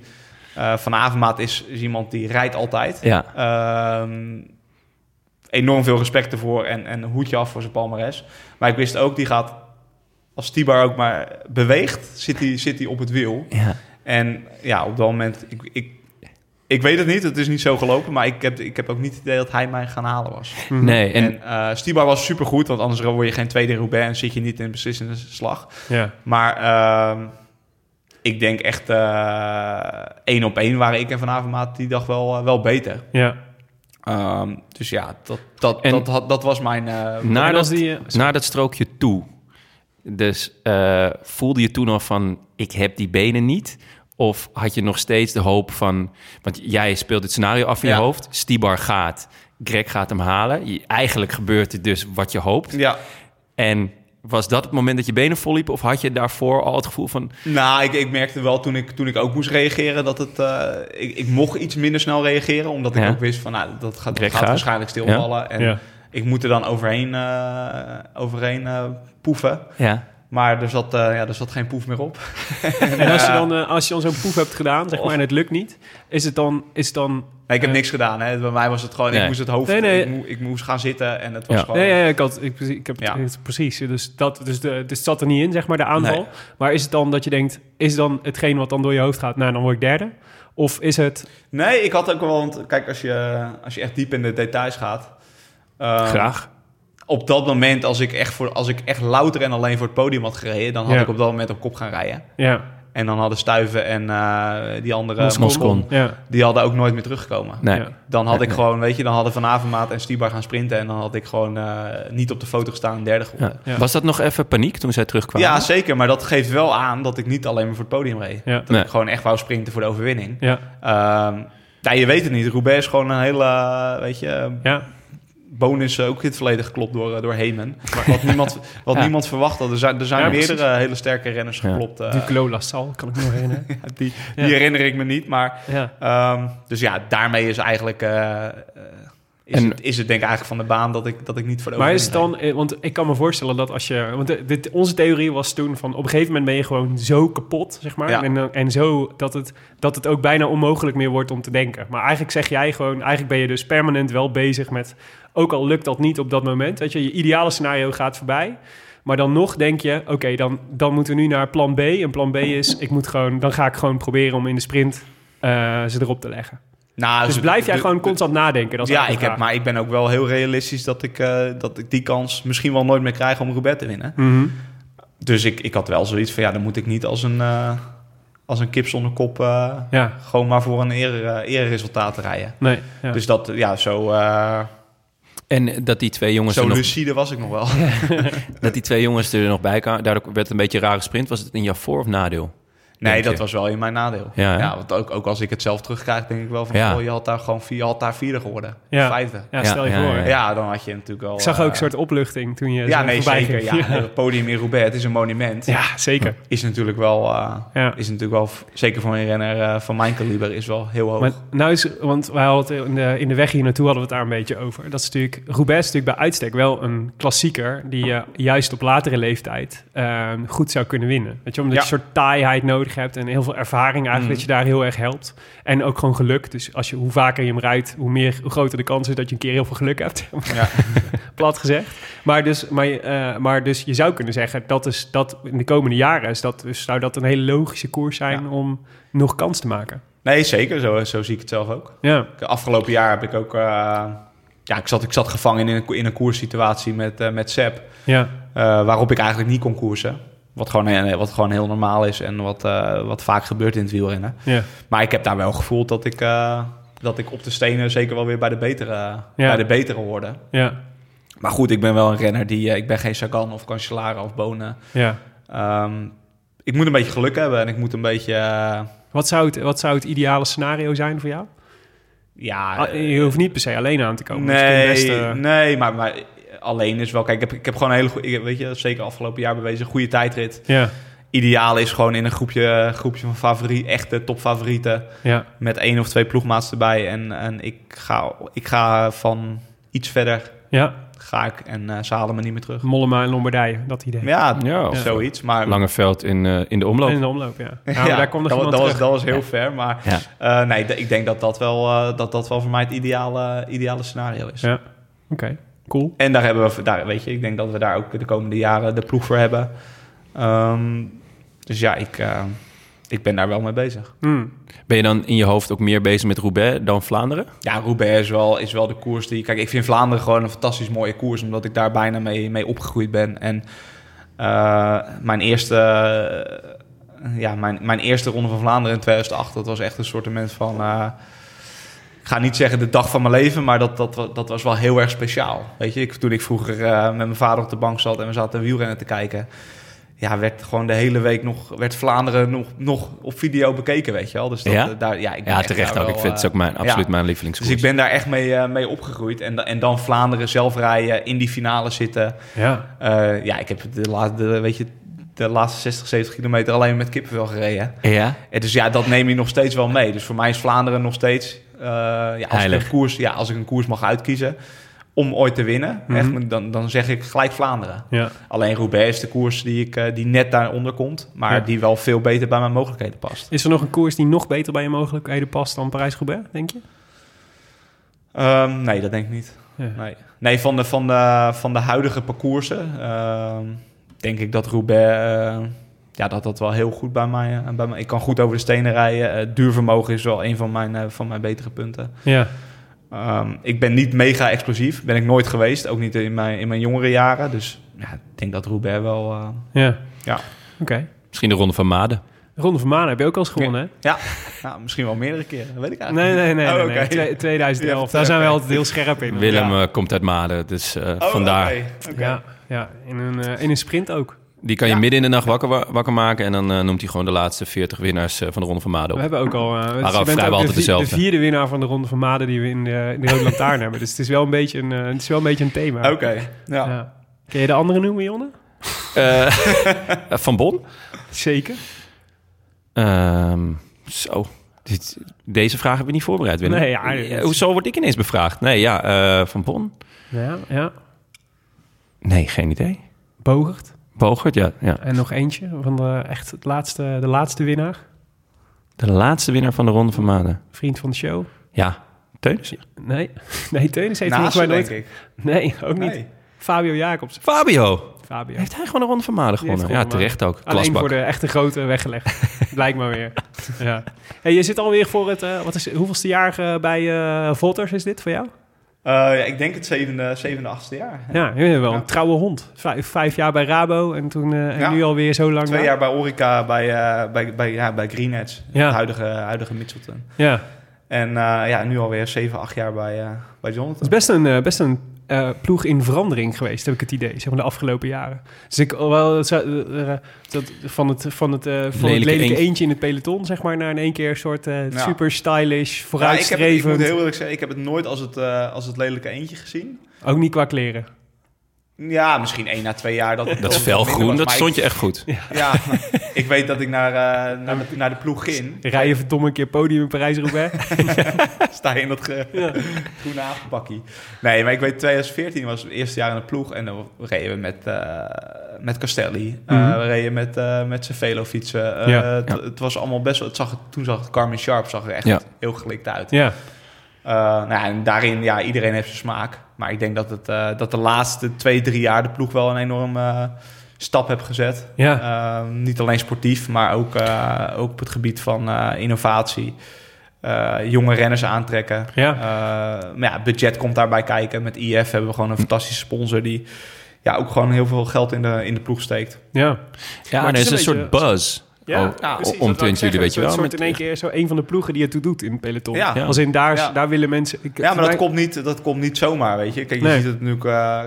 B: eh Van Avermaat is, is iemand die rijdt altijd.
C: Ja,
B: Ehm, enorm veel respect ervoor en, en een hoedje af voor zijn palmares. Maar ik wist ook, die gaat, als Stibar ook maar beweegt, zit hij zit hij op het wiel.
C: ja.
B: En ja, op dat moment, ik, ik, ik weet het niet, het is niet zo gelopen, maar ik heb, ik heb ook niet het idee dat hij mij gaan halen was.
A: Mhm.
C: Nee, en,
B: En, eh, Stibar was supergoed, want anders word je geen tweede in Roubaix en zit je niet in een beslissende slag.
A: Ja.
B: Maar ehm, ik denk echt eh, één op één waren ik en Van Avermaat die dag wel, eh, wel beter.
A: Ja.
B: Ehm, dus ja, dat, dat,
C: En- Nou.
B: dat, had- dat was mijn... eh,
C: naar,
A: En als
C: dat,
A: die, eh,
C: naar dat strookje toe. Dus eh, voelde je toen al van, ik heb die benen niet? Of had je nog steeds de hoop van... Want jij speelt het scenario af in je
B: Ja.
C: hoofd. Stibar gaat, Greg gaat hem halen. Je- eigenlijk gebeurt het dus wat je hoopt.
B: ja,
C: En was dat het moment dat je benen vol liepen? Of had je daarvoor al het gevoel van...
B: nou, ik, ik merkte wel toen ik, toen ik ook moest reageren dat het... eh, ik, ik mocht iets minder snel reageren, omdat ik
C: Ja.
B: ook wist van, nou, dat gaat, dat
C: Direct
B: gaat
C: gaat.
B: waarschijnlijk stilvallen. En
A: Ja.
B: ik moet er dan overheen, eh, overheen eh, poeven.
C: Ja,
B: Maar er zat, eh, ja, er zat geen poef meer op.
A: En als je dan, eh, als je dan zo'n poef hebt gedaan, zeg maar, en het lukt niet, is het dan, is het dan
B: Nee, ik heb
A: Ja.
B: niks gedaan. Hè. Bij mij was het gewoon,
C: Nee.
B: ik moest het hoofd...
A: Nee, nee.
B: Ik, mo- ik moest gaan zitten en het was
C: Ja.
B: gewoon...
A: Nee, ja, ja, ik, had, ik, ik heb
B: Ja.
A: het precies. Dus, dat, dus, de, dus het zat er niet in, zeg maar, de aanval.
B: Nee.
A: Maar is het dan dat je denkt, is dan hetgeen wat dan door je hoofd gaat, nou, dan word ik derde? Of is het...
B: Nee, ik had ook wel... Want kijk, als je, als je echt diep in de details gaat... eh,
C: Ehm,
A: Graag.
B: Op dat moment, als ik, echt voor, als ik echt louter en alleen voor het podium had gereden... dan had
A: Ja.
B: ik op dat moment op kop gaan rijden.
A: Ja,
B: En dan hadden Stuiven en eh, die andere...
C: Moscon.
A: ja,
B: Die hadden ook nooit meer teruggekomen.
C: Nee.
A: ja.
B: Dan had
C: Nee,
B: ik
C: nee.
B: gewoon, weet je, dan hadden Van Avermaat en Stibar gaan sprinten... en dan had ik gewoon eh, niet op de foto gestaan en derde geworden.
C: Ja.
A: Ja.
C: Was dat nog even paniek toen zij terugkwamen?
B: Ja, zeker. Maar dat geeft wel aan dat ik niet alleen maar voor het podium reed.
A: Ja.
B: Dat
C: Nee.
B: ik gewoon echt wou sprinten voor de overwinning.
A: ja,
B: Ehm, ja, je weet het niet. Roubaix is gewoon een hele, eh, weet je,
A: ja.
B: bonus eh, ook in het verleden geklopt door, eh, door Hemen. Wat, niemand, wat
C: Ja.
B: niemand verwacht had. Er zijn, er zijn
A: Ja,
B: meerdere hele sterke renners
C: Ja.
B: geklopt. eh,
A: Duclos Lassalle, kan ik me nog herinneren.
B: die, die
A: Ja.
B: herinner ik me niet. Maar,
A: ja.
B: ehm, dus ja, daarmee is eigenlijk... eh, eh, is,
C: En-
B: het, is het denk ik eigenlijk van de baan dat ik, dat ik niet voor de
A: Maar is
B: overwinning
A: het dan... eh, Want ik kan me voorstellen dat als je... Want eh, dit, onze theorie was toen van... Op een gegeven moment ben je gewoon zo kapot, zeg maar.
B: Ja.
A: En, dan- en zo dat het, dat het ook bijna onmogelijk meer wordt om te denken. Maar eigenlijk zeg jij gewoon... Eigenlijk ben je dus permanent wel bezig met... Ook al lukt dat niet op dat moment. Weet je, je ideale scenario gaat voorbij. Maar dan nog denk je... Oké, dan, dan moeten we nu naar plan B. En plan B is... Ik moet gewoon, dan ga ik gewoon proberen om in de sprint eh, ze erop te leggen.
B: reed. Nou,
A: Dus
B: de-
A: blijf jij
B: de-
A: gewoon
B: de-
A: constant nadenken. Dat is
B: ja, ik
A: eigenlijk de
B: heb,
A: vraag.
B: maar ik ben ook wel heel realistisch dat ik, eh, dat ik die kans misschien wel nooit meer krijg om Roubaix te winnen.
A: Mhm.
B: Dus ik, ik had wel zoiets van, ja, dan moet ik niet als een, eh, als een kip zonder kop eh,
A: Ja,
B: gewoon maar voor een eer, eh, ereresultaat rijden.
A: nee. Ja.
B: Dus dat, ja, zo, eh,
C: En dat die twee jongens...
B: zo
C: er nog-
B: lucide was ik nog wel.
C: Dat die twee jongens er nog bij kwamen, daardoor werd het een beetje een rare sprint. Was het in jouw voor- of nadeel?
B: Nee,
C: Denk
B: dat
C: je?
B: was wel in mijn nadeel.
C: Ja, hè?
B: want ook, ook als ik het zelf terugkrijg, denk ik wel van,
C: Ja.
B: oh, je had daar gewoon vier, je had daar vierde geworden.
A: Ja.
B: Vijfde.
A: Ja,
C: Ja,
A: stel je
C: ja,
A: voor.
C: ja,
B: Ja. dan had je natuurlijk wel...
A: Ik zag ook
B: eh,
A: een soort opluchting toen je
B: Ja,
A: zo
B: nee,
A: voorbij
B: zeker.
A: ging.
B: Ja, het podium in Roubaix, het is een monument.
A: Ja, zeker.
B: Is natuurlijk wel... eh,
A: Ja.
B: Is natuurlijk wel, v- zeker voor een renner eh, van mijn kaliber, is wel heel hoog.
A: Maar nou is, want wij hadden het in de, in de weg hier naartoe hadden we het daar een beetje over. Dat is natuurlijk, Roubaix is natuurlijk bij uitstek wel een klassieker die je juist op latere leeftijd ehm, goed zou kunnen winnen. Weet je, omdat
B: Ja. Mm.
A: je een soort taaiheid nodig hebt en heel veel ervaring eigenlijk, dat je daar heel erg helpt. En ook gewoon geluk. Dus als je, hoe vaker je hem rijdt, hoe, meer, hoe groter de kans is dat je een keer heel veel geluk hebt.
B: Ja.
A: Plat gezegd. Maar dus, maar, je- eh, maar dus je zou kunnen zeggen dat, is, dat in de komende jaren is dat, dus zou dat een hele logische koers zijn
B: Ja.
A: om nog kans te maken.
B: Nee, zeker. Zo, zo zie ik het zelf ook.
A: Ja,
B: Ik- Afgelopen jaar heb ik ook... eh, ja, ik zat, ik zat gevangen in een, ko- in een koerssituatie met, eh met Sepp.
A: ja.
B: eh, waarop ik eigenlijk niet kon koersen. Wat gewoon, eh, wat gewoon heel normaal is en wat, eh, wat vaak gebeurt in het wielrennen.
A: Ja,
B: Maar ik heb daar wel gevoeld dat ik... eh, dat ik op de stenen zeker wel weer bij de betere, bij de betere hoorde.
A: Ja,
B: Maar goed, ik ben wel een renner die... eh, ik ben geen Sagan of Cancellara of Bonen.
A: ja.
B: Ehm, ik moet een beetje geluk hebben en ik moet een beetje... eh,
A: Wat zou, het, wat zou het ideale scenario zijn voor jou?
B: ja,
A: Ah, je hoeft niet per se alleen aan te komen. Dus je kunt
B: Eh, nee,
A: best, eh,
B: nee maar, maar alleen is wel... Kijk, ik heb, ik heb gewoon een hele goede... Weet je, zeker afgelopen jaar bewezen, een goede tijdrit.
A: ja,
B: Ideaal is gewoon in een groepje, groepje van favoriet, echte topfavorieten...
A: ja,
B: met één of twee ploegmaats erbij. En, en ik, ga, ik ga van iets verder
A: ja.
B: ga ik en eh ze halen me niet meer terug.
A: Mollema en Lombardije, dat idee.
B: Ja,
C: Ja, of
B: zoiets. Maar
C: Langeveld in, eh, in de omloop.
A: En in de omloop, ja. ja,
B: Ja,
A: maar daar kwam nog
B: dat,
A: iemand
B: was- dat was,
A: terug.
B: dat was heel ver, maar
C: Ja.
B: eh, nee, d- ik denk dat dat wel, eh, dat dat wel voor mij het ideale, ideale scenario is.
A: Ja. Oké, cool.
B: En daar hebben we, daar, weet je, ik denk dat we daar ook de komende jaren de ploeg voor hebben. Ehm, dus ja, ik, eh, ik ben daar wel mee bezig.
A: Hmm.
C: Ben je dan in je hoofd ook meer bezig met Roubaix dan Vlaanderen?
B: Ja, Roubaix is wel, is wel de koers die... Kijk, ik vind Vlaanderen gewoon een fantastisch mooie koers... omdat ik daar bijna mee, mee opgegroeid ben. En eh, mijn, eerste, eh, ja, mijn, mijn eerste ronde van Vlaanderen in 2008... dat was echt een soortement van... eh, ik ga niet zeggen de dag van mijn leven... maar dat, dat, wa- dat was wel heel erg speciaal. Weet je, ik, toen ik vroeger eh, met mijn vader op de bank zat... en we zaten wielrennen te kijken... Ja, werd gewoon de hele week nog... werd Vlaanderen nog, nog op video bekeken, weet je wel. Dus dat,
C: Ja?
B: eh, daar, ja, ik ben
C: Ja,
B: echt
C: terecht
B: daar
C: ook. Ik
B: wel,
C: vind het
B: eh,
C: ook mijn, absoluut
B: ja.
C: mijn
B: dus
C: lievelingskoers.
B: ik ben daar echt mee, eh, mee opgegroeid. En, da- en dan Vlaanderen zelf rijden, in die finale zitten.
A: Ja,
B: Eh, ja, ik heb de, la- de, weet je, de laatste 60, 70 kilometer alleen met kippenvel gereden.
C: Ja?
B: En dus ja, dat neem je nog steeds wel mee. Dus voor mij is Vlaanderen nog steeds... eh, ja, als, ik
C: Heilig.
B: een koers, ja, als ik een koers mag uitkiezen om ooit te winnen... echt, dan, dan zeg ik gelijk Vlaanderen.
A: ja.
B: Alleen Roubaix is de koers die, ik, eh, die net daaronder komt... maar
A: Ja.
B: die wel veel beter bij mijn mogelijkheden past.
A: Is er nog een koers die nog beter bij je mogelijkheden past dan Parijs-Roubaix, denk je?
B: Ehm, nee, dat denk ik niet.
A: Ja.
B: Nee, nee van, de, van, de, van de huidige parcoursen ehm, denk ik dat Roubaix... eh, ja, dat dat wel heel goed bij mij, eh, bij mij... Ik kan goed over de stenen rijden. Eh, duurvermogen is wel een van mijn, eh, van mijn betere punten.
A: Ja,
B: Ehm, ik ben niet mega explosief. Ben ik nooit geweest. Ook niet in mijn, in mijn jongere jaren. Dus ja, ik denk dat Roubaix wel... eh,
A: ja.
B: Ja.
A: Oké.
C: Misschien de Ronde van Maden.
A: Ronde van Manen heb je ook al eens gewonnen, hè?
B: ja, nou, misschien wel meerdere keren. Dat weet ik eigenlijk
A: Nee, nee, nee. nee,
B: Oh, oké.
A: nee. Twee- 2011. Daar zijn we altijd heel scherp in.
C: Willem eh, komt uit Maden, dus eh,
B: niet. Oh,
C: vandaar.
B: oké, oké.
A: Ja, ja. In, een, eh, in een sprint ook.
C: Die kan je midden in de nacht wakker, wa- wakker maken en dan eh, noemt hij gewoon de laatste 40 winnaars eh, van de Ronde van Maden
A: We
C: op.
A: hebben ook al... eh, dus je
C: vrijwel
A: bent ook
C: altijd
A: de, vi-
C: dezelfde.
A: de vierde winnaar van de Ronde van Maden die we in de, in de Rode Lantaarn hebben. Dus het is wel een beetje een, eh, het is wel een, beetje een thema.
B: Oké,
A: Ja.
B: ja.
A: Ken je de andere noemen, Jonne?
C: Eh, van Bon?
A: Zeker.
C: Ehm, zo. Dit- deze vraag hebben we niet voorbereid, Willem.
A: Nee, ja,
C: Eh,
A: dat-
C: hoezo word ik ineens bevraagd? Nee, ja, eh, Van Bon?
A: Ja, ja.
C: Nee, geen idee.
A: Bogert.
C: Bogert, ja, ja.
A: En nog eentje van de, echt het laatste, de laatste winnaar.
C: De laatste winnaar van de Ronde van Maden.
A: Vriend van de show.
C: Ja, Teunis.
A: Nee. Nee, Teunis heeft
B: Naast,
A: volgens mij
B: denk
A: nooit...
B: ik.
A: Nee, ook niet.
B: Nee.
A: Fabio Jacobs.
C: Fabio.
A: Fabio.
C: Heeft hij gewoon de Ronde van Maden
A: Die heeft
C: gewonnen? Ja,
A: gewonnen,
C: terecht ook.
A: Alleen
C: Klasbak.
A: voor de echte grote weggelegd. Blijkbaar weer. Ja. Hey, je zit alweer voor het... eh, wat is, hoeveelste jaar eh, bij eh Volters is dit voor jou?
B: Eh, ja, ik denk het zevende, zevende achtste jaar.
A: Ja, je bent wel een trouwe hond. Vijf, vijf jaar bij Rabo en, toen, eh, en
B: Ja.
A: nu alweer zo lang.
B: Twee
A: bij-
B: jaar bij Orica, bij, eh bij, bij, ja, bij Greenheads,
A: Ja.
B: het huidige, huidige Mitchelton.
A: Ja, het
B: En eh, ja, nu alweer zeven, acht jaar bij, eh bij
A: is
B: Jonathan.
A: best een, eh, best een eh, ploeg in verandering geweest, heb ik het idee, zeg maar, de afgelopen jaren. Dus ik, wel, het zou- eh, eh, dat, van het, van het, eh, van het
C: Lelijke
A: lelijke
C: eend.
A: eentje in het peloton, zeg maar, naar in één keer een soort eh,
B: Ja.
A: super stylish,
B: Ja, ik, heb, ik moet
A: vooruitstrevend.
B: heel eerlijk zeggen, ik heb het nooit als het, eh, als het lelijke eentje gezien.
A: Ook niet qua kleren.
B: Ja, misschien één na twee jaar. Dat,
C: Dat
B: het minder
C: felgroen,
B: was,
C: dat
B: maar
C: stond
B: ik-
C: je echt goed.
B: Ja, ik weet dat ik naar, eh, naar, de, naar de ploeg ging.
A: Rij je verdomme een keer podium in Parijs-Roubaix.
B: Sta je in dat ge-
A: Ja.
B: groene apenpakkie. Nee, maar ik weet 2014 was het eerste jaar in de ploeg. En dan reden we met, eh, met Castelli. Eh,
A: Mhm.
B: We reden met, eh met zijn velo fietsen. Eh,
A: Ja.
B: het,
C: Ja.
B: het was allemaal best wel... Het zag, toen zag het Carmen Sharp zag er echt
C: Ja.
B: heel gelikt uit.
A: ja.
B: Eh, nou ja, en daarin, ja, iedereen heeft zijn smaak. Maar ik denk dat, het, eh, dat de laatste twee, drie jaar de ploeg wel een enorme eh, stap heeft gezet.
A: Ja.
B: Eh, niet alleen sportief, maar ook, eh, ook op het gebied van eh, innovatie. Eh, jonge renners aantrekken.
A: Ja.
B: Eh, maar ja, budget komt daarbij kijken. Met IF hebben we gewoon een fantastische sponsor die ja, ook gewoon heel veel geld in de, in de ploeg steekt.
A: ja.
C: Ja,
A: Maar
C: er is
A: het is
C: een
A: een
C: soort
A: beetje-
C: buzz.
A: Ja,
C: Oh,
A: ja,
C: om- om
A: precies, dat wou ik
C: 20
A: zeggen.
C: weet je
A: Een
C: wel,
A: soort
C: met-
A: in één keer zo een van de ploegen die het toe doet in het peloton.
B: Ja.
A: Als in daar,
B: Ja.
A: daar willen mensen... ik-
B: Ja,
A: voor
B: maar dat
A: mij-
B: komt, niet, dat komt niet zomaar, weet je. Kijk, je
A: Nee.
B: ziet het natuurlijk...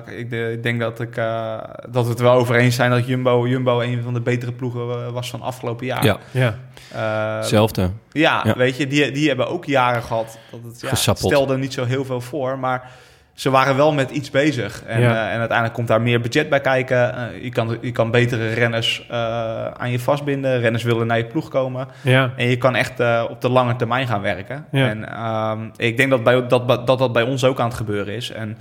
B: eh, ik, de- ik denk dat, ik, eh, dat we het wel over eens zijn dat Jumbo, Jumbo een van de betere ploegen eh, was van afgelopen jaar.
C: Ja,
A: Ja.
B: Eh,
C: hetzelfde.
B: ja,
C: Ja.
B: weet je, die, die hebben ook jaren gehad. Dat het, ja, het
C: Gesappeld.
B: stelde niet zo heel veel voor, maar ze waren wel met iets bezig. En,
A: Ja.
B: eh, en uiteindelijk komt daar meer budget bij kijken. Eh, je, kan, je kan betere renners eh, aan je vastbinden. Renners willen naar je ploeg komen.
A: Ja.
B: En je kan echt eh, op de lange termijn gaan werken.
A: Ja.
B: En ehm, ik denk dat, bij, dat, dat dat bij ons ook aan het gebeuren is. En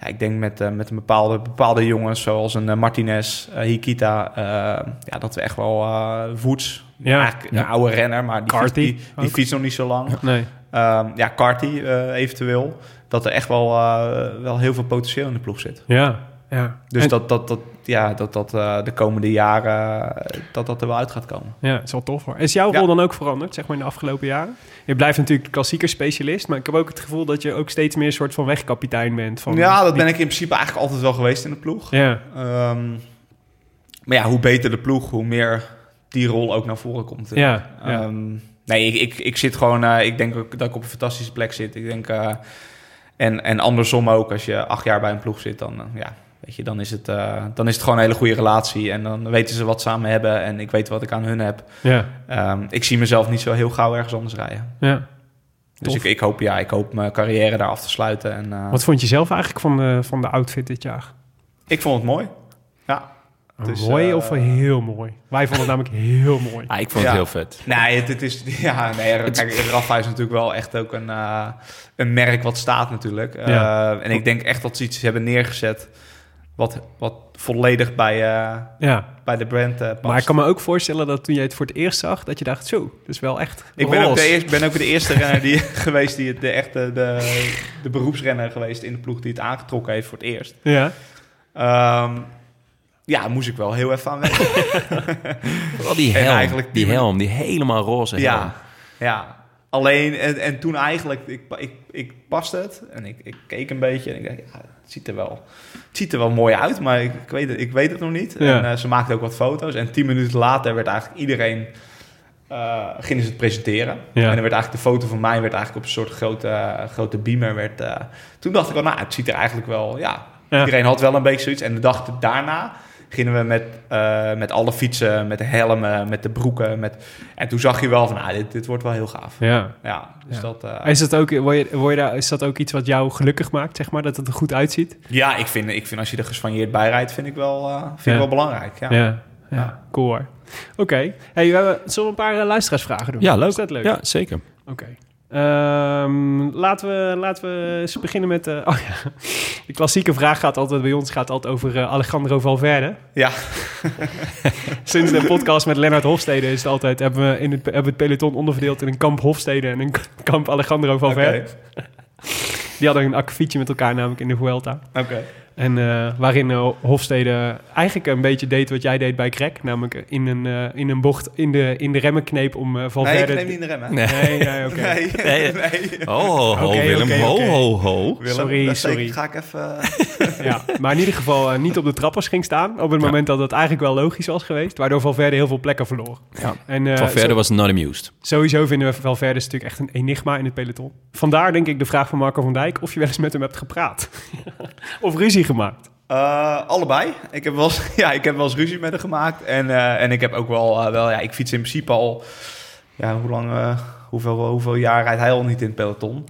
B: ja, ik denk met, eh, met een bepaalde, bepaalde jongens zoals een eh, Martinez, eh, Hikita... eh, ja, dat we echt wel eh Woods,
A: Ja.
B: eigenlijk
C: Ja.
B: een oude renner... maar die, fiets,
A: Carty
B: die, die
A: ook.
B: fietst nog niet zo lang.
A: Nee.
B: Ehm, ja, Carty eh, eventueel. Dat er echt wel, eh, wel heel veel potentieel in de ploeg zit.
A: Ja. ja.
B: Dus
A: En-
B: dat dat, dat, ja, dat, dat eh, de komende jaren eh, dat dat er wel uit gaat komen.
A: Ja, het is wel tof hoor. Is jouw
B: Ja.
A: rol dan ook veranderd, zeg maar, in de afgelopen jaren? Je blijft natuurlijk klassieker specialist, maar ik heb ook het gevoel dat je ook steeds meer een soort van wegkapitein bent. Van
B: Ja, dat
A: die-
B: ben ik in principe eigenlijk altijd wel geweest in de ploeg.
A: Ja,
B: Ehm, maar ja, hoe beter de ploeg, hoe meer die rol ook naar voren komt.
A: ja, ja.
B: Ehm, nee, ik, ik, ik zit gewoon... eh, ik denk ook dat ik op een fantastische plek zit. Ik denk... eh, en, en andersom ook, als je acht jaar bij een ploeg zit, dan, eh, ja, weet je, dan, is het, eh, dan is het gewoon een hele goede relatie. En dan weten ze wat ze aan me hebben en ik weet wat ik aan hun heb.
A: ja,
B: Ehm, ik zie mezelf niet zo heel gauw ergens anders rijden.
A: ja.
B: Dus
A: Tof.
B: ik, ik, hoop, ja, ik hoop mijn carrière daar af te sluiten. En, eh,
A: Wat vond je zelf eigenlijk van de, van de outfit dit jaar?
B: Ik vond het mooi. Ja. Het is,
A: mooi
B: eh,
A: of heel mooi? Wij vonden het namelijk heel mooi.
C: Ah, ik vond
B: Ja.
C: het heel vet.
B: Nee, het, het is. Ja, nee. Kijk, Rafa is natuurlijk wel echt ook een, eh, een merk wat staat, natuurlijk. Eh,
A: Ja.
B: en ik denk echt dat ze iets hebben neergezet. wat, wat volledig bij, eh,
A: Ja,
B: bij de brand eh, past.
A: maar ik kan me ook voorstellen dat toen jij het voor het eerst zag, dat je dacht, zo, dat is wel echt
B: Ik ben ook, de
A: roze.
B: eerste, ben ook de eerste renner die, geweest die het, de echte. De, de beroepsrenner geweest in de ploeg die het aangetrokken heeft voor het eerst.
A: Ja,
B: Ehm, ja, moest ik wel heel even aan wennen.
C: Vooral die
B: En
C: helm,
B: eigenlijk
C: die,
B: die-
C: helm, die helemaal roze helm.
B: Ja, ja. Alleen, en, en toen eigenlijk, ik, pa- ik, ik paste het en ik, ik keek een beetje en ik dacht, ja, het ziet er wel, het ziet er wel mooi uit, maar ik, ik, weet, het, ik weet het nog niet.
A: Ja.
B: En eh, ze maakten ook wat foto's en tien minuten later werd eigenlijk iedereen, eh gingen ze het presenteren.
A: Ja.
B: En dan werd eigenlijk de foto van mij werd eigenlijk op een soort grote, grote beamer. Werd, eh, toen dacht ik al, nou, het ziet er eigenlijk wel, ja.
A: Ja.
B: Iedereen had wel een beetje zoiets. En de dag daarna gingen we met, eh, met alle fietsen, met de helmen, met de broeken. Met, en toen zag je wel van, ah, dit, dit wordt wel heel gaaf. Ja,
A: ja.
B: dus
A: Ja.
B: Dat, eh,
A: Is dat, ook, word je, word je daar, is dat ook iets wat jou gelukkig maakt, zeg maar, dat het er goed uitziet?
B: ja ik, vind, ik vind als je er gespanjeerd bij rijdt, vind ik wel, eh, vind
A: Ja.
B: ik wel belangrijk. Ja.
A: Ja, ja. cool hoor. Oké, hey, we hebben, zullen we een paar eh, luisteraarsvragen doen?
C: Ja, leuk.
A: Is dat leuk?
C: Ja, zeker.
A: Oké. Ehm, laten, we, laten we eens beginnen met... eh, oh ja, de klassieke vraag gaat altijd bij ons gaat altijd over eh, Alejandro Valverde.
B: Ja.
A: Sinds de podcast met Lennart Hofstede is het altijd... hebben we in het, hebben we het peloton onderverdeeld in een kamp Hofstede en een kamp Alejandro Valverde.
B: Oké.
A: Die hadden een akkefietje met elkaar namelijk in de Vuelta.
B: Oké.
A: En eh, waarin eh, Hofstede eigenlijk een beetje deed wat jij deed bij Greg. Namelijk eh, in een, eh, in een bocht in de, in de remmen kneep om eh,
B: Nee, ik
A: Valverde...
B: neem niet in de rem, hè?
C: Nee.
A: Nee, nee, oké.
B: Nee,
C: Nee.
B: nee.
C: Ho, ho, ho,
A: Oké,
C: Willem.
A: oké,
C: ho,
A: oké.
C: ho, ho.
B: Willem,
A: Sorry,
B: dat steek-
A: sorry.
B: Ga ik even...
A: Ja, maar in ieder geval eh, niet op de trappers ging staan. Op het moment dat dat eigenlijk wel logisch was geweest. Waardoor Valverde heel veel plekken verloor.
C: Ja.
A: En eh,
C: Valverde
A: zo-
C: was not amused.
A: sowieso vinden we Valverde is natuurlijk echt een enigma in het peloton. Vandaar denk ik de vraag van Marco van Dijk of je wel eens met hem hebt gepraat. of ruzie gemaakt.
B: Eh, allebei. Ik heb, wel eens, ja, ik heb wel eens ruzie met hem gemaakt. En, eh, en ik heb ook wel, eh, wel ja, ik fiets in principe al, ja, hoe lang, eh, hoeveel, hoeveel jaar rijdt hij al niet in het peloton?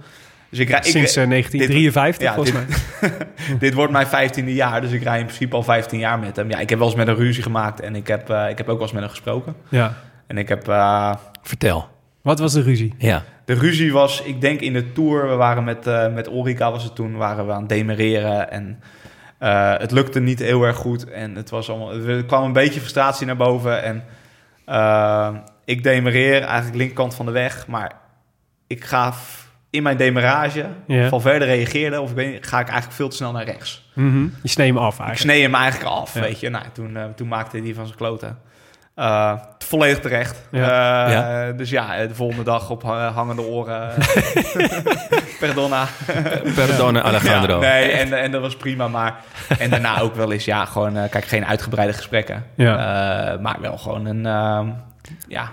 B: Dus ik rijd, ik-
A: Sinds eh, 1953
B: dit- ja,
A: volgens
B: dit-
A: mij.
B: dit wordt mijn vijftiende jaar, dus ik rijd in principe al 15 jaar met hem. Ja, ik heb wel eens met een ruzie gemaakt en ik heb, eh, ik heb ook wel eens met hem gesproken.
A: Ja.
B: En ik heb, eh,
C: Vertel.
A: Wat was de ruzie?
C: Ja.
B: de ruzie was, ik denk in de Tour, we waren met, eh met Orica was het toen, waren we aan het demereren en eh, het lukte niet heel erg goed en het was allemaal, er kwam een beetje frustratie naar boven en eh, ik demereer eigenlijk linkerkant van de weg, maar ik gaf in mijn demerage,
A: Ja.
B: van verder reageerde of ik weet niet, ga ik eigenlijk veel te snel naar rechts.
A: Mhm. Je snee hem af
B: Ik
A: eigenlijk.
B: snee hem eigenlijk af,
A: Ja.
B: weet je. Nou, toen, eh, toen maakte hij van zijn kloten. Eh, volledig terecht.
A: Ja.
B: Eh,
C: Ja.
B: Dus ja, eh, de volgende dag op ha- hangende oren. Perdona.
C: Perdona Alejandro.
B: Ja, nee, en, en dat was prima. Maar, en daarna ook wel eens, ja, gewoon, eh, kijk, geen uitgebreide gesprekken.
A: Ja.
B: Eh, maar wel gewoon een, ehm, ja,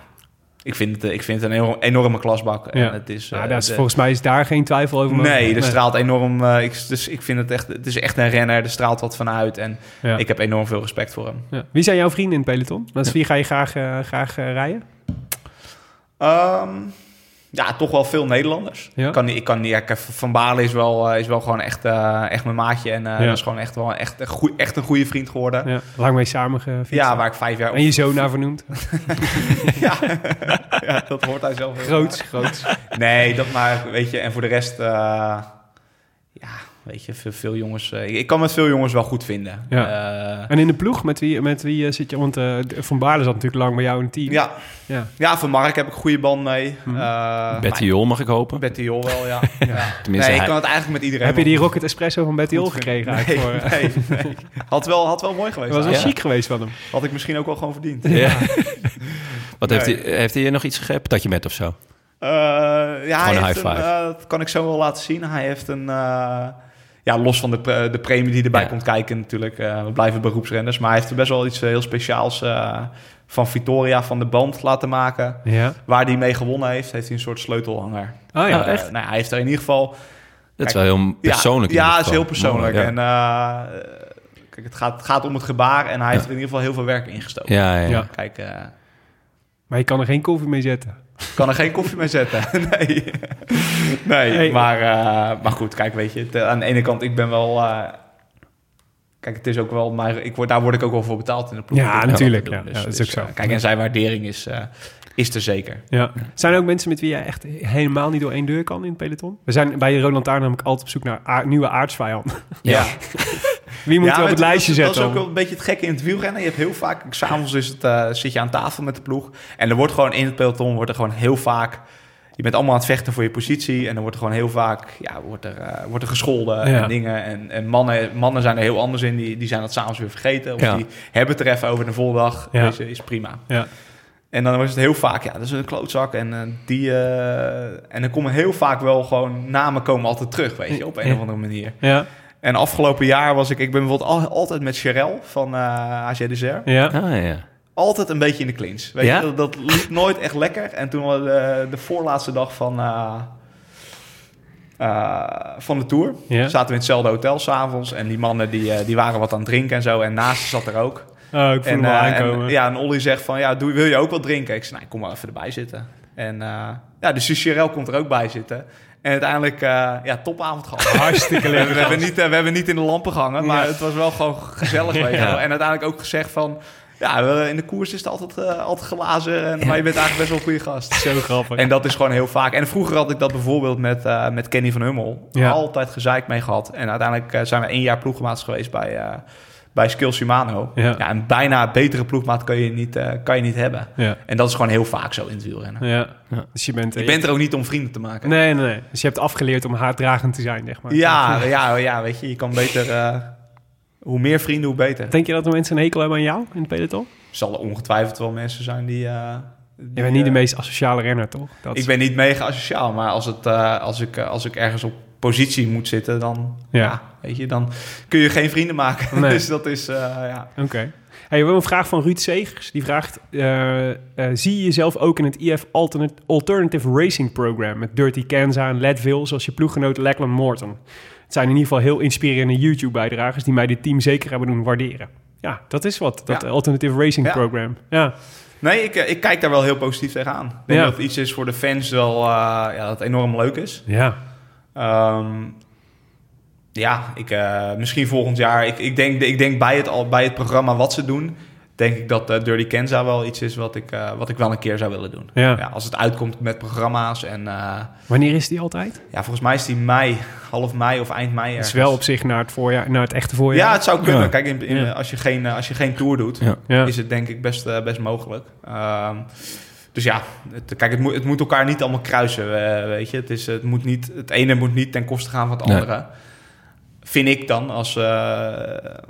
B: ik vind het, eh, ik vind het een enorm- enorme klasbak.
A: Ja.
B: En het is,
A: Nou,
B: eh,
A: daar is,
B: de-
A: volgens mij is daar geen twijfel over. mogelijk.
B: Nee, er straalt enorm. eh, ik, dus ik vind het echt. Het is echt een renner. Er straalt wat vanuit. En
A: Ja.
B: ik heb enorm veel respect voor hem.
A: Ja. Wie zijn jouw vrienden in het peloton? Met wie ga je graag, eh, graag eh, rijden?
B: Ehm, ja, toch wel veel Nederlanders.
A: Ja.
B: Ik kan niet. Ik kan niet. ja, kijk, van Balen is wel, eh, is wel gewoon echt, eh, echt mijn maatje. En eh,
A: Ja.
B: dat is gewoon echt wel echt, een goe- echt een goede vriend geworden. Ja.
A: Ja. Lang mee samen gefietst.
B: waar ik vijf jaar
A: En je zoon naar vernoemd.
B: ja. ja, dat hoort hij zelf. heel
A: Groots, groots.
B: graag. Nee, dat maar, weet je. En voor de rest, eh, ja, weet je, veel, veel jongens. eh, ik kan met veel jongens wel goed vinden.
A: Ja.
B: Eh,
A: En in de ploeg, met wie, met wie eh, zit je? Want eh, Van Baarle zat natuurlijk lang bij jou in het team.
B: ja,
A: Ja. Mhm.
B: Ja, van Mark heb ik een goede band mee. Eh,
C: Betty Jol, mag ik hopen.
B: maar- Betty Jol wel, ja. ja.
C: Tenminste,
B: nee, ik
C: hij-
B: kan het eigenlijk met iedereen.
A: Heb je die
B: wel
A: Rocket Espresso van Betty Hol
B: goed vinden.
A: gekregen?
B: Nee,
A: eigenlijk voor, eh,
B: nee, nee. Had, wel, had wel mooi geweest.
A: Dat was wel
C: Ja.
A: chic geweest van hem.
B: Had ik misschien ook wel gewoon verdiend.
C: Ja. Wat heeft,
B: Nee.
C: hij, heeft hij je nog iets gegeven? Dat je met of zo?
B: Eh, ja, hij
C: een
B: heeft
C: high
B: een,
C: five.
B: eh, dat kan ik zo wel laten zien. Hij heeft een... eh, ja, los van de, pre- de premie die erbij
C: Ja.
B: komt kijken natuurlijk. eh, we blijven beroepsrenners. Maar hij heeft er best wel iets eh, heel speciaals eh, van Vittoria van de band laten maken.
A: Ja.
B: Waar hij mee gewonnen heeft, heeft hij een soort sleutelhanger.
A: Oh ja.
C: Oh, echt?
B: Eh, nou, hij heeft er in ieder geval
C: Dat is
B: Kijk,
C: wel heel persoonlijk. in
B: Ja,
C: ieder
B: ja het is heel
C: geval.
B: persoonlijk.
C: Mooi,
B: En eh, kijk, het gaat, het gaat om het gebaar en hij heeft er in ieder geval heel veel werk in gestoken.
C: Ja, ja, ja.
A: Ja.
B: Kijk, eh,
A: Maar je kan er geen koffie mee zetten.
B: ik kan er geen koffie mee zetten. nee, nee
A: Hey.
B: maar, eh, maar goed, kijk, weet je, het, eh, aan de ene kant, ik ben wel. eh, kijk, het is ook wel, maar ik word, daar word ik ook wel voor betaald in de ploeg.
A: Ja,
B: Ik ben
A: natuurlijk,
B: dat aan het
A: ja.
B: doen.
A: Ja, dat is ook zo.
B: eh, kijk, en zijn waardering is, eh, is er zeker.
A: Ja. Zijn er ook mensen met wie jij echt helemaal niet door één deur kan in het peloton? We zijn bij Roland Taar namelijk altijd op zoek naar aard- nieuwe aardsvijanden.
C: Ja.
A: Wie moeten we op het
B: maar
A: lijstje
B: dat,
A: zetten?
B: Dat is ook
A: om-
B: wel een beetje het gekke in het wielrennen. Je hebt heel vaak, s'avonds is het, eh, zit je aan tafel met de ploeg. En er wordt gewoon in het peloton, wordt er gewoon heel vaak... Je bent allemaal aan het vechten voor je positie. En er wordt er gewoon heel vaak, ja, wordt er, eh, wordt er gescholden
A: Ja.
B: en dingen. En, en mannen, mannen zijn er heel anders in. Die, die zijn dat s'avonds weer vergeten. Of
A: Ja.
B: die hebben het er even over de volgende
A: Ja.
B: dag. Is, is prima.
A: Ja.
B: En dan was het heel vaak, ja, dat is een klootzak. En, eh, die, eh, en dan komen heel vaak wel gewoon namen komen altijd terug, weet je, op een
A: Ja.
B: of andere manier.
A: Ja.
B: En afgelopen jaar was ik, ik ben bijvoorbeeld al- altijd met Sherel van eh AG Dessert,
A: Ja.
C: Ah, ja. altijd
B: altijd een beetje in de clinch. Weet
C: Ja?
B: je, dat, dat liep nooit echt lekker. En toen was eh, de, de voorlaatste dag van, eh, eh, van de tour,
A: Ja.
B: zaten we in hetzelfde hotel s'avonds. En die mannen die, eh, die waren wat aan het drinken en zo. En naast zat er ook.
A: Oh, ik voel hem
B: En,
A: al
B: eh,
A: aankomen.
B: en, ja, en Olly zegt van, ja, doe, wil je ook wat drinken? Ik zeg, nou, kom maar even erbij zitten. En eh ja, dus Sherel komt er ook bij zitten. En uiteindelijk, eh, ja, topavond gehad.
A: Hartstikke
B: We hebben, we,
A: leuk.
B: hebben niet, eh, we hebben niet in de lampen gehangen, maar
A: Ja.
B: het was wel gewoon gezellig. Weet je
A: Ja.
B: wel. En uiteindelijk ook gezegd van... Ja, we- in de koers is het altijd, eh, altijd glazen, en, maar je bent eigenlijk best wel een goede gast.
A: Zo grappig.
B: En dat is gewoon heel vaak. En vroeger had ik dat bijvoorbeeld met, eh, met Kenny van Hummel.
A: Ja.
B: Altijd gezeik mee gehad. En uiteindelijk eh, zijn we één jaar ploegmaats geweest bij, eh bij Skill Shimano.
A: Ja.
B: en bijna betere ploegmaat kan je, niet, eh, kan je niet hebben.
A: Ja.
B: En dat is gewoon heel vaak zo in het wielrennen.
A: Ja. Dus je bent...
B: Je bent er ook niet om vrienden te maken.
A: Nee, nee, nee. Dus je hebt afgeleerd om haatdragend te zijn, zeg maar.
B: Ja, ja, ja, weet je, je kan beter... eh, hoe meer vrienden, hoe beter.
A: Denk je dat er mensen een hekel hebben aan jou in het peloton?
B: zal er ongetwijfeld wel mensen zijn die. eh,
A: Je
B: die,
A: bent niet de
B: eh,
A: meest asociale renner, toch? Dat is-
B: Ik ben niet mega asociaal, maar als, het, eh, als, ik, eh, als ik ergens op positie moet zitten, dan,
A: Ja.
B: ja. weet je, dan kun je geen vrienden maken.
A: Nee.
B: dus dat is. eh, ja.
A: Oké. Hey, we hebben een vraag van Ruud Segers. Die vraagt, eh, eh, zie je jezelf ook in het IF Alternate- Alternative Racing Program... met Dirty Kansas en Leadville, zoals je ploeggenoot Lachlan Morton? Het zijn in ieder geval heel inspirerende YouTube-bijdragers... die mij dit team zeker hebben doen waarderen. Ja, dat is wat, dat
B: Ja.
A: Alternative Racing
B: Ja.
A: Program. Ja,
B: Nee, ik, eh, ik kijk daar wel heel positief tegenaan. Ik denk
A: Ja.
B: dat het iets is voor de fans wel eh, ja, dat enorm leuk is.
A: ja.
B: Ehm, ja, ik, eh, misschien volgend jaar. Ik, ik denk, ik denk bij, het, al, bij het programma wat ze doen, denk ik dat eh, Dirty Kenza wel iets is wat ik, eh, wat ik wel een keer zou willen doen.
A: Ja.
B: Ja, als het uitkomt met programma's en eh,
A: Wanneer is die altijd?
B: ja, volgens mij is die mei, half mei of eind mei.
A: Het is
B: ergens.
A: wel op zich naar het, voorjaar, naar het echte voorjaar.
B: Ja, het zou kunnen.
A: Ja.
B: Kijk, in, in-
A: Ja.
B: als, je geen, eh, als je geen tour doet,
C: Ja.
A: Ja.
B: is het denk ik best, eh, best mogelijk. Ehm, dus ja, het, kijk, het, moet het moet elkaar niet allemaal kruisen, eh, weet je. Het, is, het, moet niet, het ene moet niet ten koste gaan van het
C: Nee.
B: andere. Vind ik dan, als, eh,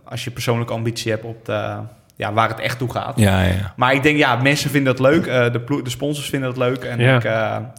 B: als je persoonlijke ambitie hebt op de, ja, waar het echt toe gaat.
C: Ja, ja.
B: Maar ik denk, ja, mensen vinden dat leuk. eh, de, plo- de sponsors vinden dat leuk. En
A: Ja.
B: ik, eh,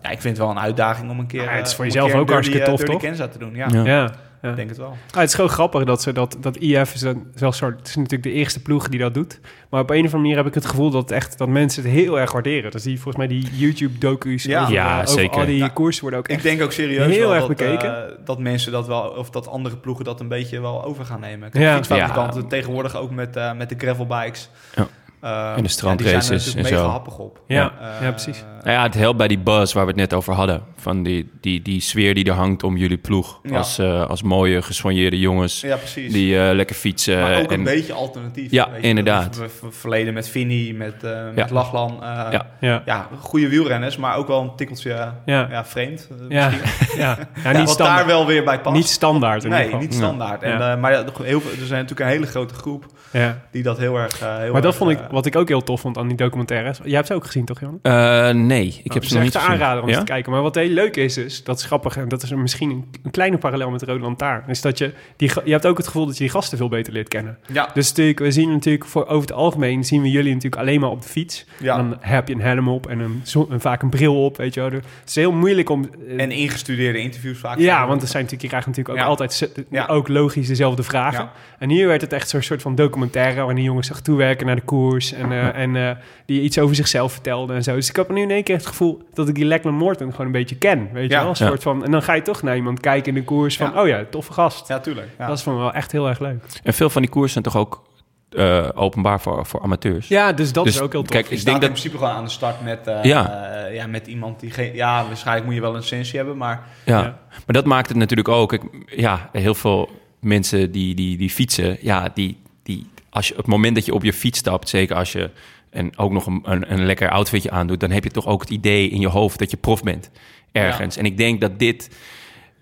B: ja, ik vind het wel een uitdaging om een keer...
A: Ja, het is
B: eh,
A: voor
B: om een
A: jezelf
B: keer een
A: ook hartstikke
B: dirty, eh,
A: tof,
B: dirty
A: toch?
B: Kenza te doen, ja.
C: Ja.
A: Ja. Ja.
B: ik denk het wel.
A: Ah, het is gewoon grappig dat ze dat, dat IF is dan zelfs soort, het is natuurlijk de eerste ploeg die dat doet. Maar op een of andere manier heb ik het gevoel dat, echt, dat mensen het heel erg waarderen. Dus die volgens mij die YouTube-docu's
B: Ja.
A: over,
C: Ja,
A: eh, over
C: zeker.
A: al die
B: Ja.
A: koersen worden ook
B: Ik
A: echt...
B: denk ook serieus
A: heel
B: wel
A: erg
B: dat,
A: bekeken.
B: eh, dat mensen dat wel, of dat andere ploegen dat een beetje wel over gaan nemen. Kijk,
A: Ja.
B: De fietsfabrikanten
C: Ja.
B: tegenwoordig ook met, eh, met de gravelbikes.
C: Ja.
B: Eh,
C: En de strandraces
B: ja, die zijn er natuurlijk
C: en zo.
B: mega happig op.
A: Ja.
B: Eh,
A: Ja, precies.
C: Nou ja, het helpt bij die buzz waar we het net over hadden. Van die, die, die sfeer die er hangt om jullie ploeg.
B: Ja.
C: Als, eh, als mooie, gesoigneerde jongens
B: Ja, precies.
C: die eh, lekker fietsen.
B: maar ook een
C: en,
B: beetje alternatief.
C: Ja,
B: weet je.
C: inderdaad.
B: Dat is v- v- verleden met Vinny, met, eh met
C: Ja.
B: Lachlan. eh,
C: Ja.
B: ja.
A: Ja.
B: goede wielrenners, maar ook wel een tikkeltje eh,
A: Ja.
B: ja. vreemd. eh,
A: Ja.
B: misschien.
A: Ja. Ja,
B: Ja,
A: niet,
B: wat daar
A: standaard.
B: wel weer bij past.
A: niet standaard in ieder
B: nee,
A: geval.
B: niet standaard. En,
A: Ja.
B: eh, maar ja, heel veel, er zijn natuurlijk een hele grote groep
A: Ja.
B: die dat heel erg... eh, heel
A: Maar dat
B: erg,
A: vond ik,
B: eh,
A: wat ik ook heel tof vond aan die documentaires. Jij hebt ze ook gezien, toch, Jan?
C: Eh, nee, ik heb ze nog
A: Nou, het is
C: niet
A: echt
C: gezien.
A: een aanrader om eens
C: ja?
A: te kijken. Maar wat heel leuk is, is dat is grappig en dat is een- misschien een, een kleine parallel met de Rode Lantaarn. Is dat je, die, ga- je hebt ook het gevoel dat je die gasten veel beter leert kennen.
B: Ja.
A: Dus natuurlijk, we zien natuurlijk voor, over het algemeen zien we jullie natuurlijk alleen maar op de fiets.
B: Ja.
A: Dan heb je een helm op en, een, zo- en vaak een bril op, weet je wel. Dus Het is heel moeilijk om... eh,
B: En ingestudeerde interviews vaak.
A: ja, want er zijn natuurlijk, je krijgt natuurlijk ook
B: Ja.
A: altijd ze-
B: Ja.
A: ook logisch dezelfde vragen.
B: Ja.
A: En hier werd het echt zo'n soort van documentaire... waarin die jongens zich toewerken naar de koers... en, eh, en eh, die iets over zichzelf vertelden en zo. Dus ik heb nu in één keer het gevoel dat ik die Lachlan Morton gewoon een beetje ken. Weet
B: Ja.
A: je wel? Een
C: Ja.
A: soort van, en dan ga je toch naar iemand kijken in de koers van...
B: Ja.
A: oh ja, toffe gast.
B: Ja, tuurlijk. Ja.
A: Dat is van wel echt heel erg leuk.
C: En veel van die koersen zijn toch ook eh, openbaar voor, voor amateurs?
A: Ja, dus dat
C: Dus
A: is ook heel tof.
C: Kijk,
B: je
C: ik
B: staat
C: denk
B: in
C: dat...
B: principe gewoon aan de start met, eh,
C: Ja.
B: eh, ja, met iemand die geen... Ja, waarschijnlijk moet je wel een sensie hebben, maar...
C: Ja.
A: Ja.
C: Maar dat maakt het natuurlijk ook. Ik, ja, heel veel mensen die, die, die fietsen, ja, die, die, als je, op het moment dat je op je fiets stapt, zeker als je en ook nog een, een, een lekker outfitje aandoet, dan heb je toch ook het idee in je hoofd dat je prof bent ergens. En ik denk dat dit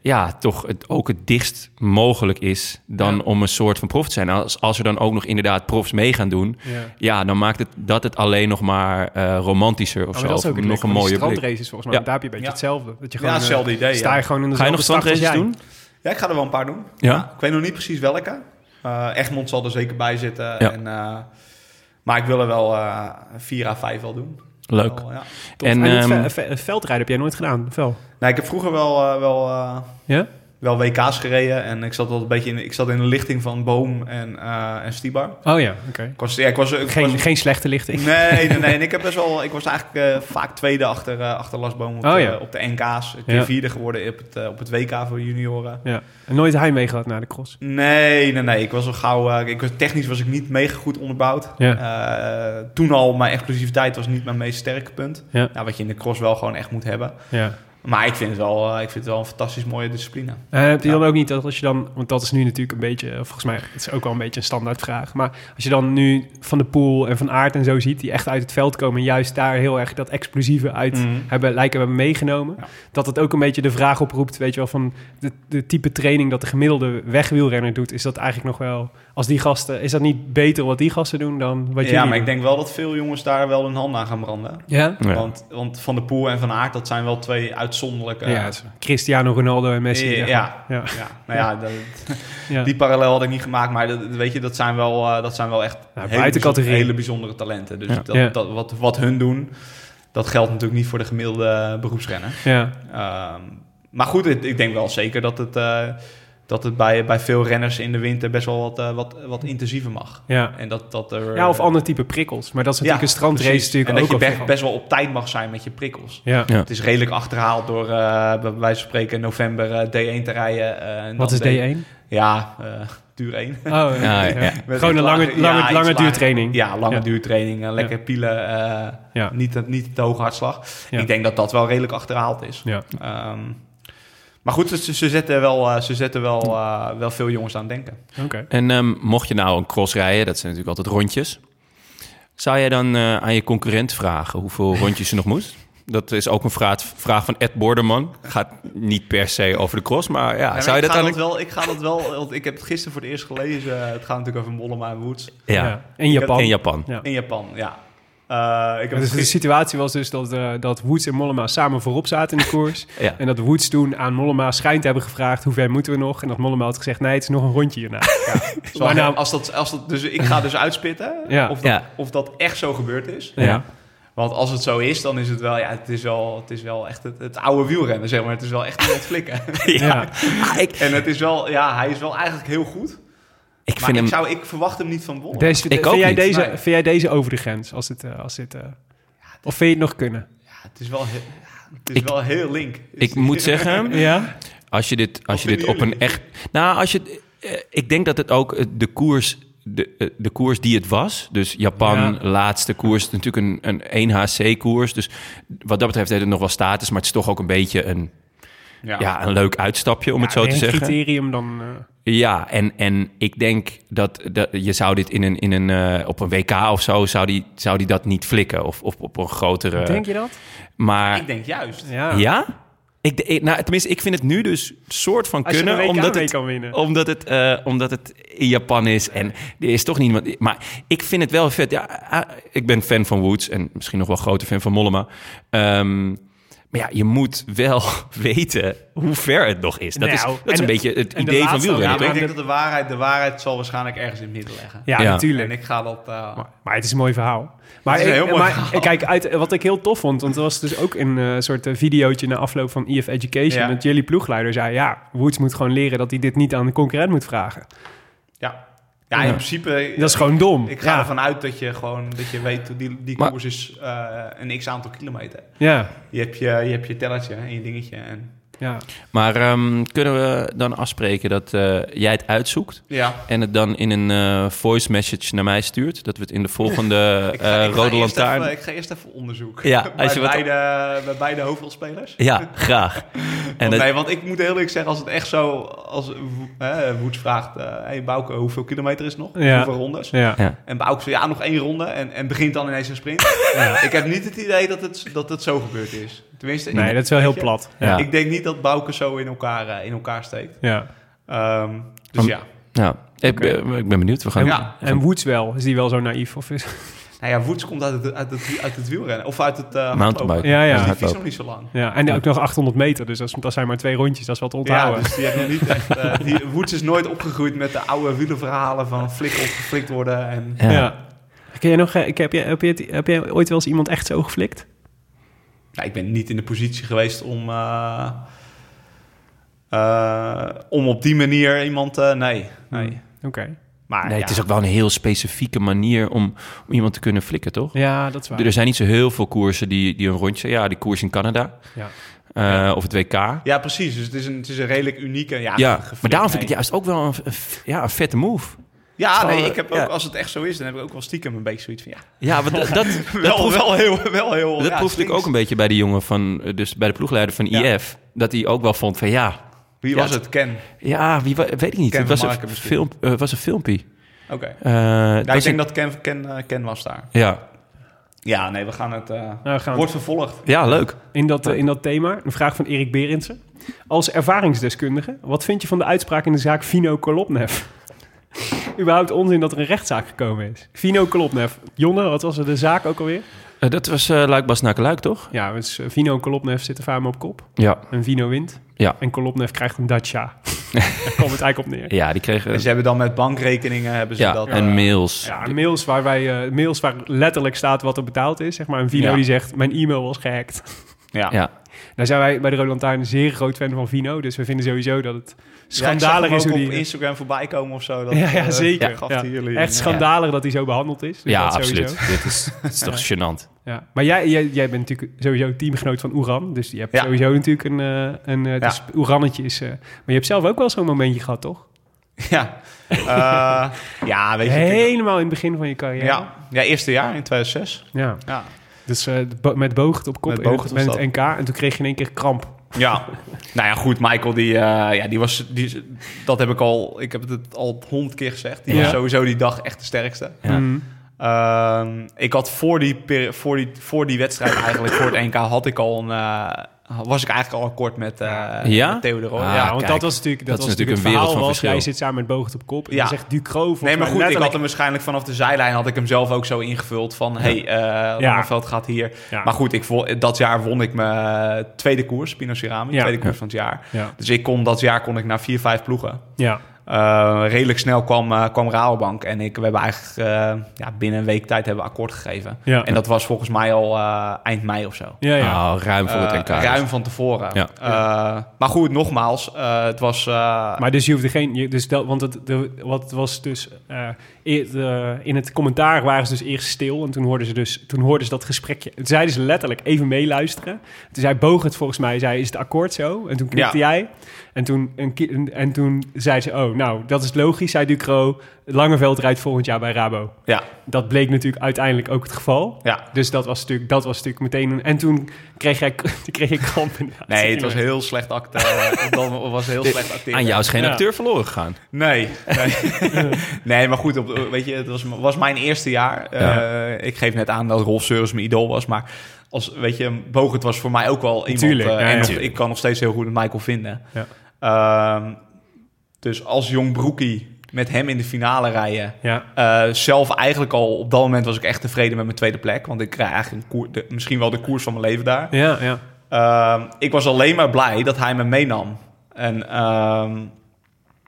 C: ja, toch het, ook het dichtst mogelijk is dan
A: Ja.
C: om een soort van prof te zijn. Als, als er dan ook nog inderdaad profs mee gaan doen,
A: Ja.
C: ja, dan maakt het dat het alleen nog maar eh, romantischer of
A: Oh,
C: zo.
A: maar dat is
C: Of
A: ook het
C: nog
A: leuke
C: een
A: van die
C: mooie blik.
A: strandraces volgens mij.
C: Ja.
A: Daar heb je een beetje
B: Ja.
A: hetzelfde. Dat je
B: Ja,
A: gewoon, eh,
B: hetzelfde idee,
A: Sta je
B: ja.
A: gewoon in
C: Ga je
A: dezelfde
C: nog
A: stad als
C: strandraces
A: jij.
C: doen?
B: Ja, ik ga er wel een paar doen.
C: Ja.
B: Ik weet nog niet precies welke. Eh, Egmond zal er zeker bij zitten. En, eh, maar ik wil er wel eh, vier à vijf wel doen.
C: Leuk.
B: Wel, ja.
A: Tof. En,
C: En,
A: het ve-
C: ehm,
A: ve- veldrijden heb jij nooit gedaan, Vel?
B: Nou, ik heb vroeger wel, eh, wel, eh,
A: Ja?
B: wel WK's gereden. En ik zat wel een beetje in, ik zat in de lichting van Boom en, eh en Stibar.
A: Oh ja, oké.
B: Ik was, ja, ik was, ik
A: Geen,
B: was-
A: geen slechte lichting.
B: Nee, nee, nee. En ik, heb best wel, ik was eigenlijk eh, vaak tweede achter, eh, achter Lasboom op,
A: Oh,
B: de-
A: ja.
B: op de NK's. Ik ben
A: Ja.
B: vierde geworden op het, eh, op het WK voor junioren.
A: Ja. En nooit Heimwee gehad na de cross.
B: Nee, nee, nee. Ik was al gauw... eh, ik was, technisch was ik niet mega goed onderbouwd.
A: Ja.
B: Eh, toen al, mijn explosiviteit was niet mijn meest sterke punt.
A: Ja.
B: Nou, wat je in de cross wel gewoon echt moet hebben.
A: Ja.
B: Maar ik vind het wel, eh, ik vind het wel een fantastisch mooie discipline.
A: Eh, heb je
B: Ja.
A: dan ook niet dat als je dan, want dat is nu natuurlijk een beetje, eh, volgens mij, het is ook wel een beetje een standaardvraag. Maar als je dan nu van de pool en van aard en zo ziet, die echt uit het veld komen, en juist daar heel erg dat explosieve uit
B: Mhm.
A: hebben, lijken we hebben meegenomen.
B: Ja.
A: Dat het ook een beetje de vraag oproept, weet je wel, van de, de type training dat de gemiddelde wegwielrenner doet. Is dat eigenlijk nog wel, als die gasten, is dat niet beter wat die gasten doen dan wat
B: Ja,
A: jullie
B: maar
A: doen?
B: ik denk wel dat veel jongens daar wel hun handen aan gaan branden.
A: Ja?
C: Ja.
B: Want, want Van der Poel en Van Aert, dat zijn wel twee uitzonderlijke...
A: Ja, het is Cristiano Ronaldo en Messi.
B: Ja,
A: zeg
B: ja,
A: maar. ja.
B: ja. nou ja, dat,
A: ja.
B: Die parallel had ik niet gemaakt, maar dat, weet je, dat zijn wel, eh, dat zijn wel echt hele,
A: buiten
B: bijzondere,
A: categorie.
B: hele bijzondere talenten. Dus
C: Ja.
B: Dat,
A: Ja.
B: Dat, wat, wat hun doen, dat geldt natuurlijk niet voor de gemiddelde eh, beroepsrenner.
A: ja.
B: Ehm, maar goed, het- ik denk wel zeker dat het, eh, dat het bij, bij veel renners in de winter best wel wat, eh, wat, wat intensiever mag.
A: Ja.
B: En dat, dat er,
A: Ja, of ander type prikkels. Maar dat is natuurlijk
B: Ja,
A: een strandrace
B: precies.
A: natuurlijk
B: en
A: ook
B: dat je
A: al
B: best,
A: veel.
B: best wel op tijd mag zijn met je prikkels.
A: Ja.
C: Ja.
B: Het is redelijk achterhaald door eh, bij wijze van spreken november eh, D1 te rijden. eh, en
A: Wat is
B: dan
A: D1?
B: Ja, eh duur 1.
A: Oh, ja.
C: ja.
A: ja.
B: Met
A: Gewoon een
B: iets
A: lange,
B: lager-
A: lange,
B: ja, iets
A: lange
B: lager.
A: duurtraining.
B: Ja, lange
A: Ja.
B: duurtraining, eh, lekker pielen, eh,
A: Ja.
B: niet, te- niet te hoge hartslag.
A: Ja.
B: Ik denk dat dat wel redelijk achterhaald is.
A: Ja.
B: Ehm, maar goed, ze, ze zetten, wel, eh, ze zetten wel, eh, wel veel jongens aan het denken.
A: Oké.
C: En ehm, mocht je nou een cross rijden, dat zijn natuurlijk altijd rondjes. Zou jij dan eh, aan je concurrent vragen hoeveel rondjes ze nog moet? Dat is ook een vraag, vraag van Ed Borderman. Gaat niet per se over de cross, maar ja,
B: Ja,
C: zou je
B: ik,
C: dat
B: ga
C: dan...
B: dat wel, ik ga dat wel, want ik heb het gisteren voor het eerst gelezen. Eh, Het gaat natuurlijk over Mollema en Woods
C: Ja,
A: Ja. In Japan.
C: in Japan.
A: Ja.
B: in Japan, ja. Eh, ik
A: Dus
B: heb het
A: de
B: gisteren-
A: situatie was dus dat, eh, dat Woods en Mollema samen voorop zaten in de koers.
C: Ja.
A: En dat Woods toen aan Mollema schijnt te hebben gevraagd... hoe ver moeten we nog? En dat Mollema had gezegd, nee, het is nog een rondje hierna.
B: Zo,
A: maar nou-
B: als dat, als dat, dus ik ga dus uitspitten
A: Ja.
B: Of, dat,
C: Ja.
B: of dat echt zo gebeurd is.
A: Ja.
B: Want als het zo is, dan is het wel, ja, het is wel, het is wel echt het, het oude wielrennen, zeg maar. Het is wel echt het flikken.
D: Ja.
B: en het is wel, ja, hij is wel eigenlijk heel goed.
C: Ik
B: maar
C: vind
B: ik,
C: hem...
B: zou, ik verwacht hem niet van Bolle.
A: Deze,
C: Ik
A: vind
C: ook
A: jij
C: niet.
A: Deze,
B: Nee.
A: Vind jij deze over de grens? Als dit, eh, als dit, eh, of vind je het nog kunnen?
B: Ja, het is wel, he- ja, het is
C: Ik-
B: wel heel link. Dus
C: Ik moet zeggen,
A: Ja?
C: Als je dit, als je dit
B: vinden
C: op een echt. Nou, als je. eh, Ik denk dat het ook eh, de koers. De, eh, de koers die het was. Dus Japan,
A: Ja.
C: laatste koers. Natuurlijk een, een 1HC-koers. Dus wat dat betreft heeft het nog wel status. Maar het is toch ook een beetje een, ja. een leuk uitstapje, om het zo te zeggen.
A: criterium dan... eh,
C: Ja, en, en ik denk dat, dat je zou dit in een, in een, eh, op een WK of zo. zou die, zou die dat niet flikken. Of, of op een grotere.
A: denk je dat?
C: Maar
B: Ik denk juist.
A: Ja.
C: ja? Ik, de- ik- nou, tenminste, ik vind het nu dus soort van
A: Als je
C: kunnen.
A: een WK
C: omdat,
A: mee
C: het,
A: kan winnen.
C: Omdat, het, eh, omdat het in Japan is. En er is toch niemand. Maar ik vind het wel vet. Ja, ah, ik ben fan van Woods. En misschien nog wel grote fan van Mollema. Ehm, maar ja, je moet wel weten hoe ver het nog is. Dat is,
A: Nou,
C: dat is
A: en
C: een
A: de-
C: beetje het
A: en de
C: idee van
A: laatste
B: Ja,
C: wielrennen,
B: maar
C: toch?
B: ik denk dat de waarheid, de waarheid zal waarschijnlijk ergens in het midden liggen.
A: Ja,
C: Ja.
A: natuurlijk.
B: En ik ga dat... eh,
A: Maar, maar het is een mooi verhaal. Maar,
B: Het is een heel
A: eh,
B: mooi
A: maar,
B: verhaal.
A: eh, Kijk, uit, eh, wat ik heel tof vond, want er was dus ook een eh, soort eh, videootje na afloop van EF Education.
B: Ja.
A: Dat jullie ploegleider zei: Ja, Woods moet gewoon leren dat hij dit niet aan de concurrent moet vragen.
B: ja. ja, in principe... eh,
A: Dat is gewoon dom.
B: Ik ga
A: ja.
B: ervan uit dat je gewoon dat je weet hoe die, die
C: Maar-
B: koers is eh, een x aantal kilometer.
A: ja.
B: Je hebt je, je hebt je tellertje en je dingetje. En,
A: Ja.
C: Maar ehm, kunnen we dan afspreken dat eh, jij het uitzoekt?
B: ja.
C: En het dan in een eh, voice message naar mij stuurt. Dat we het in de volgende
B: Ik ga,
C: eh,
B: ik ga
C: Rode
B: eerst
C: Lantaarn...
B: even- Ik ga eerst even onderzoeken.
C: Ja,
B: bij,
C: als je wat-
B: beide, eh, bij beide hoofdrolspelers.
C: Ja, graag. En
B: Want,
C: dat,
B: nee, want ik moet heel eerlijk zeggen, als het echt zo... Als eh, Woets vraagt, eh hey Bouke, hoeveel kilometer is het nog?
A: Ja.
B: Hoeveel rondes?
A: Ja.
C: Ja.
B: En Bouke zegt, ja, nog één ronde. En, en begint dan ineens een sprint. Ik heb niet het idee dat het, dat het zo gebeurd is. Tenminste,
A: Nee,
B: ik,
A: dat is wel heel
B: weet je,
A: plat.
C: Ja.
B: Ik denk niet dat Bouke zo in elkaar, eh, in elkaar steekt.
A: Ja.
B: Ehm, dus
C: Am-
B: ja.
C: nou, ik, ben- ik ben benieuwd. We gaan...
B: Ja.
A: En Woods wel. Is die wel zo naïef? Of is...
B: Nou ja, Woods komt uit het, uit het, uit het wielrennen. Of uit het... eh,
C: Mountainbike.
A: Ja, ja.
B: Dus die
C: Hardlopen.
B: fiets nog niet zo lang.
A: Ja. En ook nog 800 meter, dus dat, is- dat zijn maar twee rondjes. Dat is wat te onthouden.
B: Ja, dus die hebben niet echt... eh, die, Woods is nooit opgegroeid met de oude wielenverhalen van flik of geflikt worden. En,
C: Ja.
A: Ja. Ken jij nog, eh, ik- heb, jij, heb, jij, het- heb jij ooit wel eens iemand echt zo geflikt?
B: nou, ik ben niet in de positie geweest om... eh, eh, om op die manier iemand... eh, nee,
C: Hmm.
B: nee.
A: Oké.
B: Maar
C: Nee,
B: ja.
C: het is ook wel een heel specifieke manier om, om iemand te kunnen flikken, toch?
A: Ja, dat is waar.
C: Er zijn niet zo heel veel koersen die, die een rondje... Ja, die koers in Canada
A: Ja.
C: eh, of het WK. Ja,
B: Ja, precies. Dus het is een, het is een redelijk unieke... Ja, geflikt,
C: maar daarom vind ik het
B: nee.
C: juist ook wel een, een- ja, een vette move.
B: Ja, nee,
C: gewoon,
B: ik heb ook,
C: ja.
B: als het echt zo is, dan heb ik ook wel stiekem een beetje zoiets van... Ja,
C: Ja, want dat, dat, dat
B: wel,
C: proef,
B: wel heel... Wel heel
C: dat
B: ja,
C: proefde ik
B: stinks.
C: ook een beetje bij die jongen van... eh, Dus bij de ploegleider van
B: Ja.
C: IF. Dat hij ook wel vond van ja...
B: Wie
C: Ja,
B: was
C: het-
B: het? Ken.
C: Ja, wie, wa- weet ik niet.
B: Ken
C: Het was
B: van
C: een,
B: Marken misschien.
C: film, eh, was een filmpje.
B: Oké.
C: Eh, het
B: Ja, ik
C: was
B: denk
C: een-
B: dat Ken, Ken, eh, Ken was daar.
C: ja.
B: Ja, nee, we gaan het... eh,
A: Nou, we gaan
B: wordt vervolgd.
C: ja, leuk.
A: In dat, eh, in dat thema, een vraag van Erik Berendsen. Als ervaringsdeskundige, wat vind je van de uitspraak in de zaak Vino Kolopnev? Überhaupt onzin dat er een rechtszaak gekomen is. Vino Kolopnev. Jonne, wat was er de zaak ook alweer?
C: Eh, dat was eh Luik Bas Nakke Luik, toch?
A: Ja, dus eh, Vino Kolopnev zit de faam op kop.
C: Ja.
A: En Vino wint.
C: Ja.
A: En Kolopnev krijgt een Dacia. Daar komt het eigenlijk op neer.
C: Ja, die kregen...
B: En ze hebben dan met bankrekeningen hebben ze
C: ja,
B: dat.
C: en
B: eh,
C: mails.
A: Ja, mails waar, wij, eh, mails waar letterlijk staat wat er betaald is. Zeg maar. En Vino
B: Ja.
A: die zegt, mijn e-mail was gehackt.
B: ja.
C: Ja.
A: Nou zijn wij bij de Roland een zeer groot fan van Vino. Dus we vinden sowieso dat het schandalig is
B: hoe
A: hoe
B: op
A: die...
B: Instagram voorbij komen of zo. Dat,
A: Ja, ja,
B: eh,
A: zeker.
B: gaf
A: Ja.
B: die jullie
A: Echt
B: een-
A: schandalig dat hij zo behandeld is. Dus
C: ja,
A: dat sowieso.
C: absoluut. Dit is, dit is toch gênant.
A: Ja. Maar jij, jij, jij bent natuurlijk sowieso teamgenoot van Oeran. Dus je hebt
B: Ja.
A: sowieso natuurlijk een... eh, een eh,
B: Ja.
A: dus Oerannetje is... eh, maar je hebt zelf ook wel zo'n momentje gehad, toch?
B: Ja, Eh, ja weet je. natuurlijk-
A: Helemaal in het begin van je carrière.
B: Ja. ja, eerste jaar in 2006.
A: Ja.
B: Ja,
A: Dus eh, bo- met Boogert op kop
B: Met
A: in het-
B: Boogert
A: met
B: was
A: het NK. En toen kreeg je in één keer kramp.
B: ja. nou ja, goed. Michael, die, eh, ja, die was, die, dat heb ik al, ik heb het al honderd keer gezegd. Die
A: Ja.
B: was sowieso die dag echt de sterkste.
C: Ja.
A: Mm.
B: Ehm, ik had voor die, peri- voor, die, voor die wedstrijd eigenlijk, voor het NK, had ik al een, eh, was ik eigenlijk al akkoord met, eh
C: Ja?
B: met Theo de Rooij.
C: Ah,
A: ja,
B: ja.
A: want
C: kijk,
A: dat was natuurlijk, dat
C: dat is
A: was
C: natuurlijk een
A: natuurlijk het
C: wereld
A: verhaal
C: van
A: was, jij
C: verschil.
A: zit samen met Boogert op kop. En
B: Ja.
A: dan zegt Ducro volgens
B: Nee, maar
A: mij
B: goed, ik had
A: letterlijk-
B: hem waarschijnlijk vanaf de zijlijn had ik hem zelf ook zo ingevuld van, hey, eh Langeveld gaat hier.
A: Ja.
B: Maar goed, ik vo- dat jaar won ik mijn tweede koers, Pino Cerami,
A: Ja.
B: tweede koers van het jaar.
A: Ja.
B: Dus ik kon dat jaar kon ik naar vier, vijf ploegen.
A: Ja.
B: Eh, Eh, redelijk snel kwam, eh, kwam Rabobank en ik, we hebben eigenlijk eh, ja, binnen een week tijd hebben we akkoord gegeven.
A: Ja.
B: En dat was volgens mij al eh, eind mei of zo.
A: Ja, ja.
C: Nou, ruim voor het
B: Eh,
C: NK.
B: ruim van tevoren.
C: Ja.
B: Eh, maar goed, nogmaals, eh, het was... eh,
A: Maar dus je hoefde geen... je- Dus dat, want het, de, wat was dus... eh, eer- de- in het commentaar waren ze dus eerst stil. En toen hoorden ze, dus, toen hoorden ze dat gesprekje. Toen zeiden ze letterlijk even meeluisteren. Toen zei Boog het volgens mij. zei, is het akkoord zo? En toen knikte
B: Ja.
A: jij. En toen, en, ki- en- en toen zei ze, oh, nou, dat is logisch, zei Ducro. Langeveld rijdt volgend jaar bij Rabo.
B: ja,
A: Dat bleek natuurlijk uiteindelijk ook het geval.
B: ja.
A: Dus dat was natuurlijk, dat was natuurlijk meteen... een- en toen kreeg jij, toen kreeg je kramp. in de
B: Nee, het
A: armen.
B: was heel slecht acteren. Dan was heel slecht acteren.
C: Aan jou is geen
A: Ja.
C: acteur verloren gegaan.
B: Nee. Nee, nee maar goed, op, weet je, het was, was mijn eerste jaar. Eh, ik geef net aan dat Rolf Seurens mijn idool was, maar als, weet je, Bogert was voor mij ook wel iemand.
A: Tuurlijk,
B: eh,
A: ja,
B: en
A: ja.
B: nog- ik kan nog steeds heel goed met Michael vinden.
A: Ja.
B: Ehm, dus als jong broekie met hem in de finale rijden.
A: Ja.
B: Eh, zelf eigenlijk al, op dat moment was ik echt tevreden met mijn tweede plek. Want ik krijg eigenlijk een koer- de- misschien wel de koers van mijn leven daar.
A: Ja, ja.
B: Ehm, ik was alleen maar blij dat hij me meenam. En ehm,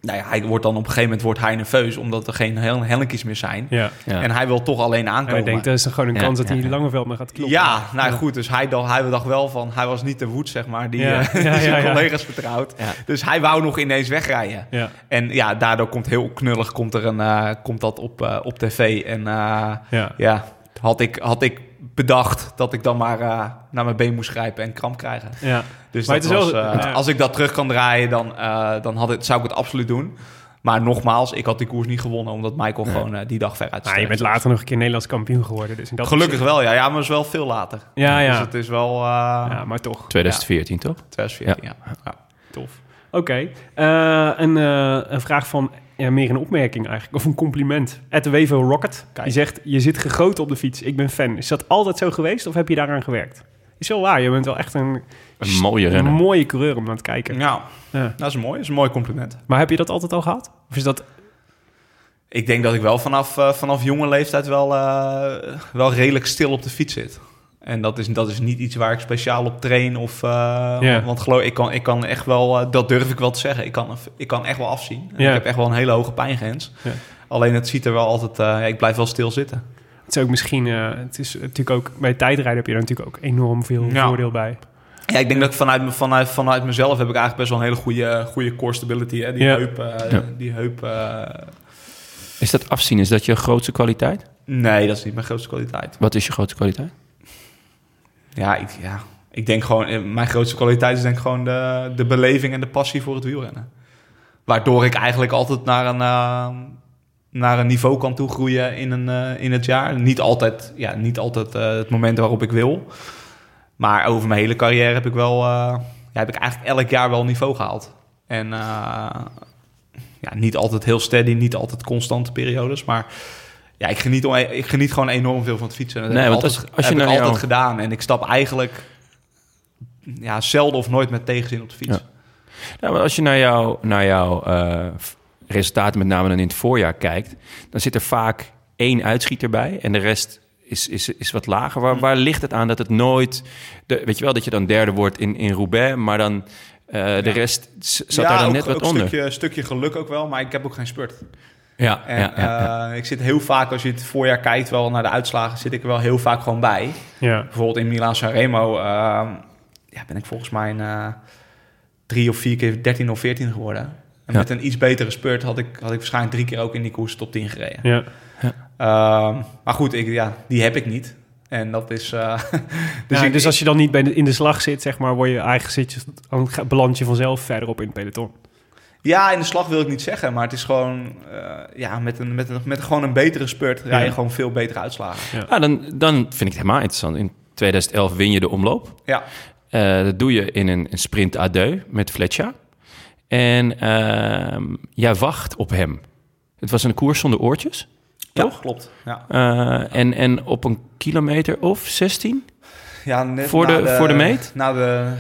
B: nou ja, hij wordt dan op een gegeven moment wordt hij nerveus, omdat er geen hel- hellinkjes meer zijn.
A: ja.
C: Ja.
B: En hij wil toch alleen
A: En hij
B: aankomen.
A: denkt, eh, dat is dan gewoon een
C: Ja,
A: kans dat hij
C: ja,
A: in
C: ja.
A: Langeveld maar gaat kloppen.
B: ja, nou ja, goed, dus hij dacht, hij dacht wel van, hij was niet de woed, zeg maar, die
A: Ja,
B: eh, die
A: ja, ja,
B: zijn
A: ja.
B: collega's vertrouwt.
C: Ja.
B: Dus hij wou nog ineens wegrijden.
A: Ja.
B: En ja, daardoor komt heel knullig, komt, er een, eh, komt dat op, eh, op tv. En eh,
A: Ja.
B: ja, had ik, had ik bedacht dat ik dan maar eh, naar mijn been moest grijpen en kramp krijgen.
A: ja.
B: Dus
A: Maar
B: dat
A: het is
B: was,
A: wel-
B: eh,
A: ja.
B: als ik dat terug kan draaien, dan, eh, dan had het, zou ik het absoluut doen. Maar nogmaals, ik had die koers niet gewonnen, omdat Michael gewoon eh, die dag veruit
A: Maar Nou, je bent later nog een keer Nederlands kampioen geworden. Dus in dat
B: Gelukkig wel, ja. Ja, maar het is wel veel later.
A: Ja, ja.
B: Dus het is wel eh
A: Ja, maar toch.
C: 2014, toch?
B: 2014, ja. Ja.
A: Tof. Oké. Eh, een, eh, een vraag van... Ja, meer een opmerking eigenlijk. Of een compliment. At Wevo Rocket. Die zegt, je zit gegoten op de fiets. Ik ben fan. Is dat altijd zo geweest of heb je daaraan gewerkt? Is wel waar. Je bent wel echt een,
C: Een mooie
A: een
C: renner.
A: mooie coureur om aan het kijken.
B: Nou,
A: Ja.
B: dat is mooi. Dat is een mooi compliment.
A: Maar heb je dat altijd al gehad? Of is dat...
B: Ik denk dat ik wel vanaf, eh, vanaf jonge leeftijd wel, eh, wel redelijk stil op de fiets zit. En dat is, dat is niet iets waar ik speciaal op train. Of, eh,
A: Ja.
B: Want geloof ik kan, ik kan echt wel, eh, dat durf ik wel te zeggen. Ik kan, ik kan echt wel afzien. En
A: Ja.
B: Ik heb echt wel een hele hoge pijngrens.
A: Ja.
B: Alleen het ziet er wel altijd, eh, ja, ik blijf wel stil zitten.
A: Het is ook misschien... eh, het is natuurlijk ook... Bij tijdrijden heb je daar natuurlijk ook enorm veel
B: Ja.
A: voordeel bij.
B: Ja, ik denk dat ik vanuit, me- vanuit, vanuit mezelf heb ik eigenlijk best wel een hele goede, goede core stability. Hè? Die
A: Ja.
B: heup, eh,
C: Ja.
B: die heup eh,
C: Is dat afzien? Is dat je grootste kwaliteit?
B: nee, dat is niet mijn grootste kwaliteit.
C: Wat is je grootste kwaliteit?
B: Ja, ik, ja. ik denk gewoon, eh, mijn grootste kwaliteit is denk ik gewoon de, de beleving en de passie voor het wielrennen. Waardoor ik eigenlijk altijd naar een, eh, naar een niveau kan toegroeien in, een, eh, in het jaar. Niet altijd, ja, niet altijd eh, het moment waarop ik wil. Maar over mijn hele carrière heb ik wel, eh, ja, heb ik eigenlijk elk jaar wel niveau gehaald. En eh, ja, niet altijd heel steady, niet altijd constante periodes, maar ja, ik geniet, on- ik geniet gewoon enorm veel van het fietsen. Dat
C: Nee,
B: heb ik
C: want als-
B: altijd,
C: als je
B: heb ik
C: naar jou-
B: altijd gedaan en ik stap eigenlijk ja, zelden of nooit met tegenzin op de fiets.
C: Ja. Nou, maar als je naar jouw naar jouw eh, f- resultaten, met name dan in het voorjaar, kijkt, dan zit er vaak één uitschieter bij en de rest is, is, is wat lager. Waar, waar ligt het aan dat het nooit, de, weet je wel, dat je dan derde wordt in, in Roubaix, maar dan eh, de rest z- zat daar dan
B: ook-
C: net wat
B: ook
C: onder?
B: Stukje, stukje geluk ook wel, maar ik heb ook geen spurt.
C: Ja,
B: En
C: ja, ja, ja.
B: eh, ik zit heel vaak, als je het voorjaar kijkt, wel naar de uitslagen, zit ik er wel heel vaak gewoon bij.
A: Ja.
B: Bijvoorbeeld in Milaan Sanremo ehm, ja, ben ik volgens mij een, eh, drie of vier keer 13 of 14 geworden. En
C: Ja.
B: met een iets betere spurt had ik, had ik waarschijnlijk drie keer ook in die koers top 10 gereden.
A: Ja.
B: Ehm, maar goed, ik, ja, die heb ik niet. En dat is. eh,
A: Dus,
B: dus ik,
A: dus als je dan niet bij de- in de slag zit, zeg maar, word je eigenlijk zit je, dan ga- beland je vanzelf verderop in het peloton.
B: Ja, in de slag wil ik niet zeggen, maar het is gewoon. eh, ja, met, een, met, een, met gewoon een betere spurt rij je
A: Ja.
B: gewoon veel betere uitslagen.
C: Ah, dan, dan vind ik het helemaal interessant. In 2011 win je de omloop.
B: Ja,
C: Eh, dat doe je in een, een sprint à deux met Fletcher. En ehm, jij wacht op hem. Het was een koers zonder oortjes.
B: toch? Klopt. Ja,
C: Eh, en, en op een kilometer of 16.
B: ja net
C: Voor
B: na
C: de- voor de meet?
B: Na de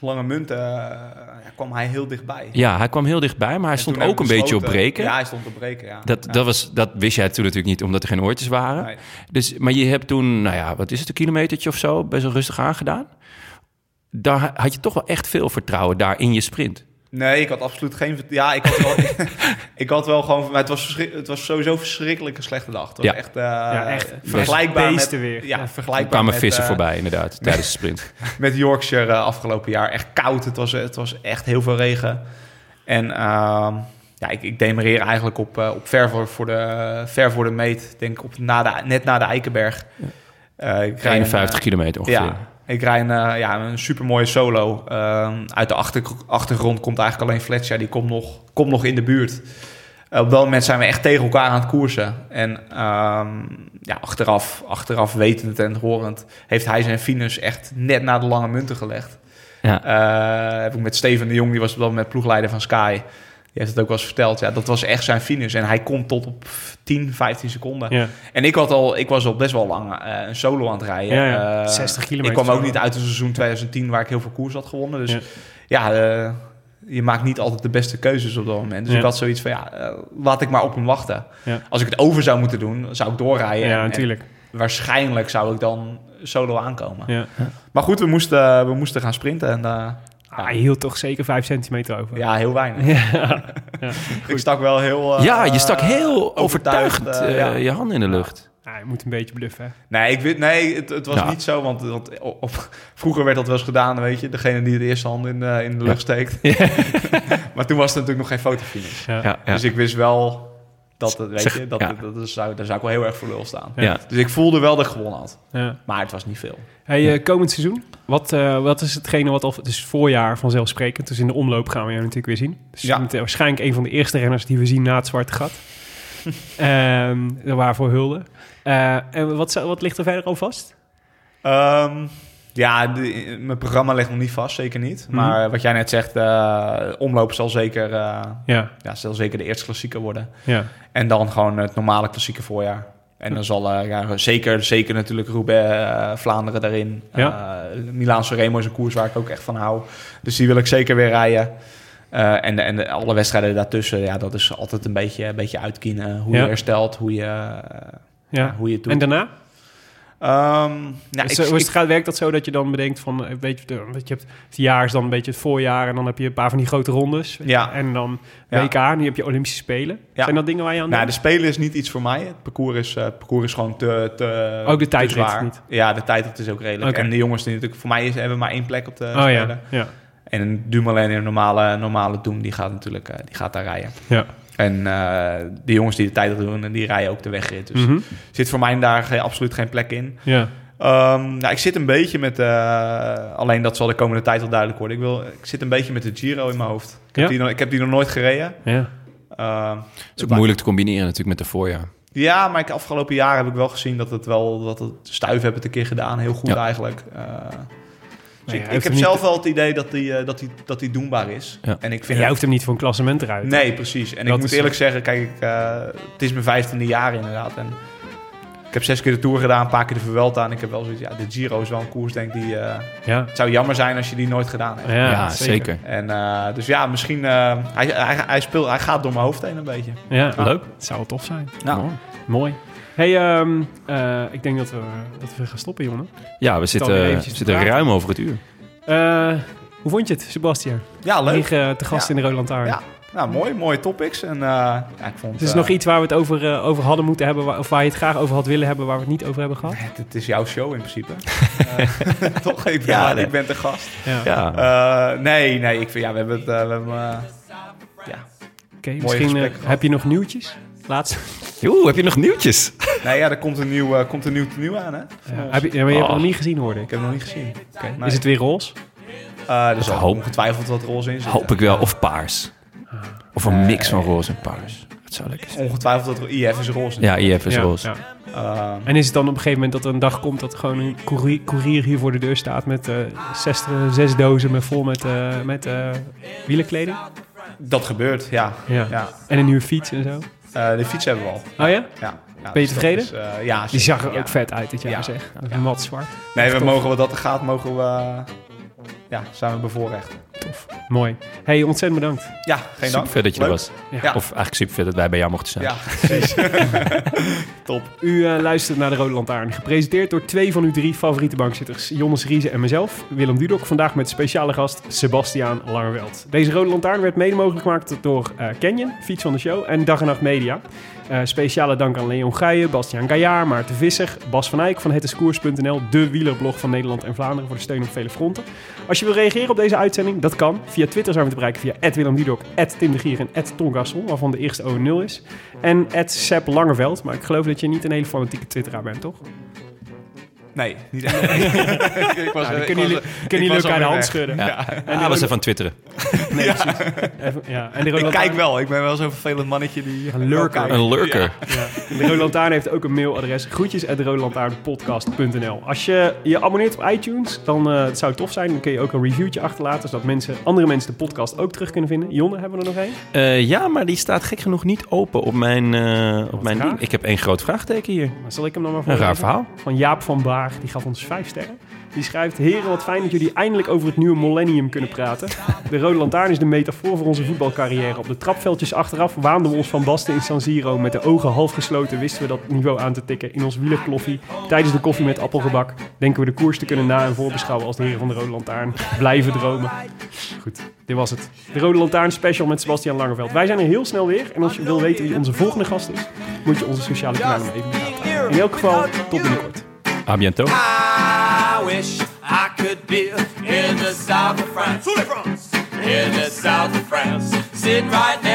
B: lange munt eh, ja, kwam hij heel dichtbij. En
C: Ja, hij kwam heel dichtbij, maar hij
B: toen
C: stond
B: hebben
C: ook
B: we
C: een beetje op
B: besloten-
C: breken.
B: Ja, hij stond op breken. Ja.
C: Dat,
B: Ja.
C: dat, was, dat wist jij toen natuurlijk niet, omdat er geen oortjes waren.
B: Nee.
C: Dus, maar je hebt toen, nou ja, wat is het, een kilometertje of zo, best wel rustig aangedaan. Daar had je toch wel echt veel vertrouwen daar in je sprint.
B: Nee, ik had absoluut geen... vert- Ja, ik had wel, ik had wel gewoon... Maar het was, verschri- het was sowieso verschrikkelijk een slechte dag. Het was
C: Ja.
B: echt, eh,
A: echt
B: vergelijkbaar met...
A: beesten weer.
B: Ja,
A: Ja.
B: vergelijkbaar
C: Er kwamen
B: met,
C: vissen
B: eh,
C: voorbij, inderdaad, tijdens de sprint.
B: met Yorkshire eh, afgelopen jaar. Echt koud. Het was, eh, het was echt heel veel regen. En ehm, ja, ik, ik demereer eigenlijk op, eh, op ver, voor, voor de, ver voor de meet. Ik Denk op na de, net na de Eikenberg. Eh, ik rij een,
C: 51 kilometer
B: eh,
C: ongeveer.
B: Ja, ik rij een, eh, ja, een supermooie solo. Ehm, uit de achter, achtergrond komt eigenlijk alleen Fletcher. Die komt nog, komt nog in de buurt. Eh, op dat moment zijn we echt tegen elkaar aan het koersen. En ehm, ja, achteraf, achteraf wetend en horend... heeft hij zijn finus echt net na de lange munten gelegd.
C: Ja.
B: Eh, heb ik met Steven de Jong, die was op dat moment ploegleider van Sky. Die heeft het ook wel eens verteld. Ja, dat was echt zijn finus. En hij komt tot op 10, 15 seconden.
A: Ja.
B: En ik, had al, ik was al best wel lang eh, een solo aan het rijden.
A: Ja, ja.
B: Eh,
A: 60 kilometer
B: Ik kwam ook
A: solo.
B: niet uit het seizoen 2010 waar ik heel veel koers had gewonnen. Dus
A: Ja.
B: ja, eh, je maakt niet altijd de beste keuzes op dat moment. Dus
A: Ja.
B: ik had zoiets van, ja, eh, laat ik maar op hem wachten.
A: Ja.
B: Als ik het over zou moeten doen, zou ik doorrijden. En-
A: Ja,
B: en
A: natuurlijk.
B: waarschijnlijk zou ik dan solo aankomen.
A: Ja.
B: Maar goed, we moesten, we moesten gaan sprinten. En, eh,
A: Ah, Hij hield toch zeker 5 centimeter over.
B: ja, heel weinig. ik stak wel heel... eh,
C: ja, je stak heel overtuigend
B: eh, ja.
C: eh, je hand in de lucht.
A: Ah, hij moet een beetje bluffen. hè.
B: Nee, ik weet, nee het, het was
C: Ja.
B: niet zo, want, want op, op- vroeger werd dat wel eens gedaan, weet je. Degene die de eerste hand in de, in de lucht steekt. maar toen was het natuurlijk nog geen fotofinish.
A: Ja.
C: Ja, ja.
B: Dus ik wist wel dat, het, weet
C: Zeg,
B: je, dat,
C: ja.
B: dat, dat zou, daar zou ik wel heel erg voor lul staan.
C: Ja.
B: Dus ik voelde wel dat ik gewonnen had.
A: Ja.
B: Maar het was niet veel.
A: Hey, eh, komend seizoen, wat, eh, wat is hetgene wat al... Het is voorjaar vanzelfsprekend, dus in de omloop gaan we jou natuurlijk weer zien. Dus
B: Ja.
A: je bent, eh, waarschijnlijk een van de eerste renners die we zien na het Zwarte Gat. Ehm, waarvoor hulde. Eh, en wat, zou- wat ligt er verder al vast?
B: Ehm, ja, de- mijn programma ligt nog niet vast, zeker niet.
A: Mhm.
B: Maar wat jij net zegt, eh omloop zal zeker, eh,
A: Ja,
B: ja, zal zeker de eerste klassieker worden.
A: ja.
B: En dan gewoon het normale klassieke voorjaar. En dan zal eh, ja, zeker, zeker natuurlijk Roubaix, eh, Vlaanderen daarin.
A: Ja.
B: Eh, Milaan-San Remo is een koers waar ik ook echt van hou. Dus die wil ik zeker weer rijden. Eh, en en alle wedstrijden daartussen, ja, dat is altijd een beetje, een beetje uitkiezen. Hoe
A: Ja.
B: je herstelt, hoe je, eh,
A: ja.
B: hoe je het doet.
A: En daarna?
B: Ehm, nou,
A: Dus,
B: ik-
A: eh, hoe is het
B: ik-
A: gaat, werkt dat zo dat je dan bedenkt van, eh, weet je, de- want je hebt het jaar is dan een beetje het voorjaar en dan heb je een paar van die grote rondes. weet je,
B: Ja.
A: En dan
B: Ja.
A: WK, en nu heb je Olympische Spelen.
B: Ja.
A: Zijn dat dingen waar je aan
B: Nou, de
A: denkt?
B: spelen is niet iets voor mij. Het parcours is, eh, het parcours is gewoon te, te
A: Ook de
B: te
A: tijdrit
B: zwaar.
A: niet?
B: Ja, de tijdrit is ook redelijk.
A: Oké.
B: En de jongens die natuurlijk... Voor mij is, hebben maar één plek op de
A: oh
B: spelen.
A: ja, ja,
B: En een Dumoulin in een normale, normale Doom, die gaat natuurlijk eh, die gaat daar rijden.
A: ja.
B: En eh, de jongens die de tijdrit doen, en die rijden ook de wegrit. Dus
A: Mhm,
B: zit voor mij daar geen- absoluut geen plek in.
A: ja.
B: Ehm, nou, ik zit een beetje met... eh, alleen dat zal de komende tijd wel duidelijk worden. Ik, wil, ik zit een beetje met de Giro in mijn hoofd. Ik heb,
A: Ja?
B: die, nog, ik heb die nog nooit gereden.
A: ja.
B: Ehm,
C: Het is ook moeilijk te combineren natuurlijk met de voorjaar.
B: ja, maar ik, afgelopen jaar heb ik wel gezien dat het wel dat het stuif heb het een keer gedaan, heel goed
C: Ja.
B: eigenlijk. Eh,
A: ja,
B: dus
A: hij
B: ik, ik
A: heeft
B: heb
A: hem
B: zelf wel het idee dat die, eh, dat die, dat die doenbaar is.
C: Ja.
B: En ik vind
A: Jij
B: dat-
A: hoeft hem niet voor een klassement eruit.
B: nee, precies. En
A: Dat
B: ik moet
A: is-
B: eerlijk zeggen, kijk, ik, eh, het is mijn vijftiende jaar inderdaad. En ik heb zes keer de Tour gedaan, een paar keer de Vuelta. En ik heb wel zoiets, ja, de Giro is wel een koers, denk ik, die... eh,
A: Ja,
B: het zou jammer zijn als je die nooit gedaan hebt.
A: ja,
C: Ja, zeker.
B: En eh, dus ja, misschien... eh, hij, hij, hij, speelt, hij gaat door mijn hoofd heen een beetje.
A: Ja.
C: Leuk.
A: Het zou wel tof zijn.
B: Nou.
C: Mooi.
A: Mooi. Hey, ehm, eh, ik denk dat we, dat we gaan stoppen, jongen.
C: Ja, we
A: weer
C: zitten, we
A: eventjes te
C: zitten
A: praten.
C: ruim over het uur.
A: Eh, hoe vond je het, Sebastian?
B: Ja, leuk.
A: Hier eh, te gast
B: Ja.
A: in de Roland Aarde.
B: Ja, nou mooi, mooie topics. En eh, ja, ik vond
A: Het is
B: eh,
A: nog iets waar we het over, eh, over hadden moeten hebben, waar- of waar je het graag over had willen hebben, waar we het niet over hebben gehad.
B: Het, het is jouw show in principe. Eh, toch? Ik ben,
C: Ja, nee.
B: ik ben te gast.
A: Ja.
C: Ja.
B: Eh, nee, nee, ik vind, ja, we hebben het. eh, we hebben, eh,
A: Oké, misschien eh,
B: gesprek gehad.
A: heb je nog nieuwtjes? Laatste.
C: Oeh, heb je nog nieuwtjes?
B: nee, ja, er komt een nieuw, eh, komt een nieuw tenue aan, hè?
A: Ja, heb je, ja, maar je hebt
C: Oh.
A: het nog niet gezien, hoorde
B: Ik
A: ik.
B: heb hem nog niet gezien. Nee.
A: Is het weer roze?
B: Eh, er zal
C: hoop-
B: ongetwijfeld wat roze in zitten.
C: Hoop ik wel. Of paars. Of een mix van roze en paars. Dat zou lekker zijn.
B: Ongetwijfeld dat ro- IF is roze.
C: Ja, IF is
A: Ja,
C: roze.
A: ja.
B: Eh,
A: En is het dan op een gegeven moment dat er een dag komt dat er gewoon een courier, courier hier voor de deur staat met eh, zes, zes dozen met, vol met, eh met eh, wielerkleding?
B: dat gebeurt, ja.
A: Ja.
B: ja.
A: En een nieuwe fiets en zo?
B: Eh, de fiets hebben we al.
A: Oh ja?
B: Ja. Ja,
A: Ben je
B: dus dat
A: tevreden?
B: is, eh, ja,
A: Die
B: zeker,
A: zag er
B: ja.
A: ook vet uit dit jaar,
B: Ja.
A: zeg. Mat zwart.
B: Nee, we
A: Tof.
B: mogen wat dat er gaat, mogen we. Ja, zijn we bevoorrecht.
A: Tof. Mooi. hey, ontzettend bedankt.
B: Ja, geen dank.
C: Super vet dat je er
B: Leuk.
C: was.
A: Ja.
C: Of eigenlijk super vet dat wij bij jou mochten zijn.
B: Ja, precies. Top.
A: U eh, luistert naar de Rode Lantaarn. Gepresenteerd door twee van uw drie favoriete bankzitters. Jonas Riese en mezelf, Willem Dudok. Vandaag met speciale gast Sebastiaan Langerweld. Deze Rode Lantaarn werd mede mogelijk gemaakt door eh, Canyon, Fiets van de Show en Dag en Nacht Media. Eh, speciale dank aan Leon Geijen, Bastiaan Gaillard, Maarten Visser, Bas van Eyck van hetescours.nl, de wielerblog van Nederland en Vlaanderen voor de steun op vele fronten. Als je wil reageren op deze uitzending, dat kan. Via Twitter zijn we te bereiken via Willem Dudok, Tim de Gier en Ton Gassel, waarvan de eerste O een nul is. En Sepp Langeveld, maar ik geloof dat je niet een hele fanatieke twitteraar bent, toch?
B: Nee, niet echt. ik was,
A: Nou,
B: eh,
A: dan kunnen
B: ik was,
A: jullie,
B: eh,
A: kunnen
B: ik
A: jullie
B: was
A: elkaar de hand
B: alweer
A: schudden.
C: Ja. Ah, was even aan twitteren.
A: Even- ja. En de
B: weg.
A: Roland
B: Ik kijk wel. Ik ben wel zo'n vervelend mannetje die...
A: Een lurker.
B: kijkt.
C: Een lurker.
A: De Rode Lantaarn heeft ook een mailadres. Groetjes at roodlantaarnpodcast.nl Als je je abonneert op iTunes, dan eh, het zou tof zijn. Dan kun je ook een reviewtje achterlaten, zodat mensen, andere mensen de podcast ook terug kunnen vinden. Jonne, hebben we er nog één?
C: Eh, ja, maar die staat gek genoeg niet open op mijn, eh, op mijn
A: raar.
C: ding. Ik heb één groot vraagteken hier.
A: Maar Zal ik hem dan maar voor
C: Een raar verhaal.
A: Van Jaap van Baar, die gaf ons vijf sterren. Die schrijft, heren wat fijn dat jullie eindelijk over het nieuwe millennium kunnen praten. De Rode Lantaarn is de metafoor voor onze voetbalcarrière. Op de trapveldjes achteraf waanden we ons van Basten in San Siro. Met de ogen half gesloten wisten we dat niveau aan te tikken. In ons wielerkloffie, tijdens de koffie met appelgebak, denken we de koers te kunnen na- en voorbeschouwen als de heren van de Rode Lantaarn. Blijven dromen. Goed, dit was het. De Rode Lantaarn special met Sebastian Langeveld. Wij zijn er heel snel weer. En als je wil weten wie onze volgende gast is, moet je onze sociale kanalen even in de gaten houden. In elk geval, tot binnenkort.
C: A bientôt.
E: I wish I could be in the south of France. In the south of France. Sitting right